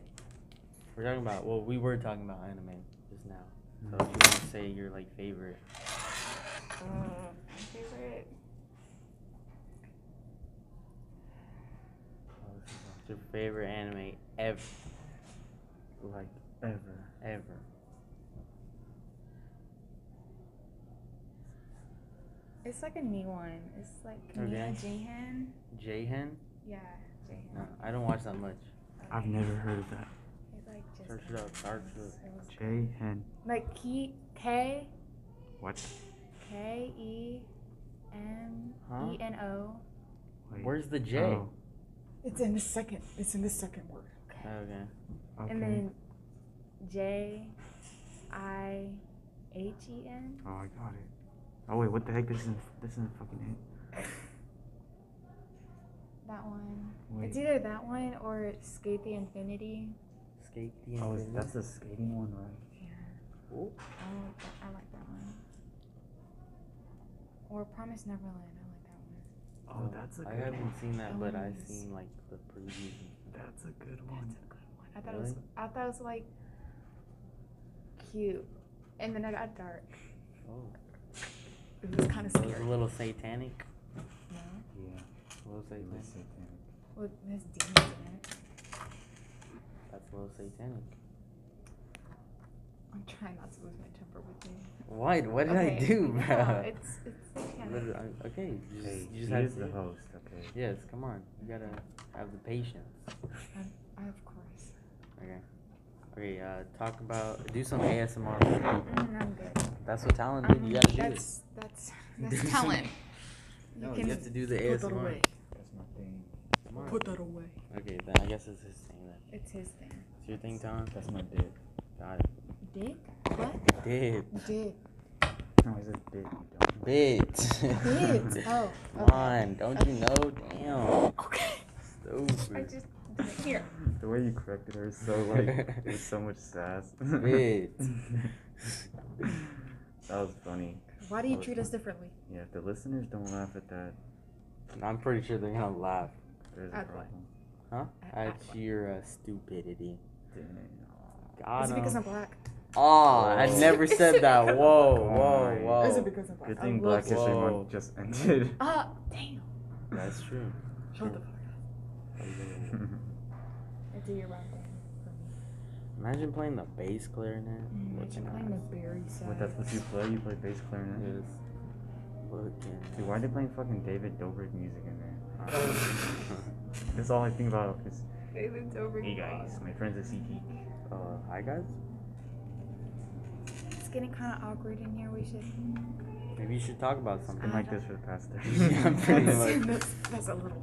Speaker 1: We're talking about. Well, we were talking about anime just now. So
Speaker 4: Mm-hmm.
Speaker 1: if you want to say your like favorite,
Speaker 29: Mm, my favorite.
Speaker 1: your favorite anime ever, like
Speaker 4: Ever.
Speaker 1: ever.
Speaker 3: It's like a new one. It's like Neon Jihan.
Speaker 1: Jahan?
Speaker 3: Yeah, Jihan.
Speaker 1: No, I don't watch that much.
Speaker 4: I've never heard of that.
Speaker 3: It's like just
Speaker 1: Search it up. Search it up.
Speaker 4: J Hen.
Speaker 3: like K K
Speaker 4: What?
Speaker 3: K E M
Speaker 1: Huh?
Speaker 3: E N O.
Speaker 4: Wait.
Speaker 1: Where's the J?
Speaker 4: Oh,
Speaker 3: It's in the second. It's in the second word.
Speaker 1: Okay.
Speaker 4: okay.
Speaker 3: And then J I H E N.
Speaker 4: oh, I got it. Oh wait, what the heck? This isn't. This isn't fucking it.
Speaker 3: That one. It's
Speaker 4: Wait.
Speaker 3: either that one or Skate the Infinity.
Speaker 1: Skate the
Speaker 4: Oh, is-
Speaker 1: Infinity.
Speaker 4: that's the skating one, right?
Speaker 3: Yeah.
Speaker 1: Ooh.
Speaker 3: I like that, I like that one. Or Promise Neverland. I like that one.
Speaker 4: Oh, that's a
Speaker 1: I
Speaker 4: good
Speaker 1: haven't
Speaker 4: one.
Speaker 1: seen that, but I've
Speaker 3: Elements.
Speaker 1: seen like the previews.
Speaker 4: That's a good one.
Speaker 3: I thought it was. I thought it was like cute, and then it got dark.
Speaker 1: Oh.
Speaker 3: It was kind of
Speaker 1: So it's a
Speaker 3: scary.
Speaker 1: little satanic.
Speaker 3: No,
Speaker 4: Yeah.
Speaker 1: A little satanic.
Speaker 3: with Miss Demons in it.
Speaker 1: That's a little satanic.
Speaker 3: I'm trying not to lose my temper with you.
Speaker 1: What? What did I
Speaker 3: Okay,
Speaker 1: do,
Speaker 3: no,
Speaker 1: bro?
Speaker 3: it's it's satanic.
Speaker 1: Literally, I- okay, you just,
Speaker 4: Hey,
Speaker 1: you just
Speaker 4: he
Speaker 1: had
Speaker 4: is
Speaker 1: to
Speaker 4: the
Speaker 1: do it.
Speaker 4: host. Okay.
Speaker 1: Yes, come on. You gotta have the patience.
Speaker 3: I'm, I of course.
Speaker 1: Okay. Okay. Uh, talk about do some ASMR.
Speaker 3: Mm, I'm good. Um,
Speaker 1: That's what talent did. You gotta do it.
Speaker 3: that's, That's that's talent. You
Speaker 1: No, you
Speaker 3: can
Speaker 1: have to do the
Speaker 3: put that
Speaker 1: ASMR.
Speaker 3: away.
Speaker 4: That's my thing.
Speaker 1: Come on.
Speaker 3: Put that away.
Speaker 1: Okay, then I guess it's his thing then.
Speaker 3: It's his thing.
Speaker 1: It's your thing, Tom.
Speaker 4: That's my dick.
Speaker 1: Got it.
Speaker 3: Dick? What?
Speaker 1: Did.
Speaker 3: Dick.
Speaker 4: No, it's a dick. you
Speaker 1: Bit.
Speaker 3: Bit. Oh,
Speaker 1: Come
Speaker 3: okay.
Speaker 1: on, don't you know? Damn.
Speaker 3: Okay. I
Speaker 1: Stupid.
Speaker 3: just here.
Speaker 4: don't. The way you corrected her is so like with so much sass.
Speaker 1: Bit.
Speaker 4: That was funny.
Speaker 3: Why do you
Speaker 4: That was
Speaker 3: treat us
Speaker 4: fun-
Speaker 3: differently?
Speaker 4: Yeah, if the listeners don't laugh at that,
Speaker 1: I'm pretty sure they're gonna laugh.
Speaker 4: there's a
Speaker 3: At what?
Speaker 4: problem.
Speaker 1: Huh?
Speaker 3: I-
Speaker 1: At your uh, stupidity.
Speaker 3: Is
Speaker 1: Got
Speaker 3: it because I'm
Speaker 1: him.
Speaker 3: black?
Speaker 1: Oh, I
Speaker 4: Whoa.
Speaker 1: never
Speaker 3: Is
Speaker 1: said
Speaker 3: it
Speaker 1: that. Whoa,
Speaker 3: because-
Speaker 1: whoa,
Speaker 4: Why?
Speaker 1: whoa.
Speaker 3: Is it because I'm black?
Speaker 4: Oh, Good
Speaker 3: I
Speaker 4: thing
Speaker 3: love
Speaker 4: Black History
Speaker 1: Whoa.
Speaker 4: Month just ended.
Speaker 3: Uh, damn.
Speaker 1: That's true.
Speaker 3: Shut the fuck
Speaker 1: True.
Speaker 3: up. It's a year round thing for me.
Speaker 1: Imagine playing the bass clarinet.
Speaker 3: Mm,
Speaker 1: Looking
Speaker 3: I'm playing
Speaker 1: ass.
Speaker 3: the berry side.
Speaker 4: Wait, that's what you play? You play bass clarinet?
Speaker 1: Yes. Looking.
Speaker 4: Dude, why are they playing fucking David Dobrik music in there?
Speaker 1: ass.
Speaker 4: That's all I think about is,
Speaker 3: David's over.
Speaker 4: hey Uh, guys, my friend's a sea geek.
Speaker 1: uh, hi guys.
Speaker 3: getting kind of awkward in here. We should.
Speaker 1: Maybe you should talk about something.
Speaker 3: Been like this
Speaker 4: for the past
Speaker 1: yeah, I'm pretty much.
Speaker 3: that's, that's a little.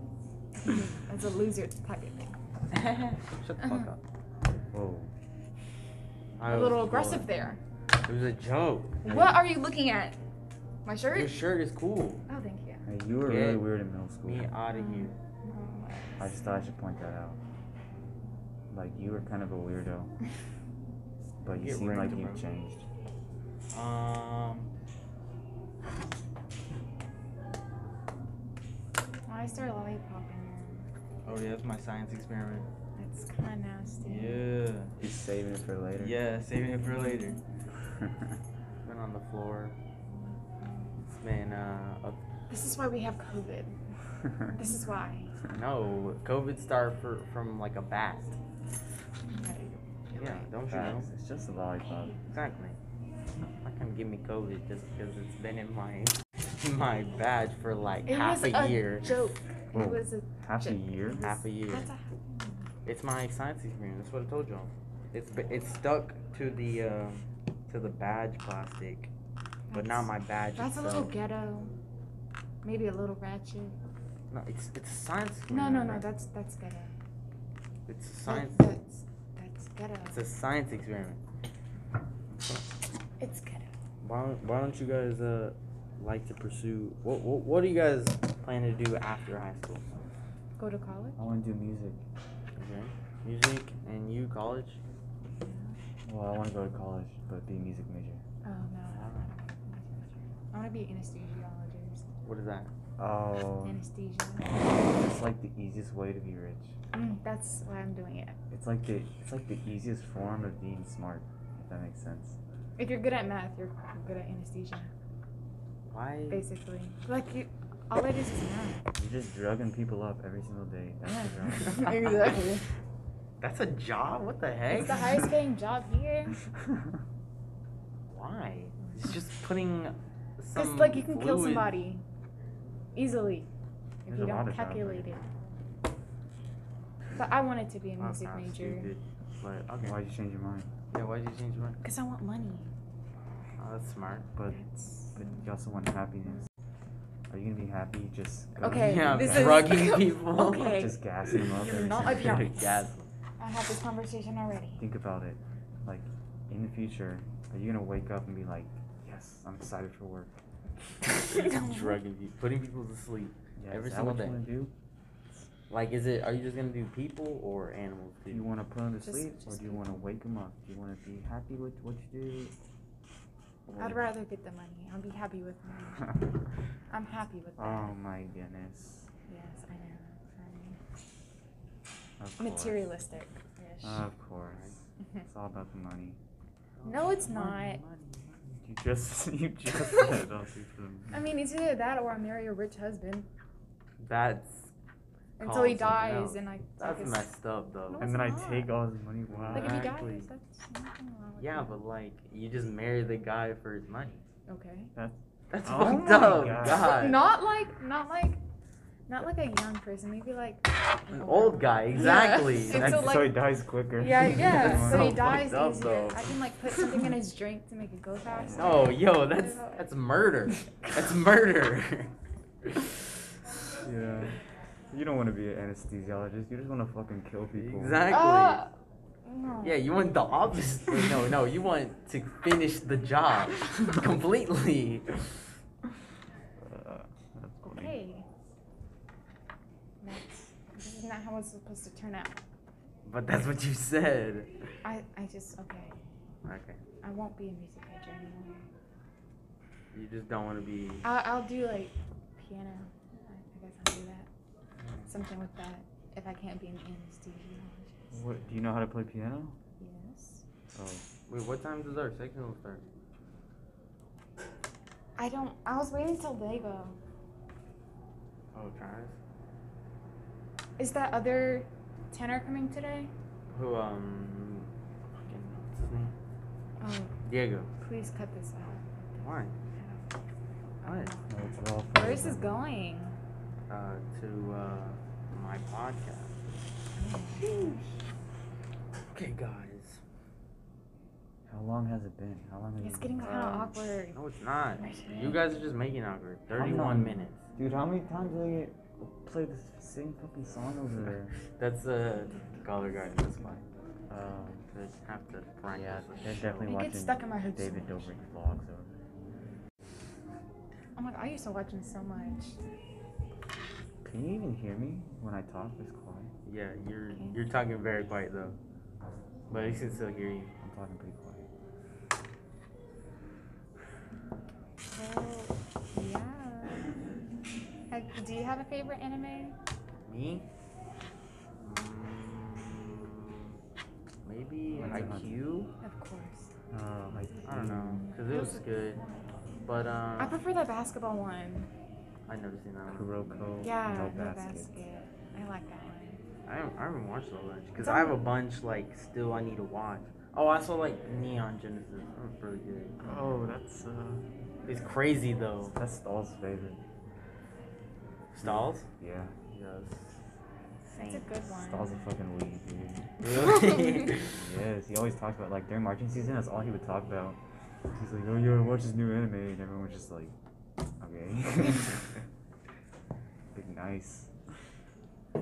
Speaker 3: That's a loser type of thing.
Speaker 1: Shut the fuck up.
Speaker 4: Whoa.
Speaker 1: I
Speaker 3: Uh-huh. a
Speaker 1: was
Speaker 3: little
Speaker 1: bored.
Speaker 3: aggressive there.
Speaker 1: It was a joke.
Speaker 3: What are you looking at? My shirt?
Speaker 1: Your shirt is cool.
Speaker 3: Oh, thank you.
Speaker 4: Hey, you were really
Speaker 1: Get
Speaker 4: weird in middle school.
Speaker 1: Me out of here.
Speaker 4: I just thought I should point that out. Like you were kind of a weirdo, but you
Speaker 1: Get
Speaker 4: seem
Speaker 1: wrecked,
Speaker 4: like
Speaker 1: bro.
Speaker 4: you've changed.
Speaker 1: Um.
Speaker 3: Why is there a lollipop in
Speaker 1: Oh, yeah, that's my science experiment.
Speaker 3: here? That's kind of nasty.
Speaker 1: Yeah.
Speaker 4: You're saving it for later.
Speaker 1: Yeah, saving it for later. Been on the floor. It's been uh. Up.
Speaker 3: This is why we have COVID. This is why.
Speaker 1: No, COVID started for, from like a bat. Yeah, don't you know?
Speaker 4: Facts. It's just a lollipop.
Speaker 1: Exactly. How come give me COVID just because it's been in my in my badge for like
Speaker 3: It
Speaker 1: half
Speaker 3: was
Speaker 1: a,
Speaker 3: a
Speaker 1: year?
Speaker 3: joke.
Speaker 4: Oh.
Speaker 3: It Whoa. was a
Speaker 4: Half a year?
Speaker 1: Half a year.
Speaker 3: That's a
Speaker 1: It's my science experiment. That's what I told y'all. It's b- it's stuck to the um to the badge plastic, but not
Speaker 3: That's-
Speaker 1: my badge
Speaker 3: That's a
Speaker 1: itself.
Speaker 3: little ghetto. Maybe a little ratchet.
Speaker 1: No, it's it's a science
Speaker 3: No,
Speaker 1: experiment.
Speaker 3: no, no.
Speaker 1: bro.
Speaker 3: That's that's ghetto.
Speaker 1: It's a
Speaker 3: That-
Speaker 1: science.
Speaker 3: That's that's ghetto.
Speaker 1: It's a science experiment.
Speaker 3: It's ghetto.
Speaker 1: Why don't, why don't you guys uh like to pursue what, what what do you guys plan to do after high school?
Speaker 3: Go to college.
Speaker 4: I want to do music.
Speaker 1: Okay. Music and you college?
Speaker 4: Well, I want to go to college, but be a music major.
Speaker 3: Oh no. I want to be an anesthesiologist.
Speaker 1: What is that?
Speaker 4: Oh,
Speaker 3: Anesthesia.
Speaker 4: it's like the easiest way to be rich.
Speaker 3: Mm, that's why I'm doing it.
Speaker 4: It's like the it's like the easiest form of being smart. If that makes sense.
Speaker 3: If you're good at math, you're good at anesthesia,
Speaker 1: Why
Speaker 3: basically. Like you, all it is is math.
Speaker 4: You're just drugging people up every single day. That's the drug.
Speaker 3: exactly.
Speaker 1: That's a job? What the heck?
Speaker 3: It's the highest paying job here.
Speaker 1: Why? It's just putting
Speaker 3: Cause
Speaker 1: some
Speaker 3: like you can kill
Speaker 1: fluid-
Speaker 3: somebody easily if
Speaker 4: There's
Speaker 3: you
Speaker 4: a lot
Speaker 3: don't
Speaker 4: of jobs like
Speaker 3: calculate it. But I wanted to be a
Speaker 1: Well, it's
Speaker 3: music
Speaker 1: not
Speaker 3: major
Speaker 1: stupid, But okay.
Speaker 4: Why'd you change your mind?
Speaker 1: Yeah, why'd you change your mind?
Speaker 3: because I want money.
Speaker 1: Oh, that's smart.
Speaker 4: But but you also want happiness. Are you gonna be happy just? going-
Speaker 3: Okay,
Speaker 1: Yeah,
Speaker 3: this
Speaker 1: okay.
Speaker 3: is
Speaker 1: drugging people.
Speaker 3: Okay,
Speaker 4: Just gassing them up.
Speaker 3: You're
Speaker 4: every
Speaker 3: not
Speaker 4: single
Speaker 3: a
Speaker 4: day?
Speaker 3: drunk. I had this conversation already.
Speaker 4: Think about it. Like in the future, are you gonna wake up and be like, yes, I'm excited for work?
Speaker 1: drugging people, putting people to sleep
Speaker 4: Yeah,
Speaker 1: every
Speaker 4: is that
Speaker 1: single
Speaker 4: what
Speaker 1: day.
Speaker 4: you want to do?
Speaker 1: Like, is it? Are you just gonna do people or animals?
Speaker 4: Do
Speaker 1: too?
Speaker 4: you want to put them to
Speaker 3: Just-
Speaker 4: sleep, or
Speaker 3: just
Speaker 4: do you want to wake them up? Do you want to be happy with what you do? Or-
Speaker 3: I'd rather get the money. I'll be happy with money. I'm happy with that.
Speaker 4: oh my goodness.
Speaker 3: Yes, I know.
Speaker 4: Of
Speaker 3: I'm
Speaker 4: course.
Speaker 3: materialistic.
Speaker 4: Of course. It's all about the money.
Speaker 3: No, it's not.
Speaker 4: You just you just said it all for the
Speaker 3: I mean, it's either that or I marry a rich husband
Speaker 1: That's
Speaker 3: until
Speaker 1: called
Speaker 3: he
Speaker 1: something
Speaker 3: dies,
Speaker 1: else.
Speaker 3: and I.
Speaker 1: That's
Speaker 3: take his-
Speaker 1: messed up though.
Speaker 3: No,
Speaker 4: And then I
Speaker 3: it's not.
Speaker 4: take all his money. Wow.
Speaker 3: Like if he
Speaker 1: Exactly.
Speaker 3: dies, that's nothing wrong with
Speaker 1: Yeah,
Speaker 3: that.
Speaker 1: but like you just marry the guy for his money.
Speaker 3: Okay.
Speaker 4: That's
Speaker 1: That's
Speaker 4: Oh
Speaker 1: fucked
Speaker 4: my
Speaker 1: up.
Speaker 4: God.
Speaker 1: God.
Speaker 3: Not like, not like, not like a young person. Maybe like
Speaker 1: An old guy, exactly.
Speaker 3: And so,
Speaker 4: so,
Speaker 3: like-
Speaker 4: he dies quicker.
Speaker 3: Yeah, yeah.
Speaker 1: That's
Speaker 3: so
Speaker 1: so
Speaker 3: he dies
Speaker 1: fucked up,
Speaker 3: easier.
Speaker 1: though.
Speaker 3: I can like put something in his drink to make it go faster.
Speaker 1: No, Oh, yo, that's
Speaker 3: Whatever.
Speaker 1: that's murder. That's murder.
Speaker 4: yeah. You don't want to be an anesthesiologist. You just want to fucking kill people.
Speaker 1: exactly.
Speaker 3: Ah, no.
Speaker 1: Yeah, you want the opposite. No, no, you want to finish the job completely.
Speaker 4: Uh, that's funny.
Speaker 3: Okay. That's, this is not how it's supposed to turn out.
Speaker 1: But that's what you said.
Speaker 3: I, I just okay.
Speaker 1: Okay.
Speaker 3: I won't be a music major anymore.
Speaker 1: You just don't want to be.
Speaker 3: I'll, I'll do like piano. I, I guess I'll do that. Something with that. If I can't be an anesthesiologist.
Speaker 4: What, do you know how to play piano?
Speaker 3: Yes.
Speaker 4: Oh.
Speaker 1: Wait, what time does our sectional start?
Speaker 3: I don't. I was waiting till they go.
Speaker 1: Oh, Travis.
Speaker 3: Is that other tenor coming today?
Speaker 1: Who um? Fucking what's his name?
Speaker 3: Oh,
Speaker 1: Diego.
Speaker 3: please cut this out.
Speaker 1: Why? What?
Speaker 4: No, it's all
Speaker 3: Where
Speaker 4: for
Speaker 3: is this
Speaker 4: the-
Speaker 3: going?
Speaker 1: Uh, to uh, my podcast. Okay, guys.
Speaker 4: How How long has it been? How long? Have
Speaker 3: It's
Speaker 4: you
Speaker 3: getting kind of awkward.
Speaker 1: No, it's not. You guys are just making it awkward.
Speaker 4: I'm not-
Speaker 1: 31 minutes.
Speaker 4: Dude, how many times do they play the same fucking song over there?
Speaker 1: That's uh, color guard. That's fine.
Speaker 4: Um,
Speaker 1: They have to prime
Speaker 4: yeah,
Speaker 1: this
Speaker 4: they're
Speaker 1: show.
Speaker 4: definitely
Speaker 3: It
Speaker 4: watching
Speaker 3: gets stuck in my head so
Speaker 4: David
Speaker 3: much.
Speaker 4: Dobrik vlogs over there.
Speaker 3: I'm like, I used to watch him so much.
Speaker 4: Can you even hear me when I talk this quiet?
Speaker 1: Yeah, you're you're talking very quiet though, but I can still hear you.
Speaker 4: I'm talking pretty quiet.
Speaker 3: So, yeah. Have, do you have a favorite anime?
Speaker 1: Me? Mm, Maybe IQ?
Speaker 3: Of course.
Speaker 4: Um,
Speaker 1: I don't know, cause it was good, but
Speaker 3: I
Speaker 1: um,
Speaker 3: prefer the basketball one.
Speaker 1: I never seen that one.
Speaker 4: Kuroko
Speaker 3: Yeah,
Speaker 4: no
Speaker 3: no
Speaker 4: basket.
Speaker 3: basket. I like that one.
Speaker 1: I haven't, I haven't watched all that because
Speaker 3: It's
Speaker 1: I have
Speaker 3: on-
Speaker 1: a bunch like still I need to watch. Oh, I saw like Neon Genesis. That was pretty good.
Speaker 2: Oh, that's uh.
Speaker 1: It's crazy though.
Speaker 4: That's Stahl's favorite.
Speaker 1: Stalls?
Speaker 4: Yeah.
Speaker 1: Yes.
Speaker 3: That's a good one.
Speaker 4: Stahl's a fucking weed, dude.
Speaker 1: Really?
Speaker 4: yes, he always talks about like during marching season. That's all he would talk about. He's like, oh yo, watch this new anime, and everyone was just like, okay. like nice.
Speaker 3: Oh,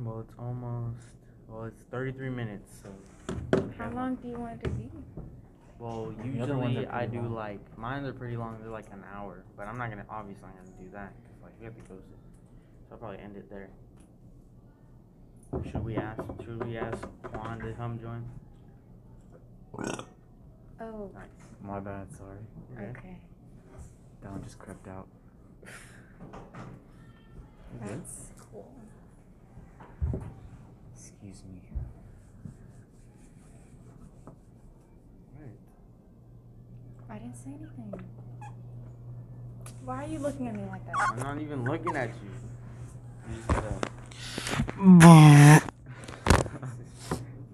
Speaker 1: Well, it's almost. Well, it's 33 minutes. So,
Speaker 3: how long do you want it to be?
Speaker 1: well,
Speaker 4: The other ones are
Speaker 1: usually I
Speaker 4: pretty
Speaker 1: do
Speaker 4: long.
Speaker 1: like mine are pretty long. They're like an hour, but I'm not gonna obviously I'm gonna do that because like we have to post it. So I'll probably end it there. Should we ask? Should we ask Juan to come join?
Speaker 3: Oh,
Speaker 1: Nice.
Speaker 4: My bad, sorry.
Speaker 1: Okay.
Speaker 3: okay.
Speaker 4: That one just crept out.
Speaker 3: That's cool.
Speaker 4: Excuse me.
Speaker 1: Alright.
Speaker 3: I didn't say anything. Why are you looking at me like that?
Speaker 1: I'm not even looking at you. You just gotta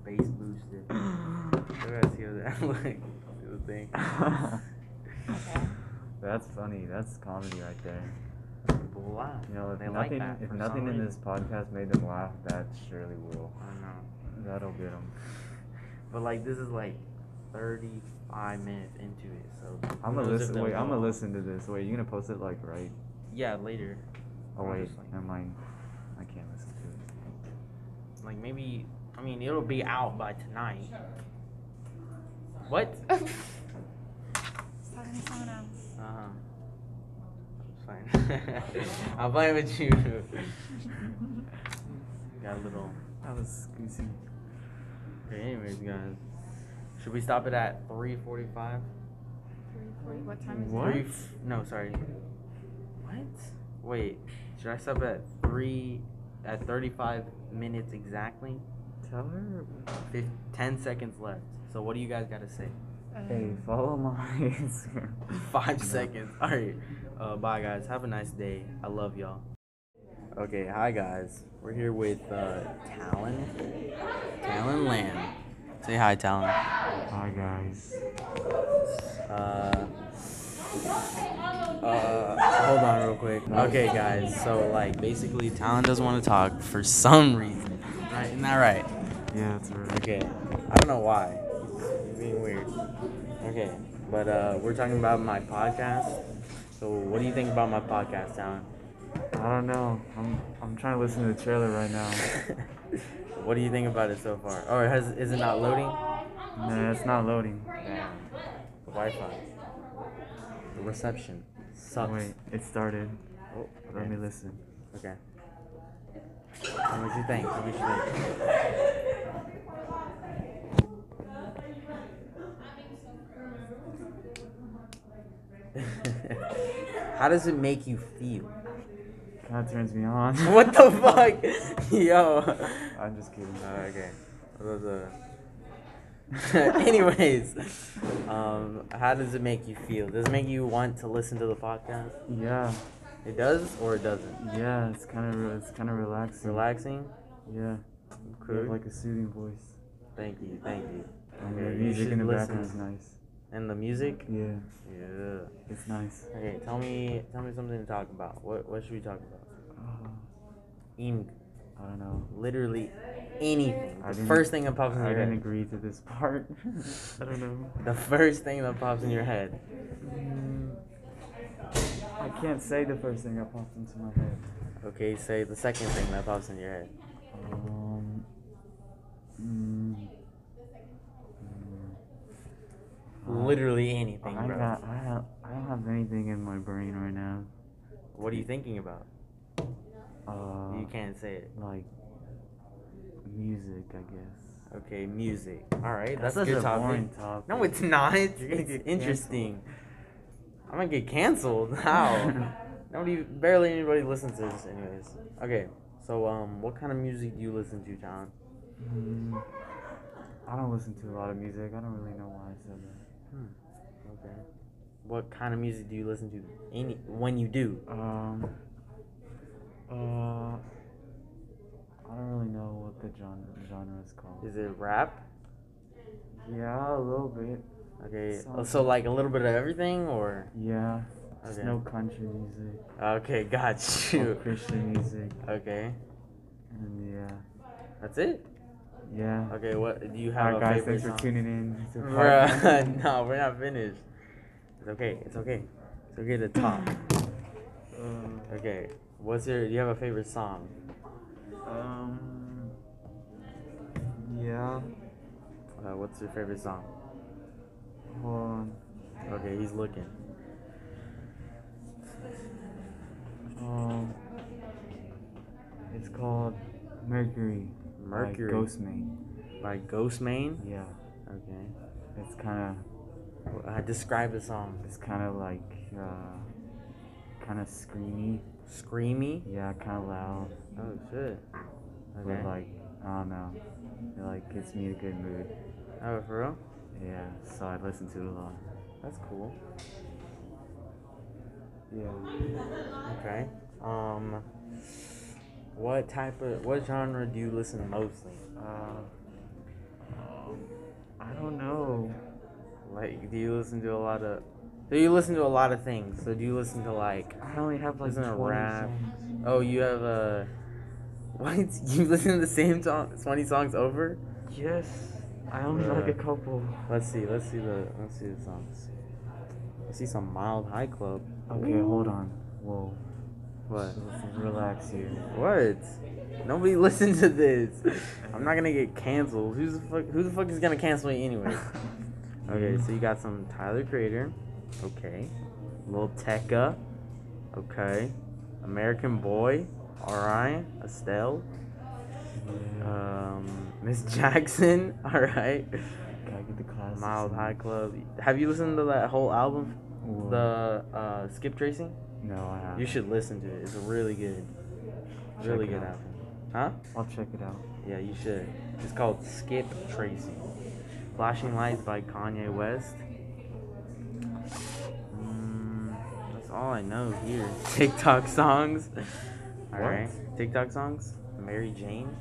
Speaker 1: bass boosted. I gotta see how that like do the thing.
Speaker 4: That's funny. That's comedy right there.
Speaker 1: People laugh.
Speaker 4: You know, if
Speaker 1: they
Speaker 4: nothing,
Speaker 1: like that.
Speaker 4: if
Speaker 1: for
Speaker 4: nothing
Speaker 1: some
Speaker 4: in
Speaker 1: reason.
Speaker 4: this podcast made them laugh, that surely will.
Speaker 1: I know.
Speaker 4: That'll get them.
Speaker 1: But like this is like 35 minutes into it, so. who
Speaker 4: I'm gonna
Speaker 1: knows if
Speaker 4: listen.
Speaker 1: they'll
Speaker 4: Wait, I'm
Speaker 1: go.
Speaker 4: gonna listen to this. Wait, you gonna post it like right?
Speaker 1: Yeah, later.
Speaker 4: Oh
Speaker 1: I'll
Speaker 4: wait,
Speaker 1: just, like-
Speaker 4: never mind. I can't listen to it.
Speaker 1: Like maybe, I mean, it'll be out by tonight. What? Uh
Speaker 3: Just talking to someone else.
Speaker 1: huh. Fine. I'm playing with you. Got a little.
Speaker 4: That was goosey.
Speaker 1: Okay, anyways, guys, should we stop it at 3:45?
Speaker 3: Three forty. What time is
Speaker 1: Three
Speaker 3: it?
Speaker 1: f- no, sorry. What? Wait, should I stop at three? At 35 minutes exactly?
Speaker 4: Tell her.
Speaker 1: Fif- 10 seconds left. So what do you guys gotta say?
Speaker 4: Hey,
Speaker 3: Um,
Speaker 4: follow my Instagram.
Speaker 1: Five
Speaker 4: No.
Speaker 1: seconds. All right. Uh, bye, guys. Have a nice day. I love y'all. Okay. Hi, guys. We're here with uh, Talon. Talon Lamb. Say hi, Talon.
Speaker 4: Hi guys.
Speaker 1: Uh, uh, hold on real quick. Okay, guys. So, like, basically, Talon doesn't want to talk for some reason. Right? Isn't that right?
Speaker 4: Yeah, that's right.
Speaker 1: Okay. I don't know why. It's being weird. Okay. But uh, we're talking about my podcast. So, what do you think about my podcast, Talon?
Speaker 4: I don't know. I'm I'm trying to listen to the trailer right now.
Speaker 1: what do you think about it so far? Or has is it not loading?
Speaker 4: Nah, it's not loading.
Speaker 1: Damn. The Wi-Fi. The reception sucks.
Speaker 4: Wait, it started.
Speaker 1: Oh,
Speaker 4: Let me
Speaker 1: okay.
Speaker 4: listen.
Speaker 1: Okay. What do you think? What do you think? How does it make you feel?
Speaker 4: That turns me on.
Speaker 1: What the fuck? Yo.
Speaker 4: I'm just kidding.
Speaker 1: Uh, okay. That was a- Anyways, um, how does it make you feel? Does it make you want to listen to the podcast?
Speaker 4: Yeah,
Speaker 1: It does or it doesn't?
Speaker 4: yeah. It's kind of re- it's kind of relaxing.
Speaker 1: Relaxing?
Speaker 4: Yeah. You have
Speaker 1: Cool.
Speaker 4: like a soothing voice.
Speaker 1: Thank you, thank you.
Speaker 4: And
Speaker 1: Yeah,
Speaker 4: the
Speaker 1: you
Speaker 4: music in
Speaker 1: should
Speaker 4: the
Speaker 1: listen.
Speaker 4: background is nice.
Speaker 1: And the music?
Speaker 4: Yeah,
Speaker 1: Yeah.
Speaker 4: it's nice. Oh,
Speaker 1: Okay, tell me, tell me something to talk about. What, what should we talk about?
Speaker 4: Uh,
Speaker 1: Ing,
Speaker 2: I don't know.
Speaker 1: Literally anything.
Speaker 2: I
Speaker 1: The
Speaker 2: didn't-
Speaker 1: first thing that pops in
Speaker 2: I
Speaker 1: your
Speaker 2: didn't
Speaker 1: head.
Speaker 2: agree to this part. I don't know.
Speaker 1: The first thing that pops in your head.
Speaker 4: Mm.
Speaker 2: I can't say the first thing that popped into my head.
Speaker 1: Okay, say the second thing that pops in your head.
Speaker 2: Um. mm, mm,
Speaker 1: Literally
Speaker 2: I-
Speaker 1: anything,
Speaker 2: I
Speaker 1: bro.
Speaker 2: Got, I, have, I don't have anything in my brain right now.
Speaker 1: What are you thinking about?
Speaker 2: Uh,
Speaker 1: You can't say it.
Speaker 2: Like music, I guess.
Speaker 1: Okay, music. All right,
Speaker 2: That's
Speaker 1: that's, a
Speaker 2: such
Speaker 1: good
Speaker 2: a
Speaker 1: topic.
Speaker 2: boring topic.
Speaker 1: No, it's not.
Speaker 2: You're
Speaker 1: It's
Speaker 2: gonna get
Speaker 1: interesting. I'm gonna get canceled. How? Nobody, barely anybody listens to this, anyways. Okay, so um, what kind of music do you listen to, John?
Speaker 2: Mm, I don't listen to a lot of music. I don't really know why I said that.
Speaker 1: Okay. What kind of music do you listen to? Any when you do?
Speaker 2: Um. Uh. I don't really know what the genre, genre is called.
Speaker 1: Is it rap?
Speaker 2: Yeah, a little bit.
Speaker 1: Okay. uh,
Speaker 2: Sounds
Speaker 1: So like a little bit of everything, or
Speaker 2: Yeah. Just
Speaker 1: Okay.
Speaker 2: no country music.
Speaker 1: okay, got you.
Speaker 2: No Christian music.
Speaker 1: Okay,
Speaker 2: And yeah.
Speaker 1: that's it.
Speaker 2: Yeah.
Speaker 1: Okay, what do you have?
Speaker 2: Alright,
Speaker 1: a
Speaker 2: guys,
Speaker 1: favorite
Speaker 2: thanks for
Speaker 1: song?
Speaker 2: tuning in. to part-
Speaker 1: Bruh, no, we're not finished. It's okay. It's okay. It's okay to talk. Okay. What's your? Do you have a favorite song?
Speaker 2: Uh, Um. Yeah.
Speaker 1: Uh, what's your favorite song?
Speaker 2: Hold on.
Speaker 1: Okay, he's looking.
Speaker 2: Um. It's called Mercury.
Speaker 1: Mercury.
Speaker 2: By Ghostmane.
Speaker 1: By Ghostmane.
Speaker 2: Yeah.
Speaker 1: Okay.
Speaker 2: It's kind of.
Speaker 1: Uh, describe the song.
Speaker 2: It's kind of like. Uh, kind of uh, screamy.
Speaker 1: Screamy.
Speaker 2: Yeah, kind of loud.
Speaker 1: Oh shit. Okay.
Speaker 2: But like, I don't know. It like gets me in a good mood.
Speaker 1: Oh, for real?
Speaker 2: Yeah. So I listen to it a lot.
Speaker 1: That's cool.
Speaker 2: Yeah.
Speaker 1: Okay. Um. What type of what genre do you listen to mostly?
Speaker 2: Uh. Um, I don't know.
Speaker 1: Like, do you listen to a lot of? So you listen to a lot of things. So do you listen to like?
Speaker 2: I only have like
Speaker 1: listen to
Speaker 2: 20
Speaker 1: rap.
Speaker 2: songs.
Speaker 1: Oh, you have a. What? You listen to the same song, twenty songs over?
Speaker 2: Yes. I only like a
Speaker 1: Bruh.
Speaker 2: couple.
Speaker 1: Let's see. Let's see the. Let's see the songs. I see some mild high club.
Speaker 2: Okay, hold on. Whoa.
Speaker 1: What?
Speaker 2: Relax here.
Speaker 1: What? Nobody listen to this. I'm not gonna get canceled. Who's the fuck? Who the fuck is gonna cancel me anyway? Okay, so you got some Tyler Creator. Okay. Lil Tecca. Okay. American Boy. Alright. Estelle. Um, Miss Jackson. Alright.
Speaker 2: Gotta get the class.
Speaker 1: Mild High Club. Have you listened to that whole album? The uh, Skip Tracing?
Speaker 2: No, I haven't.
Speaker 1: You should listen to it. It's really good.
Speaker 2: Check
Speaker 1: Really
Speaker 2: it
Speaker 1: good
Speaker 2: out.
Speaker 1: album. Huh?
Speaker 2: I'll check it out.
Speaker 1: Yeah, you should. It's called Skip Tracing. Flashing Lights by Kanye West. Mm, that's all I know here. TikTok songs. Alright. TikTok songs. Mary Jane.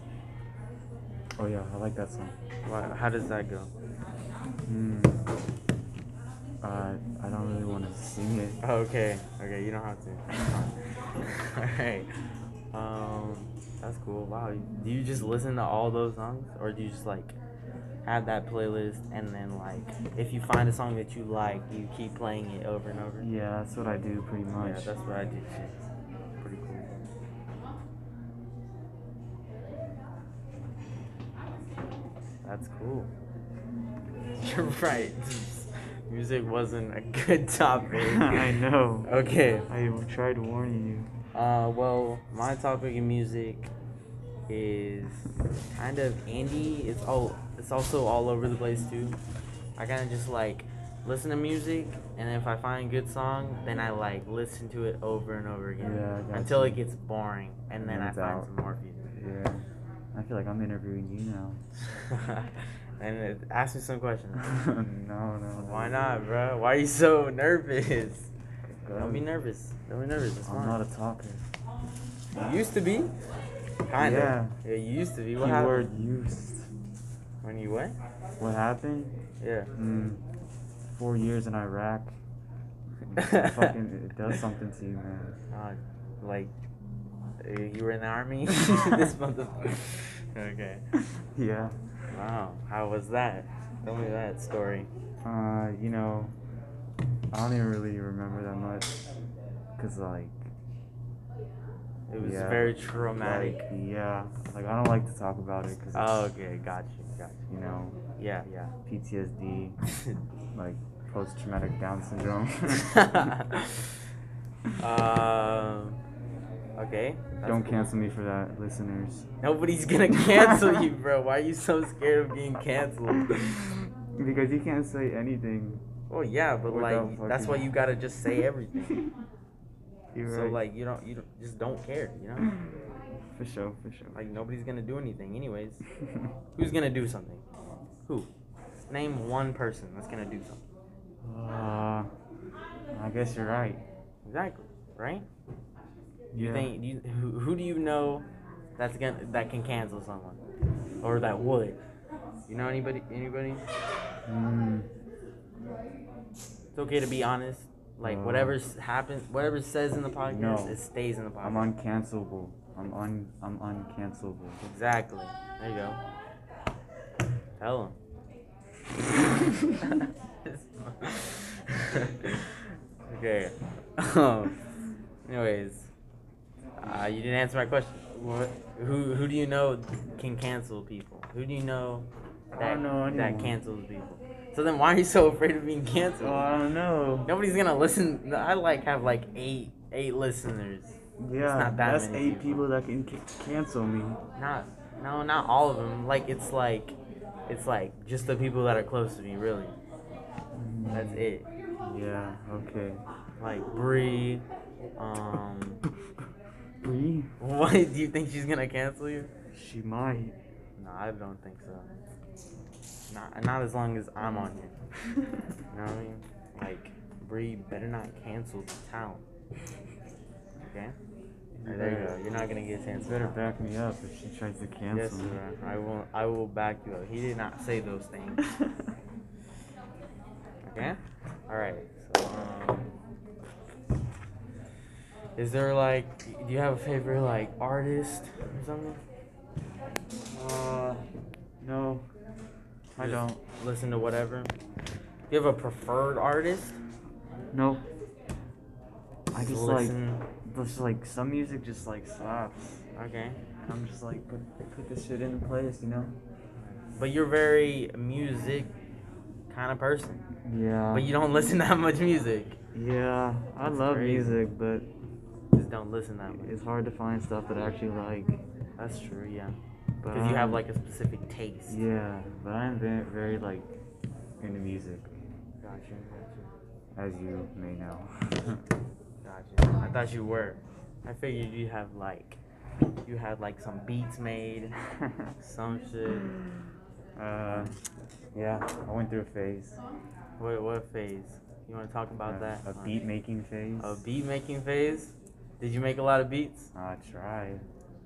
Speaker 2: Oh yeah, I like that song.
Speaker 1: Wha how does that go?
Speaker 2: Hmm. Uh, I don't really want to sing it.
Speaker 1: Oh, Okay. Okay, you don't have to. Alright. Um, that's cool. Wow. Do you just listen to all those songs? Or do you just like have that playlist and then like if you find a song that you like, you keep playing it over and over?
Speaker 2: Yeah, that's what I do pretty
Speaker 1: Yeah,
Speaker 2: much.
Speaker 1: that's what I did. Shit. Pretty cool. That's cool. You're right. Music wasn't a good topic.
Speaker 2: I know.
Speaker 1: Okay.
Speaker 2: I tried warning you.
Speaker 1: Uh, well, my topic in music is kind of indie. It's all it's also all over the place too. I kind of just like listen to music, and if I find a good song, then I like listen to it over and over again
Speaker 2: Yeah, I got
Speaker 1: until
Speaker 2: you.
Speaker 1: it gets boring, and then I
Speaker 2: Then it's
Speaker 1: find
Speaker 2: out.
Speaker 1: some more music.
Speaker 2: Yeah. I feel like I'm interviewing you now.
Speaker 1: and it, ask me some questions.
Speaker 2: no, no, no.
Speaker 1: Why not, bro? Why are you so nervous? Don't be nervous. Don't be nervous. It's
Speaker 2: Um, I'm
Speaker 1: fine.
Speaker 2: not a talker.
Speaker 1: You used to be. Kind of.
Speaker 2: Yeah.
Speaker 1: Yeah, you used to be. What
Speaker 2: Keyword
Speaker 1: happened?
Speaker 2: used.
Speaker 1: When you what?
Speaker 2: What happened?
Speaker 1: Yeah.
Speaker 2: Mm, four years in Iraq. Fucking, it does something to you, man.
Speaker 1: Uh, like, Uh, You were in the army this month. okay.
Speaker 2: Yeah.
Speaker 1: Wow. How was that? Tell me that story.
Speaker 2: Uh, you know, I don't even really remember that much, cause like.
Speaker 1: It was very traumatic.
Speaker 2: like, yeah, like I don't like to talk about it, cause.
Speaker 1: Oh,
Speaker 2: it's-
Speaker 1: okay. Gotcha. Gotcha.
Speaker 2: You know.
Speaker 1: Yeah. Yeah.
Speaker 2: PTSD, like post traumatic Down syndrome.
Speaker 1: Um. okay. that's
Speaker 2: Don't
Speaker 1: cool.
Speaker 2: cancel me for that, listeners.
Speaker 1: Nobody's gonna cancel you, bro. Why are you so scared of being canceled?
Speaker 2: because you can't say anything.
Speaker 1: Oh yeah, but
Speaker 2: without
Speaker 1: like that's why
Speaker 2: fucking-
Speaker 1: you gotta just say everything.
Speaker 2: You're
Speaker 1: so
Speaker 2: right.
Speaker 1: like you don't you don't, just don't care, you know?
Speaker 2: For sure, for sure.
Speaker 1: Like nobody's gonna do anything, anyways. Who's gonna do something? Who? Name one person that's gonna do something.
Speaker 2: Uh, I guess you're right.
Speaker 1: Exactly, right? You
Speaker 2: Yeah.
Speaker 1: think you, who, who do you know that's gonna that can cancel someone, or that would? You know anybody? Anybody?
Speaker 2: Mm,
Speaker 1: It's okay to be honest. Like
Speaker 2: Uh,
Speaker 1: whatever s- happens, whatever it says in the podcast,
Speaker 2: no.
Speaker 1: it stays in the podcast.
Speaker 2: I'm uncancelable. I'm un. I'm uncancelable.
Speaker 1: Exactly. There you go. Tell him. okay. Um, anyways, uh, you didn't answer my question. What? Who Who do you know can cancel people? Who do you know
Speaker 2: I
Speaker 1: that
Speaker 2: don't know
Speaker 1: that
Speaker 2: anyone.
Speaker 1: cancels people? So then, why are you so afraid of being canceled?
Speaker 2: Well, I don't know.
Speaker 1: Nobody's gonna listen. No, I like have like eight eight listeners.
Speaker 2: Yeah,
Speaker 1: it's not that
Speaker 2: that's
Speaker 1: many
Speaker 2: eight people that can c- cancel me.
Speaker 1: Not, no, not all of them. Like it's like, it's like just the people that are close to me, really. That's it.
Speaker 2: Yeah. Okay.
Speaker 1: Like Bree, um,
Speaker 2: Bree,
Speaker 1: what do you think she's gonna cancel you?
Speaker 2: she might.
Speaker 1: No, I don't think so. Not, not as long as I'm on here. you know what I mean? Like Bree better not cancel the talent. Okay. Alright, there you go. You're not gonna get canceled.
Speaker 2: Better back me up if she tries to cancel
Speaker 1: Yes,
Speaker 2: me.
Speaker 1: sir. I will. I will back you up. He did not say those things. okay. All right. So, um, is there like, do you have a favorite like artist or something?
Speaker 2: Uh, no, I
Speaker 1: Just
Speaker 2: don't.
Speaker 1: Listen to whatever. Do you have a preferred artist?
Speaker 2: No. I just like,
Speaker 1: Listen.
Speaker 2: just like some music just like slaps.
Speaker 1: Okay.
Speaker 2: And I'm just like, put, put this shit in place, you know?
Speaker 1: But you're very music kind of person.
Speaker 2: Yeah.
Speaker 1: But you don't listen to that much music.
Speaker 2: Yeah, I
Speaker 1: That's
Speaker 2: love
Speaker 1: crazy.
Speaker 2: music, but
Speaker 1: Just don't listen that much.
Speaker 2: it's hard to find stuff that I actually like.
Speaker 1: That's true. Yeah.
Speaker 2: But
Speaker 1: Because you have
Speaker 2: I'm-
Speaker 1: like a specific taste.
Speaker 2: Yeah, but I'm very, very like into music,
Speaker 1: Gotcha. Gotcha.
Speaker 2: as you may know.
Speaker 1: Gotcha. I thought you were. I figured you have like, you had like some beats made, some shit.
Speaker 2: uh, yeah, I went through a phase,
Speaker 1: What what phase? You want to talk about
Speaker 2: Uh,
Speaker 1: that?
Speaker 2: a
Speaker 1: Uh,
Speaker 2: beat making phase.
Speaker 1: A beat making phase. Did you make a lot of beats?
Speaker 2: I tried.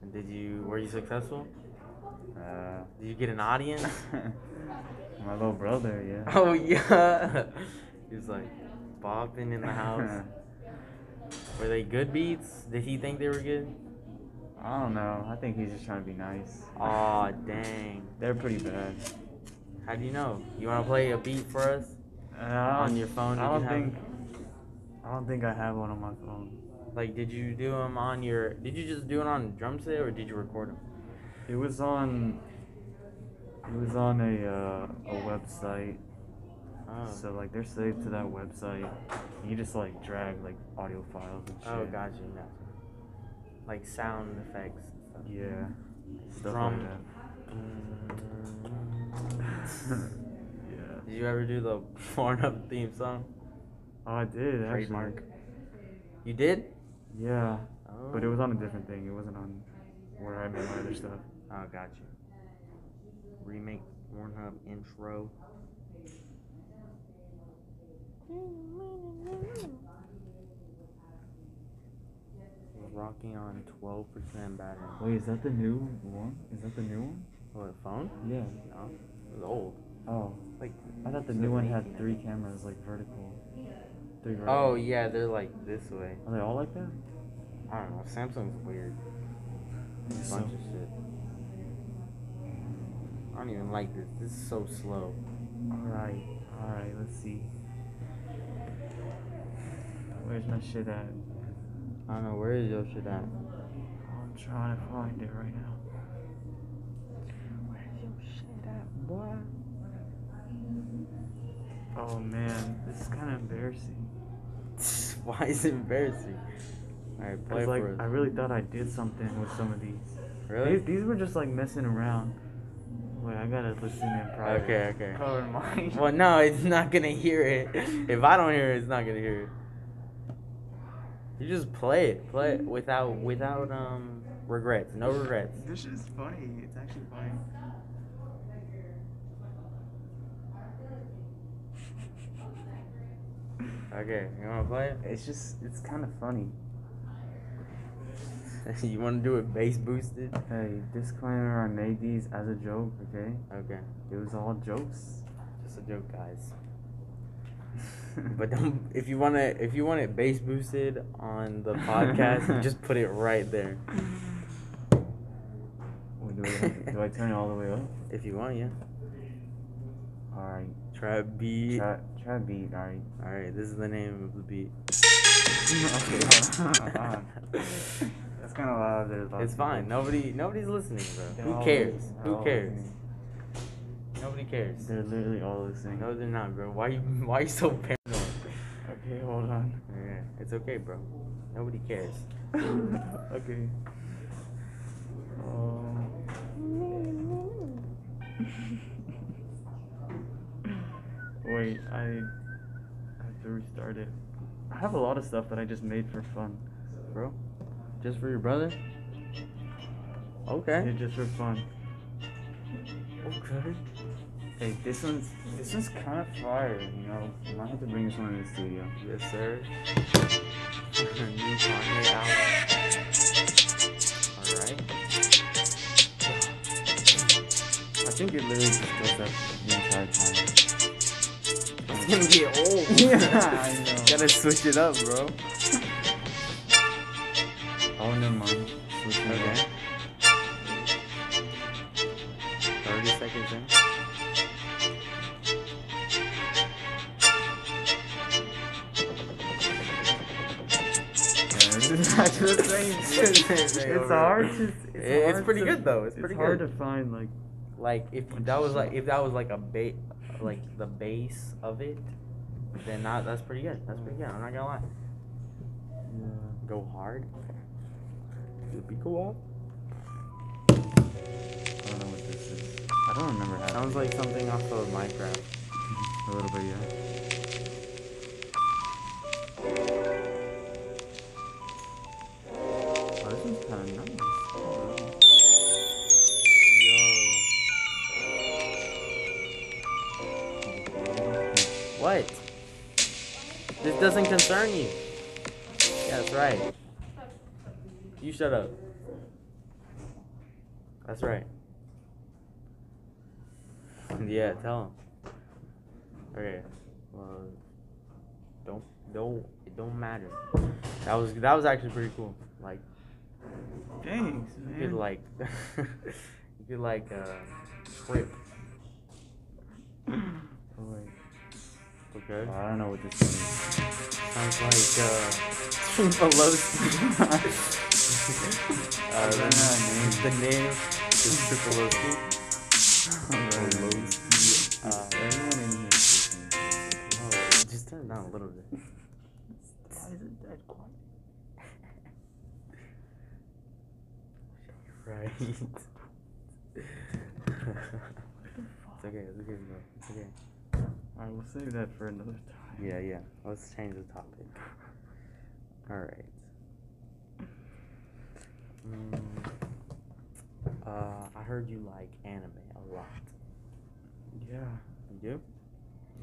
Speaker 1: And Did you? Were you successful?
Speaker 2: Uh,
Speaker 1: Did you get an audience?
Speaker 2: my little brother, yeah.
Speaker 1: oh yeah. he was like bopping in the house. were they good beats? Did he think they were good?
Speaker 2: I don't know. I think he's just trying to be nice.
Speaker 1: Aw, dang.
Speaker 2: They're pretty bad.
Speaker 1: How do you know? You want to play a beat for us?
Speaker 2: Uh, I
Speaker 1: On
Speaker 2: don't-
Speaker 1: your phone,
Speaker 2: I
Speaker 1: did
Speaker 2: don't
Speaker 1: you have
Speaker 2: think. I don't think I have one on my phone.
Speaker 1: Like, did you do them on your? Did you just do it on drum set or did you record them?
Speaker 2: It was on. It was on a uh, a website.
Speaker 1: Oh.
Speaker 2: So like they're saved to that website. You just like drag like audio files and shit.
Speaker 1: Oh, gotcha, gotcha. Like sound effects. and stuff.
Speaker 2: Yeah. Stuff
Speaker 1: Drum.
Speaker 2: like that. yeah.
Speaker 1: Did you ever do the Pornhub theme song?
Speaker 2: Oh, I did actually.
Speaker 1: Trademark. You did?
Speaker 2: Yeah. But it was
Speaker 1: Oh.
Speaker 2: on a different thing. It wasn't on where I made my other stuff.
Speaker 1: Oh, gotcha. Remake Pornhub intro. We're rocking on 12% battery.
Speaker 2: Wait, is that the new one? Is that the new one?
Speaker 1: What, a phone?
Speaker 2: Yeah.
Speaker 1: No. It was old.
Speaker 2: Oh.
Speaker 1: Like,
Speaker 2: I thought the new one
Speaker 1: 2018,
Speaker 2: had
Speaker 1: I
Speaker 2: three
Speaker 1: think.
Speaker 2: cameras, like vertical. Three vertical.
Speaker 1: Oh, yeah, Oh, they're like this way.
Speaker 2: Are they all like that?
Speaker 1: I don't know. Samsung's weird. Bunch of shit. I don't even like this. This is so slow.
Speaker 2: Alright, alright, let's see. Where's my shit at?
Speaker 1: I don't know, where is your shit at?
Speaker 2: I'm trying to find it right now.
Speaker 1: Where's your shit at, boy?
Speaker 2: Oh man, this is kind of embarrassing.
Speaker 1: Why is it embarrassing? Alright, play
Speaker 2: Cause like
Speaker 1: for us.
Speaker 2: I really thought I did something with some of these.
Speaker 1: Really?
Speaker 2: These, these were just like messing around. Wait, I gotta listen in private.
Speaker 1: Okay, okay.
Speaker 2: Color mine.
Speaker 1: Well, no, it's not gonna hear it. If I don't hear it, it's not gonna hear it. You just play it, play it without without um regrets, no regrets.
Speaker 2: This is funny. It's actually funny.
Speaker 1: Okay, you wanna play it?
Speaker 2: It's just it's kind of funny.
Speaker 1: you wanna do it bass boosted?
Speaker 2: Hey, disclaimer: I made these as a joke. Okay.
Speaker 1: Okay,
Speaker 2: It was all jokes.
Speaker 1: just a joke, guys. But don't if you wanna if you want it bass boosted on the podcast, just put it right there.
Speaker 2: Wait, do, I, do I turn it all the way up?
Speaker 1: If you want, yeah.
Speaker 2: All right.
Speaker 1: Try beat.
Speaker 2: Try, try beat. All right.
Speaker 1: All right, this is the name of the beat.
Speaker 2: okay. hold on. That's kind of loud. There's lots
Speaker 1: It's
Speaker 2: of
Speaker 1: fine.
Speaker 2: people.
Speaker 1: Nobody, nobody's listening, bro.
Speaker 2: They're
Speaker 1: Who
Speaker 2: all
Speaker 1: cares?
Speaker 2: listening. They're
Speaker 1: Who
Speaker 2: all
Speaker 1: cares?
Speaker 2: listening.
Speaker 1: Nobody cares.
Speaker 2: They're literally all listening.
Speaker 1: No, they're not, bro. Why you, why you so paranoid?
Speaker 2: Okay, hold on.
Speaker 1: Yeah, it's okay, bro. Nobody cares.
Speaker 2: okay. Um, wait, I I have to restart it. I have a lot of stuff that I just made for fun.
Speaker 1: Bro, just for your brother? Okay.
Speaker 2: Yeah, just for fun.
Speaker 1: Okay.
Speaker 2: Hey, this one's this one's kind of fire. You know, I might have to bring this one in the studio.
Speaker 1: Yes, sir. New Kanye album. All right.
Speaker 2: I think it literally just goes up the entire time.
Speaker 1: It's gonna get old.
Speaker 2: Yeah, I know.
Speaker 1: Gotta switch it up, bro.
Speaker 2: Oh, never mind. Switching it
Speaker 1: Okay.
Speaker 2: up.
Speaker 1: 30 seconds in.
Speaker 2: That's the same.
Speaker 1: It's
Speaker 2: It's hard. To, it's,
Speaker 1: It- it's
Speaker 2: hard
Speaker 1: pretty
Speaker 2: to-
Speaker 1: good, though. It's pretty
Speaker 2: hard
Speaker 1: good.
Speaker 2: to find like.
Speaker 1: Like if that was like if that was like a ba- like the base of it, then that, that's pretty good. That's pretty good. I'm not gonna lie. Go hard. It'd be cool.
Speaker 2: I don't know what this is. I don't remember how.
Speaker 1: Sounds like something off of Minecraft.
Speaker 2: A little bit, yeah. Oh, this one's kind of nice.
Speaker 1: What? This doesn't concern you. Yeah, that's right. You shut up. That's right. Yeah, tell him. Okay. Well, don't don't it don't matter. That was that was actually pretty cool. Like
Speaker 2: Thanks,
Speaker 1: you
Speaker 2: man.
Speaker 1: could like you could like uh trip.
Speaker 2: Oh, wait.
Speaker 1: Okay.
Speaker 2: Oh, I don't know what this is.
Speaker 1: Sounds like uh Pelosi. uh,
Speaker 2: I don't know,
Speaker 1: the, the name is Pelosi. Pelosi. Uh,
Speaker 2: Everyone in here is listening.
Speaker 1: oh, just turn it down a little bit.
Speaker 2: Why is it dead quiet?
Speaker 1: Right. it's okay. It's okay, bro. It's okay.
Speaker 2: Alright, we'll save that for another time.
Speaker 1: Yeah, yeah. Let's change the topic. All right. Mm, uh, I heard you like anime a lot.
Speaker 2: Yeah.
Speaker 1: You do?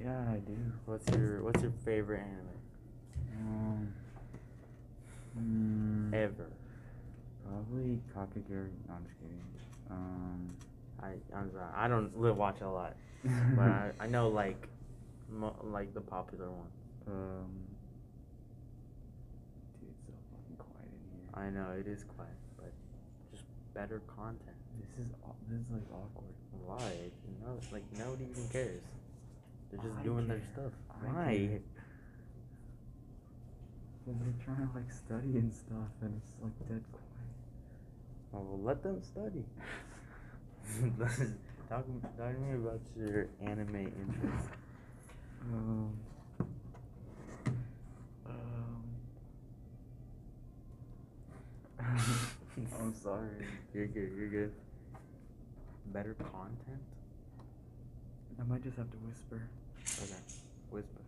Speaker 2: Yeah, I do.
Speaker 1: What's your What's your favorite anime
Speaker 2: Um, mm,
Speaker 1: ever?
Speaker 2: Probably Kakagiri. No, I'm just kidding. Um,
Speaker 1: I I'm sorry. I don't li- watch a lot, but I,
Speaker 2: Mm-hmm.
Speaker 1: I know like mo- like the popular one.
Speaker 2: um, dude, it's so fucking quiet in here.
Speaker 1: I know it is quiet, but just better content.
Speaker 2: This is aw- this is like awkward.
Speaker 1: Why? It's not- like nobody even cares. They're just
Speaker 2: I
Speaker 1: doing their
Speaker 2: care.
Speaker 1: stuff.
Speaker 2: I
Speaker 1: Why?
Speaker 2: Well, they're trying to like study and stuff, and it's like dead quiet.
Speaker 1: Oh, well, let them study. talk, talk to me about your anime interests.
Speaker 2: Um. Um. I'm sorry.
Speaker 1: You're good. You're good. Better content.
Speaker 2: I might just have to whisper.
Speaker 1: Okay. Whisper.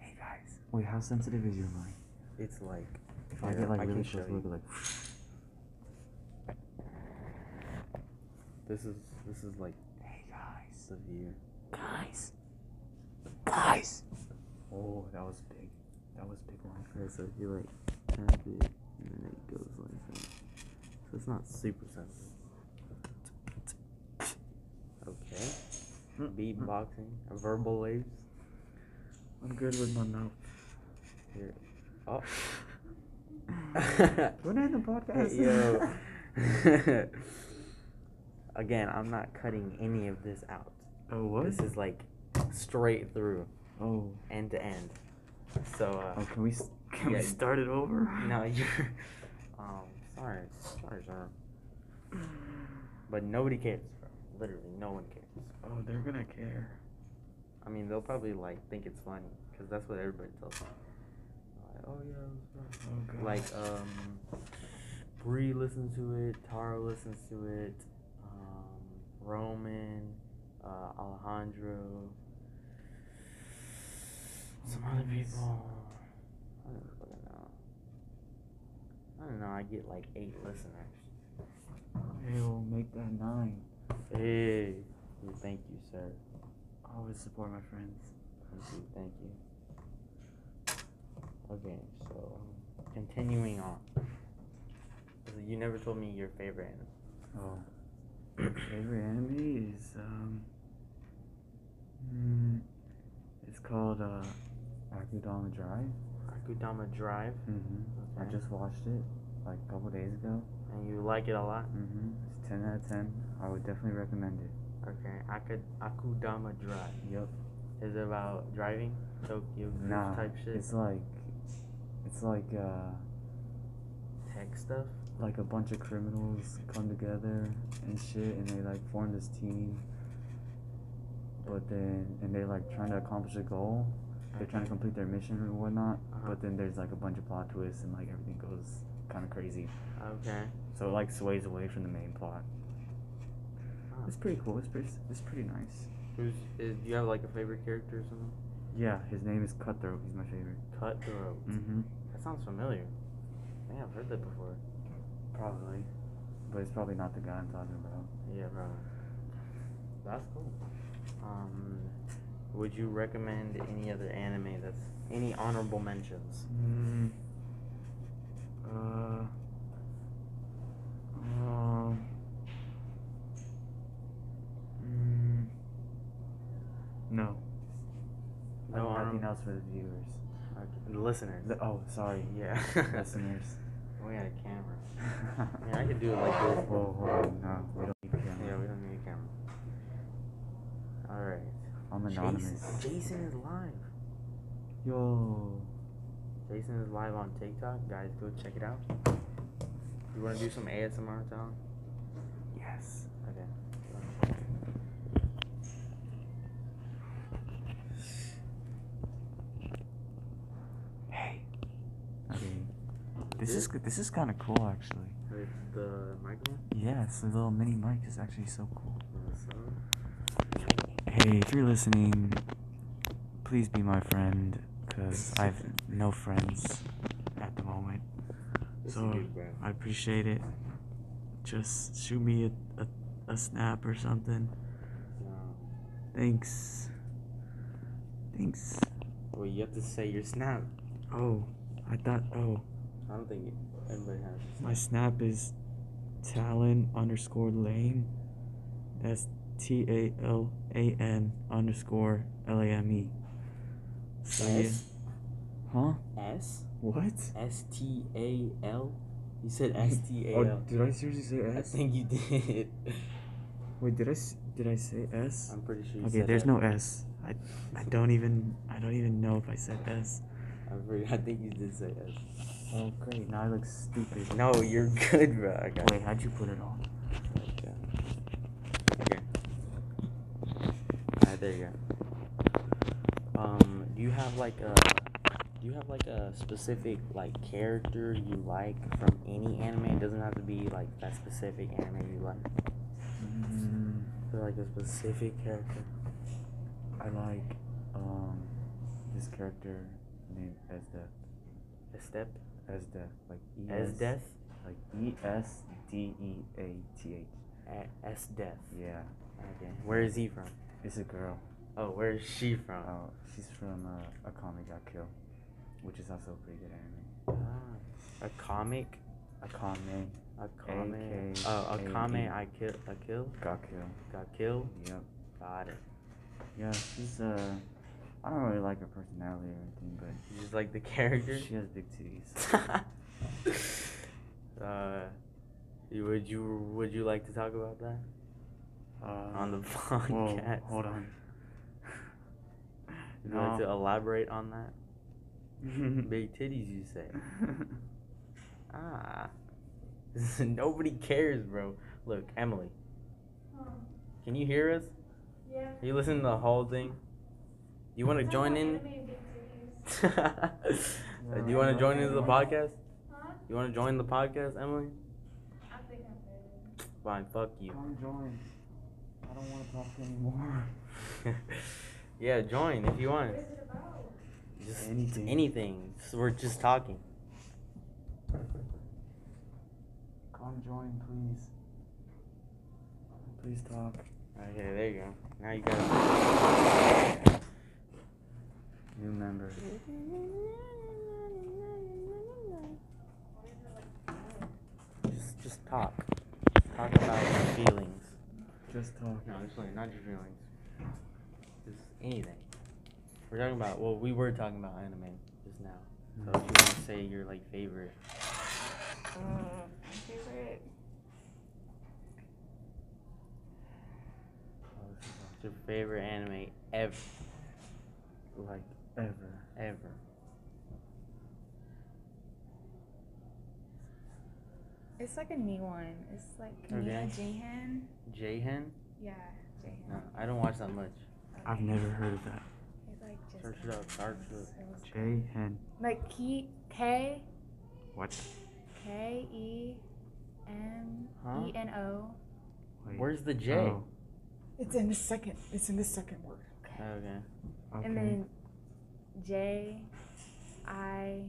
Speaker 1: Hey guys.
Speaker 2: Wait, how sensitive is your mic?
Speaker 1: It's like.
Speaker 2: If I
Speaker 1: here,
Speaker 2: get like
Speaker 1: can
Speaker 2: really
Speaker 1: show
Speaker 2: close,
Speaker 1: you.
Speaker 2: it'll be like.
Speaker 1: This is this is like. Hey guys. Severe.
Speaker 2: Guys. Guys. Oh, that was big. That was big one.
Speaker 1: Okay, so if you like tap it, and then it goes like that. So it's not super sensitive. Okay. Beatboxing, verbal waves.
Speaker 2: I'm good with my mouth.
Speaker 1: Here. Oh.
Speaker 2: We're not in the podcast.
Speaker 1: Yo. Again, I'm not cutting any of this out.
Speaker 2: Oh, what?
Speaker 1: This is like straight through,
Speaker 2: Oh.
Speaker 1: end to end. So. Uh,
Speaker 2: Oh, can we s- can we
Speaker 1: yeah,
Speaker 2: start it over?
Speaker 1: No, you're. Um, sorry, sorry, sir. But nobody cares, bro. Literally, no one cares.
Speaker 2: Oh, they're gonna care.
Speaker 1: I mean, they'll probably like think it's funny because that's what everybody tells me. Like, oh yeah, it
Speaker 2: Oh,
Speaker 1: was
Speaker 2: God.
Speaker 1: funny." like um, Bree listens to it, Tara listens to it, um, Roman, uh, Alejandro, some other
Speaker 2: Nice.
Speaker 1: people. I don't fucking know. I don't know. I get like eight listeners.
Speaker 2: Hey, we'll make that nine.
Speaker 1: Hey, well, thank you, sir.
Speaker 2: Always support my friends.
Speaker 1: Thank you, Mm-hmm, thank you. Okay, so continuing on. So You never told me your favorite anime.
Speaker 2: Oh. Favorite anime is um. mm, it's called uh, Akudama Drive.
Speaker 1: Akudama Drive.
Speaker 2: Mm-hmm. I
Speaker 1: Okay.
Speaker 2: just watched it like a couple days ago.
Speaker 1: And you like it a lot?
Speaker 2: Mm-hmm. It's ten out of ten. I would definitely recommend it.
Speaker 1: Okay, Akud- Akudama Drive.
Speaker 2: Yep.
Speaker 1: Is it about driving? Tokyo Drift
Speaker 2: Nah.
Speaker 1: type shit?
Speaker 2: It's like, it's like uh,
Speaker 1: Tech stuff?
Speaker 2: like a bunch of criminals come together and shit, and they like form this team. But then, and they're like trying to accomplish a goal. They're trying to complete their mission and whatnot.
Speaker 1: Uh-huh.
Speaker 2: But then there's like a bunch of plot twists, and like everything goes kind of crazy.
Speaker 1: Okay.
Speaker 2: So it like sways away from the main plot.
Speaker 1: Oh.
Speaker 2: It's pretty cool. It's pretty. It's pretty nice.
Speaker 1: Who's, is, do you have like a favorite character or something?
Speaker 2: Yeah, his name is Cutthroat. He's my favorite.
Speaker 1: Cutthroat.
Speaker 2: Mm-hmm.
Speaker 1: That sounds familiar. I think I've heard that before.
Speaker 2: Probably. But it's probably not the guy I'm talking about.
Speaker 1: Yeah, bro. That's cool. Um, would you recommend any other anime that's any honorable mentions?
Speaker 2: Mm. Uh. Um. Mm, no.
Speaker 1: No
Speaker 2: I have nothing
Speaker 1: honorable-
Speaker 2: else for the viewers.
Speaker 1: Okay, The listeners.
Speaker 2: The- oh, sorry.
Speaker 1: yeah.
Speaker 2: Listeners.
Speaker 1: We got a camera.
Speaker 2: I
Speaker 1: mean, I could do it like this.
Speaker 2: Whoa, whoa, no, we don't need camera.
Speaker 1: Yeah, we don't need a camera. All right.
Speaker 2: I'm
Speaker 1: Jason,
Speaker 2: anonymous.
Speaker 1: Jason is live.
Speaker 2: Yo.
Speaker 1: Jason is live on TikTok. Guys, go check it out. You want to do some ASMR, Tom?
Speaker 2: Yes.
Speaker 1: Okay.
Speaker 2: Hey. Okay. This is g- this is kind of cool actually.
Speaker 1: With the microphone?
Speaker 2: Yeah, it's the little mini mic is actually so cool.
Speaker 1: So,
Speaker 2: Hey, if you're listening, please be my friend, cause I've no friends at the moment.
Speaker 1: This
Speaker 2: So
Speaker 1: is good, bro.
Speaker 2: I appreciate it. Just shoot me a, a, a snap or something.
Speaker 1: um,
Speaker 2: Thanks. Thanks.
Speaker 1: well, you have to say your snap.
Speaker 2: Oh, I thought. Oh,
Speaker 1: I don't think anybody has. your
Speaker 2: my
Speaker 1: snap.
Speaker 2: snap is Talon underscore Lame. That's T A L A N underscore L A M E. So yeah.
Speaker 1: S?
Speaker 2: Huh?
Speaker 1: S
Speaker 2: What?
Speaker 1: S T A L You said S T A
Speaker 2: Oh,
Speaker 1: L.
Speaker 2: did I seriously say
Speaker 1: I
Speaker 2: S?
Speaker 1: think you did.
Speaker 2: Wait, did I s- did I say S?
Speaker 1: I'm pretty sure you
Speaker 2: Okay,
Speaker 1: said
Speaker 2: there's
Speaker 1: S.
Speaker 2: no S. I I don't even I don't even know if I said S.
Speaker 1: I'm pretty, I think you did say S.
Speaker 2: Oh great, now I look stupid.
Speaker 1: No, you're good, bro. I got
Speaker 2: Wait, how'd you put it on?
Speaker 1: Okay. Okay. Alright, there you go. Um, do you have like a do you have like a specific like character you like from any anime? It doesn't have to be like that specific anime you like.
Speaker 2: Mm-hmm.
Speaker 1: But like a specific character.
Speaker 2: I like um this character named Esdeath.
Speaker 1: Esdeath?
Speaker 2: Esdeath, like E S
Speaker 1: Esdeath?
Speaker 2: like E S D E A T H.
Speaker 1: S Death.
Speaker 2: Yeah.
Speaker 1: Okay. Where is he from?
Speaker 2: It's a girl.
Speaker 1: Oh, where is she from?
Speaker 2: Oh, she's from uh, a comic got killed, which is also a pretty good anime.
Speaker 1: A comic?
Speaker 2: A comic.
Speaker 1: A comic. Oh, a comic I kill a kill?
Speaker 2: got killed.
Speaker 1: Got killed?
Speaker 2: Yep.
Speaker 1: Got it.
Speaker 2: Yeah, she's uh, I don't really like her personality or anything, but
Speaker 1: You just like the character?
Speaker 2: she has big titties.
Speaker 1: uh, you- would you would you like to talk about that
Speaker 2: Uh,
Speaker 1: on the
Speaker 2: whoa,
Speaker 1: podcast?
Speaker 2: hold on.
Speaker 1: Would you like to elaborate on that?
Speaker 2: No.
Speaker 1: Big titties, you say? ah, nobody cares, bro. Look, Emily, can you hear us?
Speaker 30: Yeah.
Speaker 1: Are you listening to the whole thing? You want to join in? Do you want to join into the podcast?
Speaker 30: Huh?
Speaker 1: You want to join the podcast, Emily?
Speaker 30: I think I'm ready.
Speaker 1: Fine, fuck you.
Speaker 2: Come join. I don't want to talk anymore.
Speaker 1: yeah, join if you want.
Speaker 30: What is it about?
Speaker 1: Just
Speaker 2: Anything.
Speaker 1: Anything. So we're just talking.
Speaker 2: Come join, please. Please talk.
Speaker 1: Okay, there you go. Now you got.
Speaker 2: New member.
Speaker 1: Just, just talk. Talk about your feelings.
Speaker 2: Just talk.
Speaker 1: No, just like not your feelings. Just anything. We're talking about. Well, we were talking about anime just now. So if you want to say your like favorite.
Speaker 7: Uh, my favorite.
Speaker 2: Oh,
Speaker 1: What's your favorite anime ever? Like
Speaker 2: Ever.
Speaker 1: ever.
Speaker 14: It's like a new one. It's like Nina Jahan.
Speaker 1: Jahan?
Speaker 14: Yeah, Jahan.
Speaker 1: No, I don't watch that much.
Speaker 2: I've never heard of that.
Speaker 14: It's like just
Speaker 1: Search it up. Search it.
Speaker 14: so-
Speaker 2: Jay Hen.
Speaker 14: like K K
Speaker 2: What?
Speaker 14: K E M
Speaker 1: Huh?
Speaker 14: E N O.
Speaker 2: Wait.
Speaker 1: Where's the J?
Speaker 2: Oh,
Speaker 14: It's in the second. It's in the second word.
Speaker 1: Okay.
Speaker 2: okay.
Speaker 14: And then J I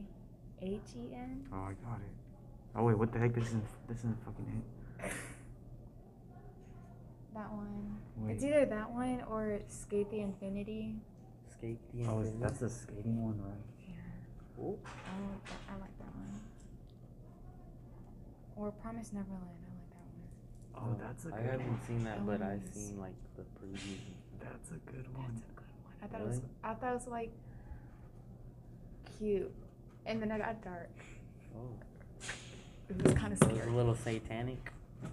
Speaker 14: H E N.
Speaker 2: Oh, I got it. Oh wait, what the heck? This isn't. This isn't fucking
Speaker 14: That one. It's
Speaker 2: it. Wait.
Speaker 14: either that one or Skate the Infinity.
Speaker 1: Skate the
Speaker 2: Oh, is-
Speaker 1: Infinity.
Speaker 2: that's the skating one, right?
Speaker 14: Yeah.
Speaker 1: Ooh.
Speaker 14: I like that. I like that one. Or Promise Neverland. I like that one.
Speaker 2: Oh, that's a
Speaker 1: I
Speaker 2: good
Speaker 1: haven't
Speaker 2: one.
Speaker 1: seen that, but I've
Speaker 14: Elements.
Speaker 1: seen like the previews.
Speaker 2: That's a good one.
Speaker 14: I thought it was. I thought it was like cute, and then it got dark.
Speaker 1: Oh.
Speaker 14: It was kind of
Speaker 1: It was
Speaker 14: scary.
Speaker 1: a little satanic.
Speaker 14: Yeah.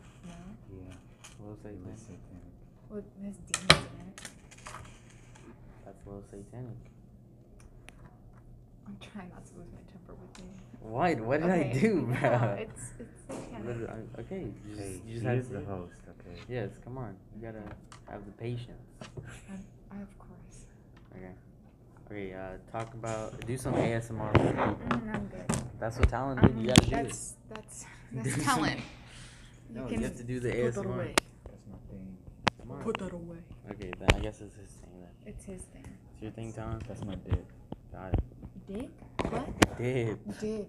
Speaker 2: Yeah.
Speaker 1: A little
Speaker 2: it was
Speaker 1: satanic.
Speaker 2: satanic.
Speaker 14: With his demons in it.
Speaker 1: That's a little satanic.
Speaker 14: I'm trying not to lose my temper with you.
Speaker 1: What? What did I
Speaker 14: Okay,
Speaker 1: do,
Speaker 14: no,
Speaker 1: bro?
Speaker 14: it's it's satanic.
Speaker 1: Literally, I- Okay, you
Speaker 2: Hey,
Speaker 1: just, you just
Speaker 2: he
Speaker 1: had
Speaker 2: is
Speaker 1: to-
Speaker 2: the host, okay?
Speaker 1: Yes, come on. You gotta have the patience.
Speaker 14: I'm, I of course.
Speaker 1: Okay. Okay, uh, talk about, do some ASMR.
Speaker 14: Mm, I'm good. Um,
Speaker 1: That's what talent did. You gotta do it.
Speaker 14: that's, That's
Speaker 1: Do
Speaker 14: that's
Speaker 1: some-
Speaker 14: talent.
Speaker 1: No, you have to do the
Speaker 14: put that
Speaker 1: ASMR.
Speaker 14: away.
Speaker 2: That's my thing.
Speaker 1: Come on.
Speaker 14: Put that away.
Speaker 1: Okay, then I guess it's his thing then.
Speaker 14: It's his thing.
Speaker 1: It's your thing, talent?
Speaker 2: That's my bit.
Speaker 1: Got it.
Speaker 14: Dick? What?
Speaker 1: Did.
Speaker 14: Dick.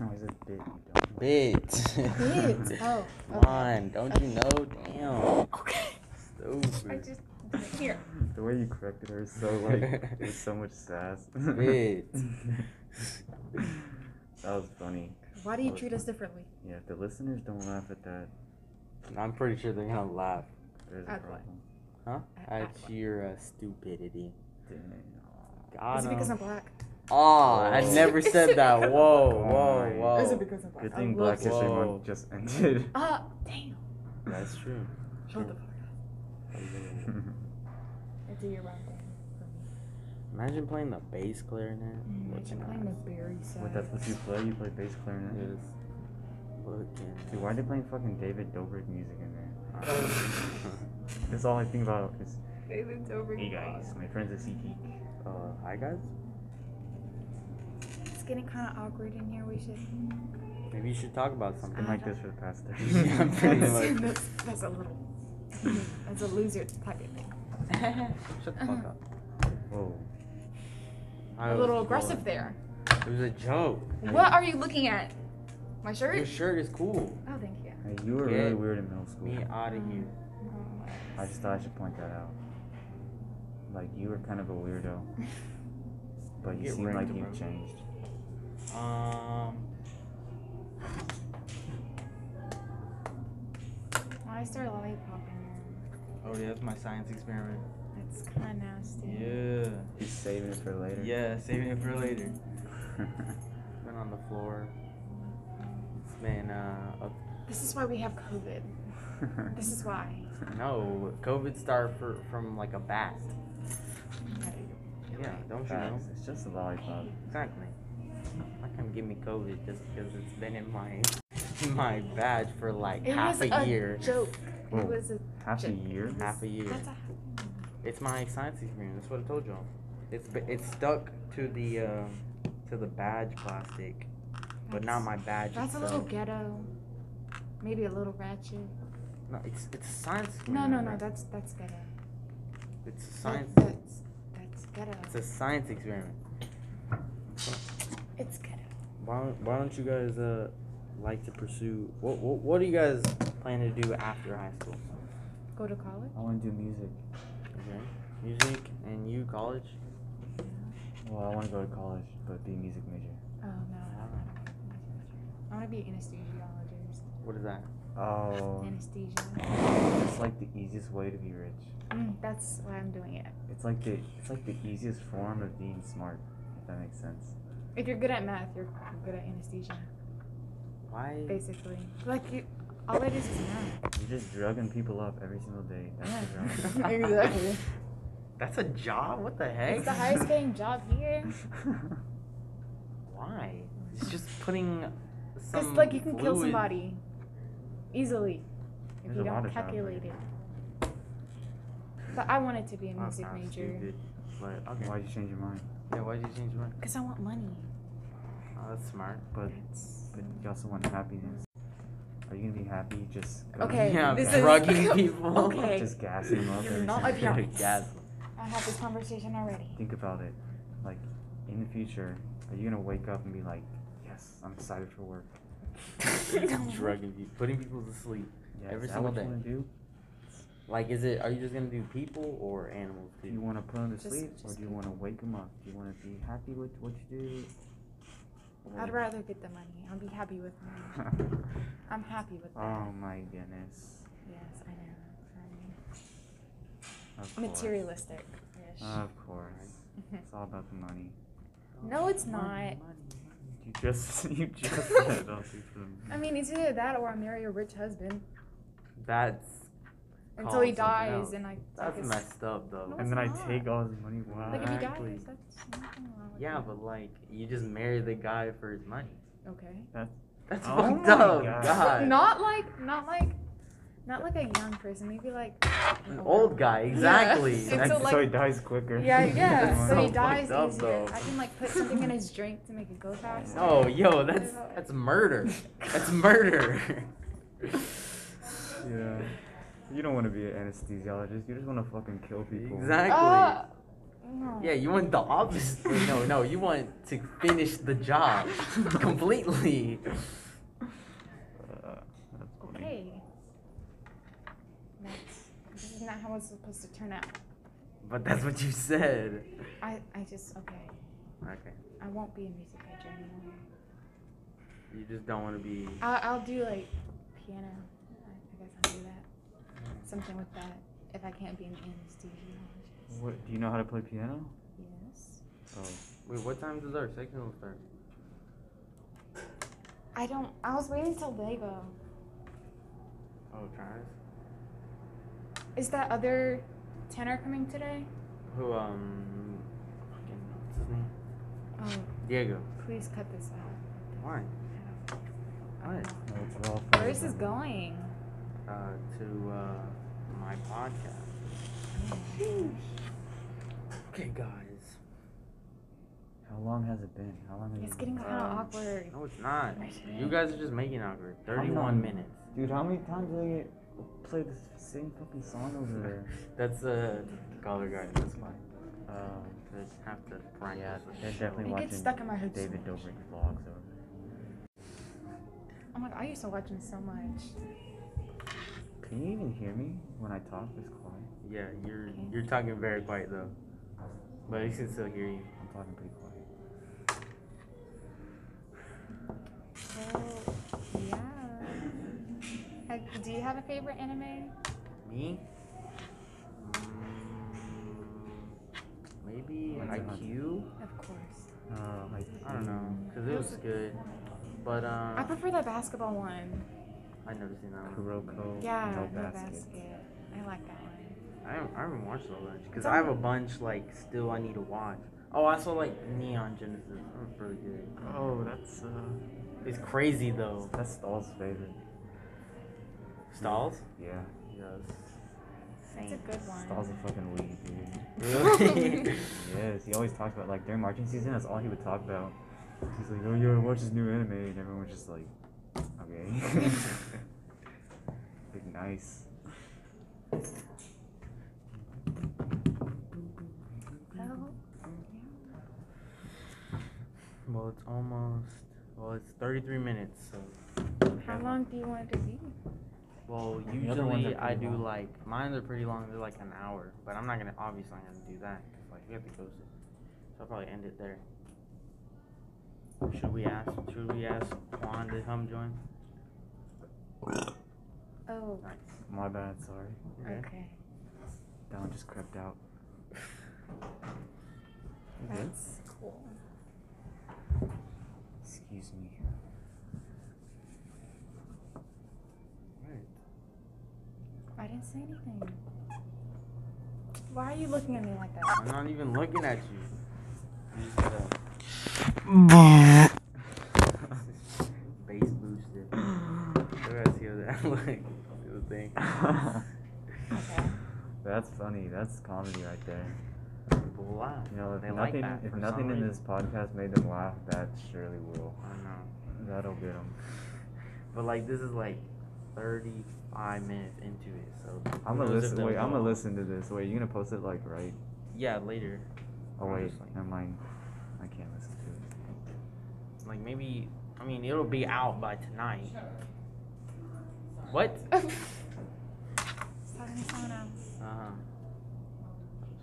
Speaker 2: No, it's a bit. You don't. know.
Speaker 1: Bit.
Speaker 14: Bit. Oh.
Speaker 1: Come
Speaker 14: okay.
Speaker 1: on, don't you know? Damn.
Speaker 14: Okay. I
Speaker 1: Stupid.
Speaker 14: just here.
Speaker 2: The way you corrected her is so like with so much sass.
Speaker 1: Bit.
Speaker 2: That was funny.
Speaker 14: Why do you treat us differently?
Speaker 2: Yeah, if the listeners don't laugh at that,
Speaker 1: I'm pretty sure they're gonna laugh.
Speaker 2: there's a
Speaker 14: At what?
Speaker 2: problem.
Speaker 1: Huh?
Speaker 14: At-
Speaker 1: At
Speaker 14: at what?
Speaker 1: your uh, stupidity.
Speaker 2: Damn.
Speaker 1: God.
Speaker 14: Is it because I'm black?
Speaker 1: Ah, I never
Speaker 3: Is
Speaker 1: said
Speaker 3: it
Speaker 1: that.
Speaker 3: because
Speaker 1: Whoa, whoa, whoa.
Speaker 3: Is it because I'm black?
Speaker 4: Good
Speaker 3: I
Speaker 4: thing
Speaker 3: love
Speaker 4: Oh Black History
Speaker 1: Whoa.
Speaker 4: Month just ended.
Speaker 3: Uh, damn.
Speaker 1: That's true.
Speaker 3: Shut the fuck up. It's a year round thing.
Speaker 1: Imagine playing the bass clarinet.
Speaker 3: Like, I'm Mm, playing the berry side.
Speaker 4: Wait, that's what you play? You play bass clarinet?
Speaker 1: Yes.
Speaker 4: Dude, why are they playing fucking David Dobrik music in there? That's all I think about is,
Speaker 3: David Dobrik.
Speaker 4: hey guys, my friend's a sea geek.
Speaker 1: Uh, hi guys.
Speaker 3: It's getting kind of awkward in here. We should.
Speaker 1: Maybe you should talk about something.
Speaker 3: Ah.
Speaker 4: Been like this for the past 30
Speaker 1: Yeah, pretty much.
Speaker 3: that's, that's a little. That's a loser pocket thing.
Speaker 1: Shut the fuck up.
Speaker 4: Whoa.
Speaker 1: I
Speaker 3: a
Speaker 1: was
Speaker 3: little
Speaker 1: bored.
Speaker 3: aggressive there.
Speaker 1: It was a joke.
Speaker 3: What are you looking at? My shirt?
Speaker 1: Your shirt is cool.
Speaker 3: Oh, thank you.
Speaker 4: Hey, you were really
Speaker 1: Get
Speaker 4: weird in middle school.
Speaker 1: Me out of here.
Speaker 4: I just thought I should point that out. Like, you were kind of a weirdo. But you
Speaker 1: Get
Speaker 4: seem like
Speaker 1: wrecked,
Speaker 4: you've
Speaker 1: bro.
Speaker 4: changed.
Speaker 1: Um.
Speaker 3: Why is there a lollipop in
Speaker 1: Oh yeah, that's my science experiment.
Speaker 3: there? That's kind of nasty.
Speaker 1: Yeah.
Speaker 4: He's saving it for later.
Speaker 1: Yeah, saving it for later. Been on the floor. Man, uh,
Speaker 3: This is why we have COVID. This is why.
Speaker 1: uh, no, COVID started for, from like a bat. Yeah, don't you know?
Speaker 4: Facts. It's just a lollipop.
Speaker 1: Exactly. Not gonna give me COVID just because it's been in my my badge for like
Speaker 3: It
Speaker 1: half
Speaker 3: was
Speaker 1: a, year.
Speaker 3: joke.
Speaker 4: Whoa.
Speaker 3: It was a.
Speaker 4: Half a
Speaker 3: joke.
Speaker 4: year?
Speaker 1: Half a year.
Speaker 3: That's a.
Speaker 1: It's my science experiment. That's what I told y'all. It's b- it's stuck to the um, to the badge plastic, but not
Speaker 3: That's-
Speaker 1: my badge
Speaker 3: That's a
Speaker 1: itself.
Speaker 3: little ghetto. Maybe a little ratchet.
Speaker 1: No, it's it's a science
Speaker 3: No,
Speaker 1: experiment.
Speaker 3: no, no.
Speaker 1: bro.
Speaker 3: That's that's ghetto.
Speaker 1: It's a
Speaker 3: That-
Speaker 1: science.
Speaker 3: That's that's ghetto.
Speaker 1: It's a science experiment.
Speaker 3: It's ghetto.
Speaker 1: Why don't, why don't you guys uh like to pursue what what what do you guys plan to do after high school?
Speaker 3: Go to college.
Speaker 4: I want to do music.
Speaker 1: Okay. Music and you college.
Speaker 4: Well, I want to go to college, but be a music major.
Speaker 3: Oh no. I want to be an anesthesiologist.
Speaker 1: What is that?
Speaker 4: Oh,
Speaker 3: Anesthesia.
Speaker 4: it's like the easiest way to be rich.
Speaker 3: Mm, that's why I'm doing it.
Speaker 4: It's like the it's like the easiest form of being smart, if that makes sense.
Speaker 3: If you're good at math, you're good at anesthesia,
Speaker 1: Why
Speaker 3: basically. Like you, all it is is math.
Speaker 4: You're just drugging people up every single day. That's the drug.
Speaker 3: exactly.
Speaker 1: That's a job? What the heck?
Speaker 3: It's the highest paying job here.
Speaker 1: Why? It's just putting
Speaker 3: Cause
Speaker 1: some
Speaker 3: like you can kill
Speaker 1: fluid-
Speaker 3: somebody easily if
Speaker 4: There's
Speaker 3: you
Speaker 4: a lot
Speaker 3: don't
Speaker 4: of jobs like
Speaker 3: calculate
Speaker 4: that.
Speaker 3: it. But I wanted to be a
Speaker 1: That
Speaker 3: music
Speaker 1: sounds
Speaker 3: major
Speaker 1: stupid, But okay.
Speaker 4: Why'd you change your mind?
Speaker 1: Yeah, why'd you change your mind?
Speaker 3: because I want money.
Speaker 1: Oh, that's smart.
Speaker 4: But
Speaker 3: That's
Speaker 4: but you also want happiness. Are you gonna be happy just going-
Speaker 3: Okay,
Speaker 1: Yeah,
Speaker 3: this is-
Speaker 1: drugging people.
Speaker 3: Okay.
Speaker 4: just gassing them up?
Speaker 3: You're
Speaker 4: every
Speaker 3: not
Speaker 4: single
Speaker 3: a
Speaker 4: day?
Speaker 3: parent. I had this conversation already.
Speaker 4: Think about it. Like in the future, are you gonna wake up and be like, Yes, I'm excited for work.
Speaker 1: drugging people, putting people to sleep
Speaker 4: Yeah,
Speaker 1: every
Speaker 4: is that
Speaker 1: single
Speaker 4: what
Speaker 1: day.
Speaker 4: you wanna do?
Speaker 1: Like, is it? Are you just gonna do people or animals?
Speaker 4: Do
Speaker 1: too?
Speaker 4: you wanna put them to
Speaker 3: Just-
Speaker 4: sleep or
Speaker 3: just
Speaker 4: do you wanna wake them up? Do you wanna be happy with what you do?
Speaker 3: I'd rather get the money. I'll be happy with money. I'm happy with that.
Speaker 4: oh my goodness.
Speaker 3: Yes, I know.
Speaker 4: Of
Speaker 3: I'm
Speaker 4: course.
Speaker 3: materialistic.
Speaker 4: Of course. It's all about the money.
Speaker 3: No, it's not.
Speaker 4: You just you just said it all for the
Speaker 3: I mean, it's either that or I marry a rich husband
Speaker 1: That's
Speaker 3: until
Speaker 1: called
Speaker 3: he
Speaker 1: something
Speaker 3: dies
Speaker 1: else.
Speaker 3: and I.
Speaker 1: That's
Speaker 3: like,
Speaker 1: messed up though.
Speaker 3: No,
Speaker 4: And then I
Speaker 3: it's not.
Speaker 4: take all his money. Wow.
Speaker 3: Like if he
Speaker 1: Exactly.
Speaker 3: dies, that's nothing wrong with
Speaker 1: Yeah,
Speaker 3: that.
Speaker 1: but like you just marry the guy for his money.
Speaker 3: Okay.
Speaker 4: That's
Speaker 1: That's
Speaker 4: Oh
Speaker 1: fucked
Speaker 4: my
Speaker 1: up.
Speaker 4: God.
Speaker 1: God.
Speaker 3: Not like, not like, not like a young person. Maybe like
Speaker 1: An
Speaker 3: an
Speaker 1: old guy, exactly.
Speaker 3: And so,
Speaker 4: so,
Speaker 3: like-
Speaker 4: he dies quicker.
Speaker 3: Yeah, yeah.
Speaker 1: That's
Speaker 3: so he
Speaker 1: so
Speaker 3: dies
Speaker 1: fucked up,
Speaker 3: easier.
Speaker 1: though.
Speaker 3: I can like put something in his drink to make it go faster.
Speaker 1: No, Oh, yo, that's that's murder. That's murder.
Speaker 4: yeah. You don't want to be an anesthesiologist. You just want to fucking kill people.
Speaker 1: exactly.
Speaker 7: Uh,
Speaker 3: Ah, no.
Speaker 1: Yeah, you want the opposite. Wait, no, no, you want to finish the job completely.
Speaker 4: Uh, that's funny.
Speaker 3: Okay. That's, this is not how it's supposed to turn out.
Speaker 1: But that's what you said.
Speaker 3: I, I just okay.
Speaker 1: Okay.
Speaker 3: I won't be a music major anymore.
Speaker 1: You just don't want to be.
Speaker 3: I'll, I'll do like piano. I, I guess I'll do that. Something with that. If I can't be an anesthesiologist.
Speaker 4: What? Do you know how to play piano?
Speaker 3: Yes.
Speaker 4: Oh.
Speaker 1: Wait, what time does our sectional start?
Speaker 3: I don't. I was waiting till they go.
Speaker 1: Oh, Travis.
Speaker 3: Is that other tenor coming today?
Speaker 1: Who um, fucking what's his name?
Speaker 3: Oh,
Speaker 1: Diego.
Speaker 3: please cut this out.
Speaker 1: Why? What?
Speaker 4: No, it's all
Speaker 3: Where is this going?
Speaker 1: Uh, to uh, my podcast. Okay, guys.
Speaker 4: How long has it been? How long has
Speaker 3: It's
Speaker 4: it
Speaker 3: getting
Speaker 4: been?
Speaker 3: kind of awkward.
Speaker 1: Um, No, it's not. You guys are just making out awkward. Thirty-one
Speaker 4: long?
Speaker 1: minutes.
Speaker 4: Dude, how many times did I play the same fucking song over there?
Speaker 1: That's uh, color guard. That's fine. Uh, I have to practice.
Speaker 4: Yeah,
Speaker 1: the
Speaker 4: they're
Speaker 1: show.
Speaker 4: definitely
Speaker 3: I
Speaker 4: watching
Speaker 3: get stuck in my head so
Speaker 4: David
Speaker 3: much.
Speaker 4: Dobrik vlogs over there.
Speaker 3: I'm like, I used to watch him so much.
Speaker 4: Can you even hear me when I talk this quiet?
Speaker 1: Yeah, you're you're talking very quiet though, but I can still hear you.
Speaker 4: I'm talking pretty quiet.
Speaker 3: So, yeah. Have, do you have a favorite anime?
Speaker 1: Me?
Speaker 4: Mm,
Speaker 1: Maybe
Speaker 4: When's it on?
Speaker 1: IQ.
Speaker 3: Of course.
Speaker 4: Uh, like
Speaker 1: I don't know, cause it was good, but
Speaker 3: I
Speaker 1: um,
Speaker 3: prefer the basketball one.
Speaker 1: I never seen that one.
Speaker 4: Kuroko
Speaker 3: Yeah,
Speaker 4: no
Speaker 3: no
Speaker 4: basket.
Speaker 3: basket. I like that one.
Speaker 1: I haven't, I haven't watched all bunch, cause
Speaker 3: It's
Speaker 1: I have
Speaker 3: on-
Speaker 1: a bunch like still I need to watch. Oh, I saw like Neon Genesis. That was really good.
Speaker 2: Oh, that's uh.
Speaker 1: It's crazy though.
Speaker 4: That's Stahl's favorite.
Speaker 1: Stalls?
Speaker 4: Yeah.
Speaker 1: Yes.
Speaker 3: That's a good one.
Speaker 4: Stahl's a fucking weed, dude.
Speaker 1: Really?
Speaker 4: yes, he always talks about like during marching season. That's all he would talk about. He's like, "Oh yo, watch this new anime," and everyone's just like, "Okay." like nice.
Speaker 3: So,
Speaker 1: well, it's almost. Well, it's 33 minutes. So,
Speaker 3: how long do you want it to be?
Speaker 1: well,
Speaker 4: The other ones are
Speaker 1: usually I
Speaker 4: pretty
Speaker 1: do
Speaker 4: long.
Speaker 1: like mine are pretty long. They're like an hour, but I'm not gonna obviously not gonna do that because like we have to go soon. So I'll probably end it there. Should we ask? Should we ask Juan to come join?
Speaker 3: Oh,
Speaker 1: Nice.
Speaker 4: My bad. Sorry.
Speaker 1: Okay.
Speaker 3: okay.
Speaker 4: That one just crept out.
Speaker 2: Mm-hmm.
Speaker 3: That's cool.
Speaker 4: Excuse me.
Speaker 1: Alright.
Speaker 3: I didn't say anything. Why are you looking at me like
Speaker 1: I'm
Speaker 3: that?
Speaker 1: not even looking at you. You just gotta bass boost it. I gotta see what that like. See the thing.
Speaker 4: That's funny. That's comedy right there.
Speaker 1: People laugh.
Speaker 4: You know, if
Speaker 1: they
Speaker 4: nothing,
Speaker 1: like that.
Speaker 4: if
Speaker 1: for
Speaker 4: nothing
Speaker 1: some
Speaker 4: in
Speaker 1: reason.
Speaker 4: this podcast made them laugh, that surely will.
Speaker 1: I know.
Speaker 4: That'll get them.
Speaker 1: But like this is like 35 minutes into it, so.
Speaker 4: I'm
Speaker 1: who
Speaker 4: gonna
Speaker 1: knows if
Speaker 4: listen.
Speaker 1: they'll
Speaker 4: Wait, I'm
Speaker 1: go.
Speaker 4: gonna listen to this. Wait, you gonna post it like right?
Speaker 1: Yeah, later.
Speaker 4: Oh
Speaker 1: I'm
Speaker 4: wait,
Speaker 1: just like-
Speaker 4: never mind. I can't listen to
Speaker 1: Like maybe, I mean, it'll be out by tonight. What? uh
Speaker 3: Just talking to someone else.
Speaker 1: huh.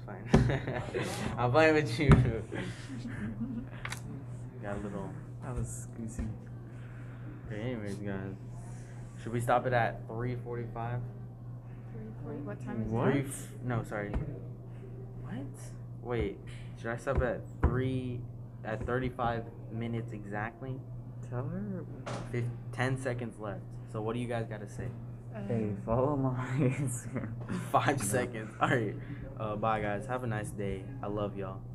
Speaker 1: Fine. I'm playing with you. Got a little.
Speaker 4: it. That was goosey.
Speaker 1: Okay, anyways, guys, should we stop it at 3:45?
Speaker 3: Wait, what time is
Speaker 1: Three f- no, sorry. What? Wait, should I stop at three? At 35 minutes exactly,
Speaker 4: Tell her.
Speaker 1: Fif- 10 seconds left. So what do you guys gotta say?
Speaker 3: it? Uh,
Speaker 4: Hey, follow my Instagram.
Speaker 1: Five seconds. All right. Uh, bye, guys. Have a nice day. I love y'all.